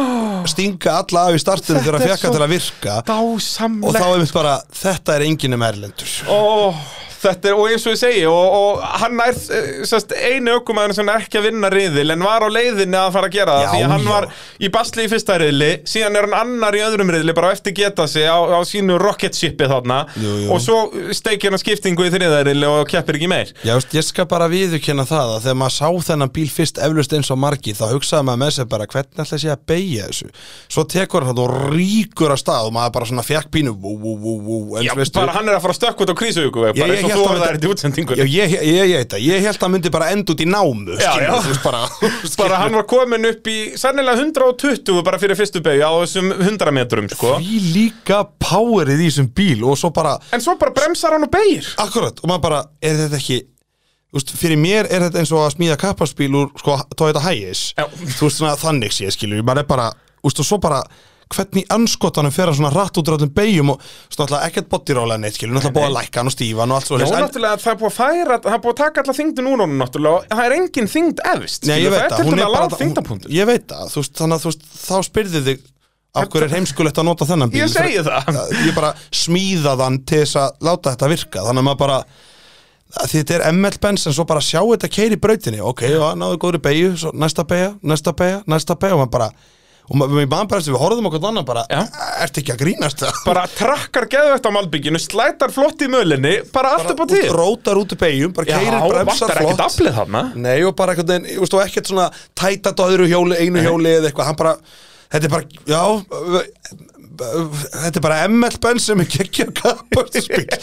Speaker 2: stinga alla af í startinu þegar að
Speaker 3: Þetta er
Speaker 2: fjaka
Speaker 3: svo
Speaker 2: til að virka Og þá
Speaker 3: dásamlegt
Speaker 2: er mitt bara, þetta er enginum erlendur
Speaker 3: og þetta er, og eins og ég segi og, og hann er eh, sest, einu ökumæður sem er ekki að vinna riðil en var á leiðinni að fara að gera það
Speaker 2: Já,
Speaker 3: því að hann
Speaker 2: já.
Speaker 3: var í basli í fyrsta riðli síðan er hann annar í öðrum riðli bara á eftir geta sig á, á sínu rocketshipi þarna
Speaker 2: Jú, jú.
Speaker 3: og svo steikir hann skiptingu í þriða riðli og keppir ekki meir
Speaker 2: Já, veist, ég skal bara viðurkenna það að þegar maður sá þennan bíl fyrst eflust eins og margi þá hugsaði maður með sér bara hvernig ætla sé að beigja þessu Svo tekur hann og ríkur að stað og maður bara svona fjekk pínu vú, vú, vú, vú, en
Speaker 3: Já,
Speaker 2: svo veistu-
Speaker 3: bara hann er að fara að stökk út á krísugu
Speaker 2: Ég-
Speaker 3: bara
Speaker 2: ég
Speaker 3: eins
Speaker 2: hélt
Speaker 3: og þú
Speaker 2: að
Speaker 3: að það
Speaker 2: þetta-
Speaker 3: er í útsendingunni
Speaker 2: Já, ég, ég, ég, ég, ég, ég held að hann myndi bara enda út í námu
Speaker 3: Já,
Speaker 2: skilur,
Speaker 3: já.
Speaker 2: þú veist, bara,
Speaker 3: bara hann var komin upp í sennilega 120 bara fyrir fyrstu beigju á þessum 100 metrum sko.
Speaker 2: Því líka powerið í þessum bíl og svo bara,
Speaker 3: en svo bara bremsar hann og beigir
Speaker 2: akkurat, og maður bara, er þetta ekki Úst, fyrir mér er þetta eins og að smíða kapparsbíl úr sko, Toyota Hiace
Speaker 3: Já.
Speaker 2: þú veist svona þannig sé skilur maður er bara, úst, og svo bara hvernig anskotanum fer hann svona rætt út rættum beigjum og svona alltaf ekkert bodyrólega neitt skilur, náttúrulega búið að lækka hann og stífa hann og allt svo
Speaker 3: Já, og náttúrulega það er búið að færa, það er búið að taka alla þyngdin úr honum náttúrulega og það er engin þyngd efst
Speaker 2: Nei,
Speaker 3: skilur,
Speaker 2: ég veit
Speaker 3: það
Speaker 2: það,
Speaker 3: er
Speaker 2: hún
Speaker 3: til
Speaker 2: er
Speaker 3: að
Speaker 2: bara
Speaker 3: láta þyngdapunktur
Speaker 2: Ég veit það, þú veist, þannig að þú veist, þá spyrði þig Af hverju er heimskulegt að nota þennan bíl
Speaker 3: Ég segi það.
Speaker 2: Ég bara smíða þann til þess að láta þetta virka Þannig að maður bara að því Þetta er ML Benz en svo bara sjá þetta keiri brautinni Ok, já, náðu góðri beigju, svo næsta beigja, næsta beigja, næsta beigja Og maður bara, og maður, við mann bara eftir, við horfðum okkur annan bara
Speaker 3: Já.
Speaker 2: Ertu ekki að grínast það?
Speaker 3: bara trakkar geðvægt á malbygginu, slætar flott í mölinni bara allt upp á tíð
Speaker 2: Rótar út í beigjum, bara
Speaker 3: Já,
Speaker 2: keirir bremsar
Speaker 3: vantar ekkert
Speaker 2: flott
Speaker 3: aflið þarna
Speaker 2: Nei og bara einhvern veginn, þú veist, og ekkert svona tæta á öðru hjóli, einu hjóli eða eitthvað, hann bara, þetta er bara, já, þetta er bara ML Benz sem er geggja kapparspíl.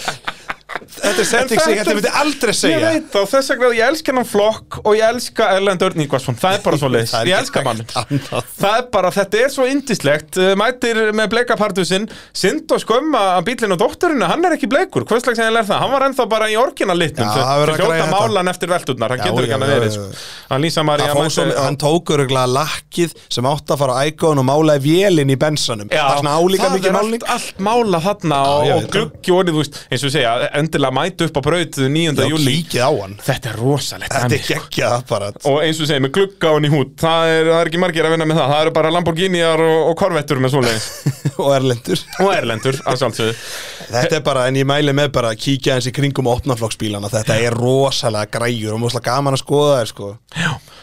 Speaker 2: þetta er setting sig, þetta myndi aldrei
Speaker 3: Ég
Speaker 2: segja.
Speaker 3: veit það, og þess vegna ég elska hennan flokk og ég elska Erlend Örn Ígvarsson, það er bara svo leis
Speaker 2: Það er
Speaker 3: Ég
Speaker 2: ekki
Speaker 3: elska mann
Speaker 2: hægt annað.
Speaker 3: Það er bara, þetta er svo indislegt Uh, Mætir með bleikapartu sinn Sind og skömma að bílinn og dótturinu Hann er ekki bleikur, hvers slags eiginlega er það? Hann var ennþá bara í orginal litnum
Speaker 2: Já, það verður að
Speaker 3: hljóta
Speaker 2: græja þetta.
Speaker 3: málan eftir velturnar, hann
Speaker 2: Já,
Speaker 3: getur ekki
Speaker 2: já,
Speaker 3: hann
Speaker 2: já,
Speaker 3: að verið
Speaker 2: já,
Speaker 3: sko.
Speaker 2: já.
Speaker 3: Hann lýsa
Speaker 2: Það
Speaker 3: María
Speaker 2: fór svo, hann tók öruglega lakkið sem átti að fara á ægón og málaði vélinn í bensanum. það er svona álíka
Speaker 3: það
Speaker 2: mikið
Speaker 3: er
Speaker 2: málning.
Speaker 3: allt, allt mála þarna
Speaker 2: ég
Speaker 3: og, og
Speaker 2: veit það.
Speaker 3: gluggi orðið, þú veist, eins og segja, endilega mætu upp á braut 9.
Speaker 2: Já,
Speaker 3: júli
Speaker 2: kíkið á hann.
Speaker 3: Þetta er rosalegt
Speaker 2: Þetta
Speaker 3: dæmi,
Speaker 2: er
Speaker 3: sko.
Speaker 2: geggjað apparat.
Speaker 3: og eins og segir með glugga hún í hút það er, það er ekki margir að vinna með það það eru bara Lamborghiniar og, og Corvettur með svoleiðis
Speaker 2: og erlendur.
Speaker 3: og Erlendur að sjálfsögðu
Speaker 2: Þetta er bara, en ég mæli með bara að kíkja eins í kringum og opnaflokksbílana, þetta er rosalega græjur og mjög gaman að skoða þær sko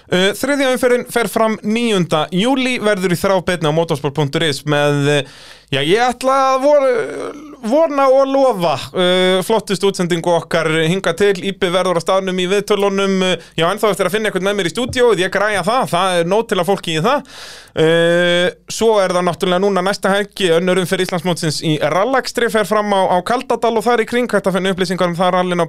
Speaker 3: Uh, Þriðja umferðin fer fram 9. júli verður í þrábetni á motorsport.is með uh, Já, ég ætla að vona, vona og lofa uh, flottust útsendingu okkar hinga til, Íbbi verður á staðnum í viðtölunum uh, já, ennþá eftir að finna eitthvað með mér í stúdíóið, ég græja það, það er nót til að fólki í það uh, Svo er það náttúrulega núna næsta helgi önnurum fyrir Íslandsmótsins í Rallakstri fer fram á, á Kaldadal og þar í kring hægt að finna upplýsingar um það rallin á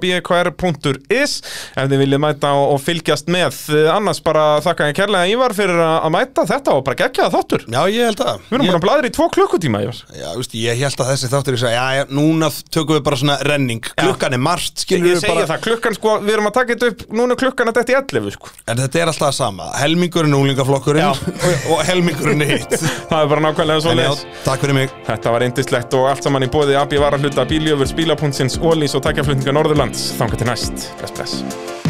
Speaker 3: bkr.is ef þið viljið mæta og, og fylgjast með, Uh, annars bara þakka ég kærlega Ívar fyrir að að mæta þetta og bara geggjaða þáttur
Speaker 2: Já, ég held að
Speaker 3: Við erum
Speaker 2: ég,
Speaker 3: búin að bladra í tvo klukkutíma, Ívar
Speaker 2: já, veist, ég held að þessi þáttur ég sagði, já, já, núna tökum við bara svona renning Klukkan er margt, skilur
Speaker 3: Ég
Speaker 2: við
Speaker 3: segja
Speaker 2: bara
Speaker 3: það, klukkan sko, við erum að taka þetta upp Núna er klukkan að þetta í 11 sko.
Speaker 2: En þetta er alltaf það sama, helmingurinn úlingaflokkurinn
Speaker 3: Já.
Speaker 2: og, og helmingurinn er hitt
Speaker 3: Það er bara nákvæmlega svo
Speaker 2: En já,
Speaker 3: leis
Speaker 2: takk fyrir mig
Speaker 3: Þetta var indislegt og allt saman í bóði Abbi var að hluta bíljöfur, spíla.sins, ólís og takkjaflutninga Norðurlands Þangar til næst, bless bless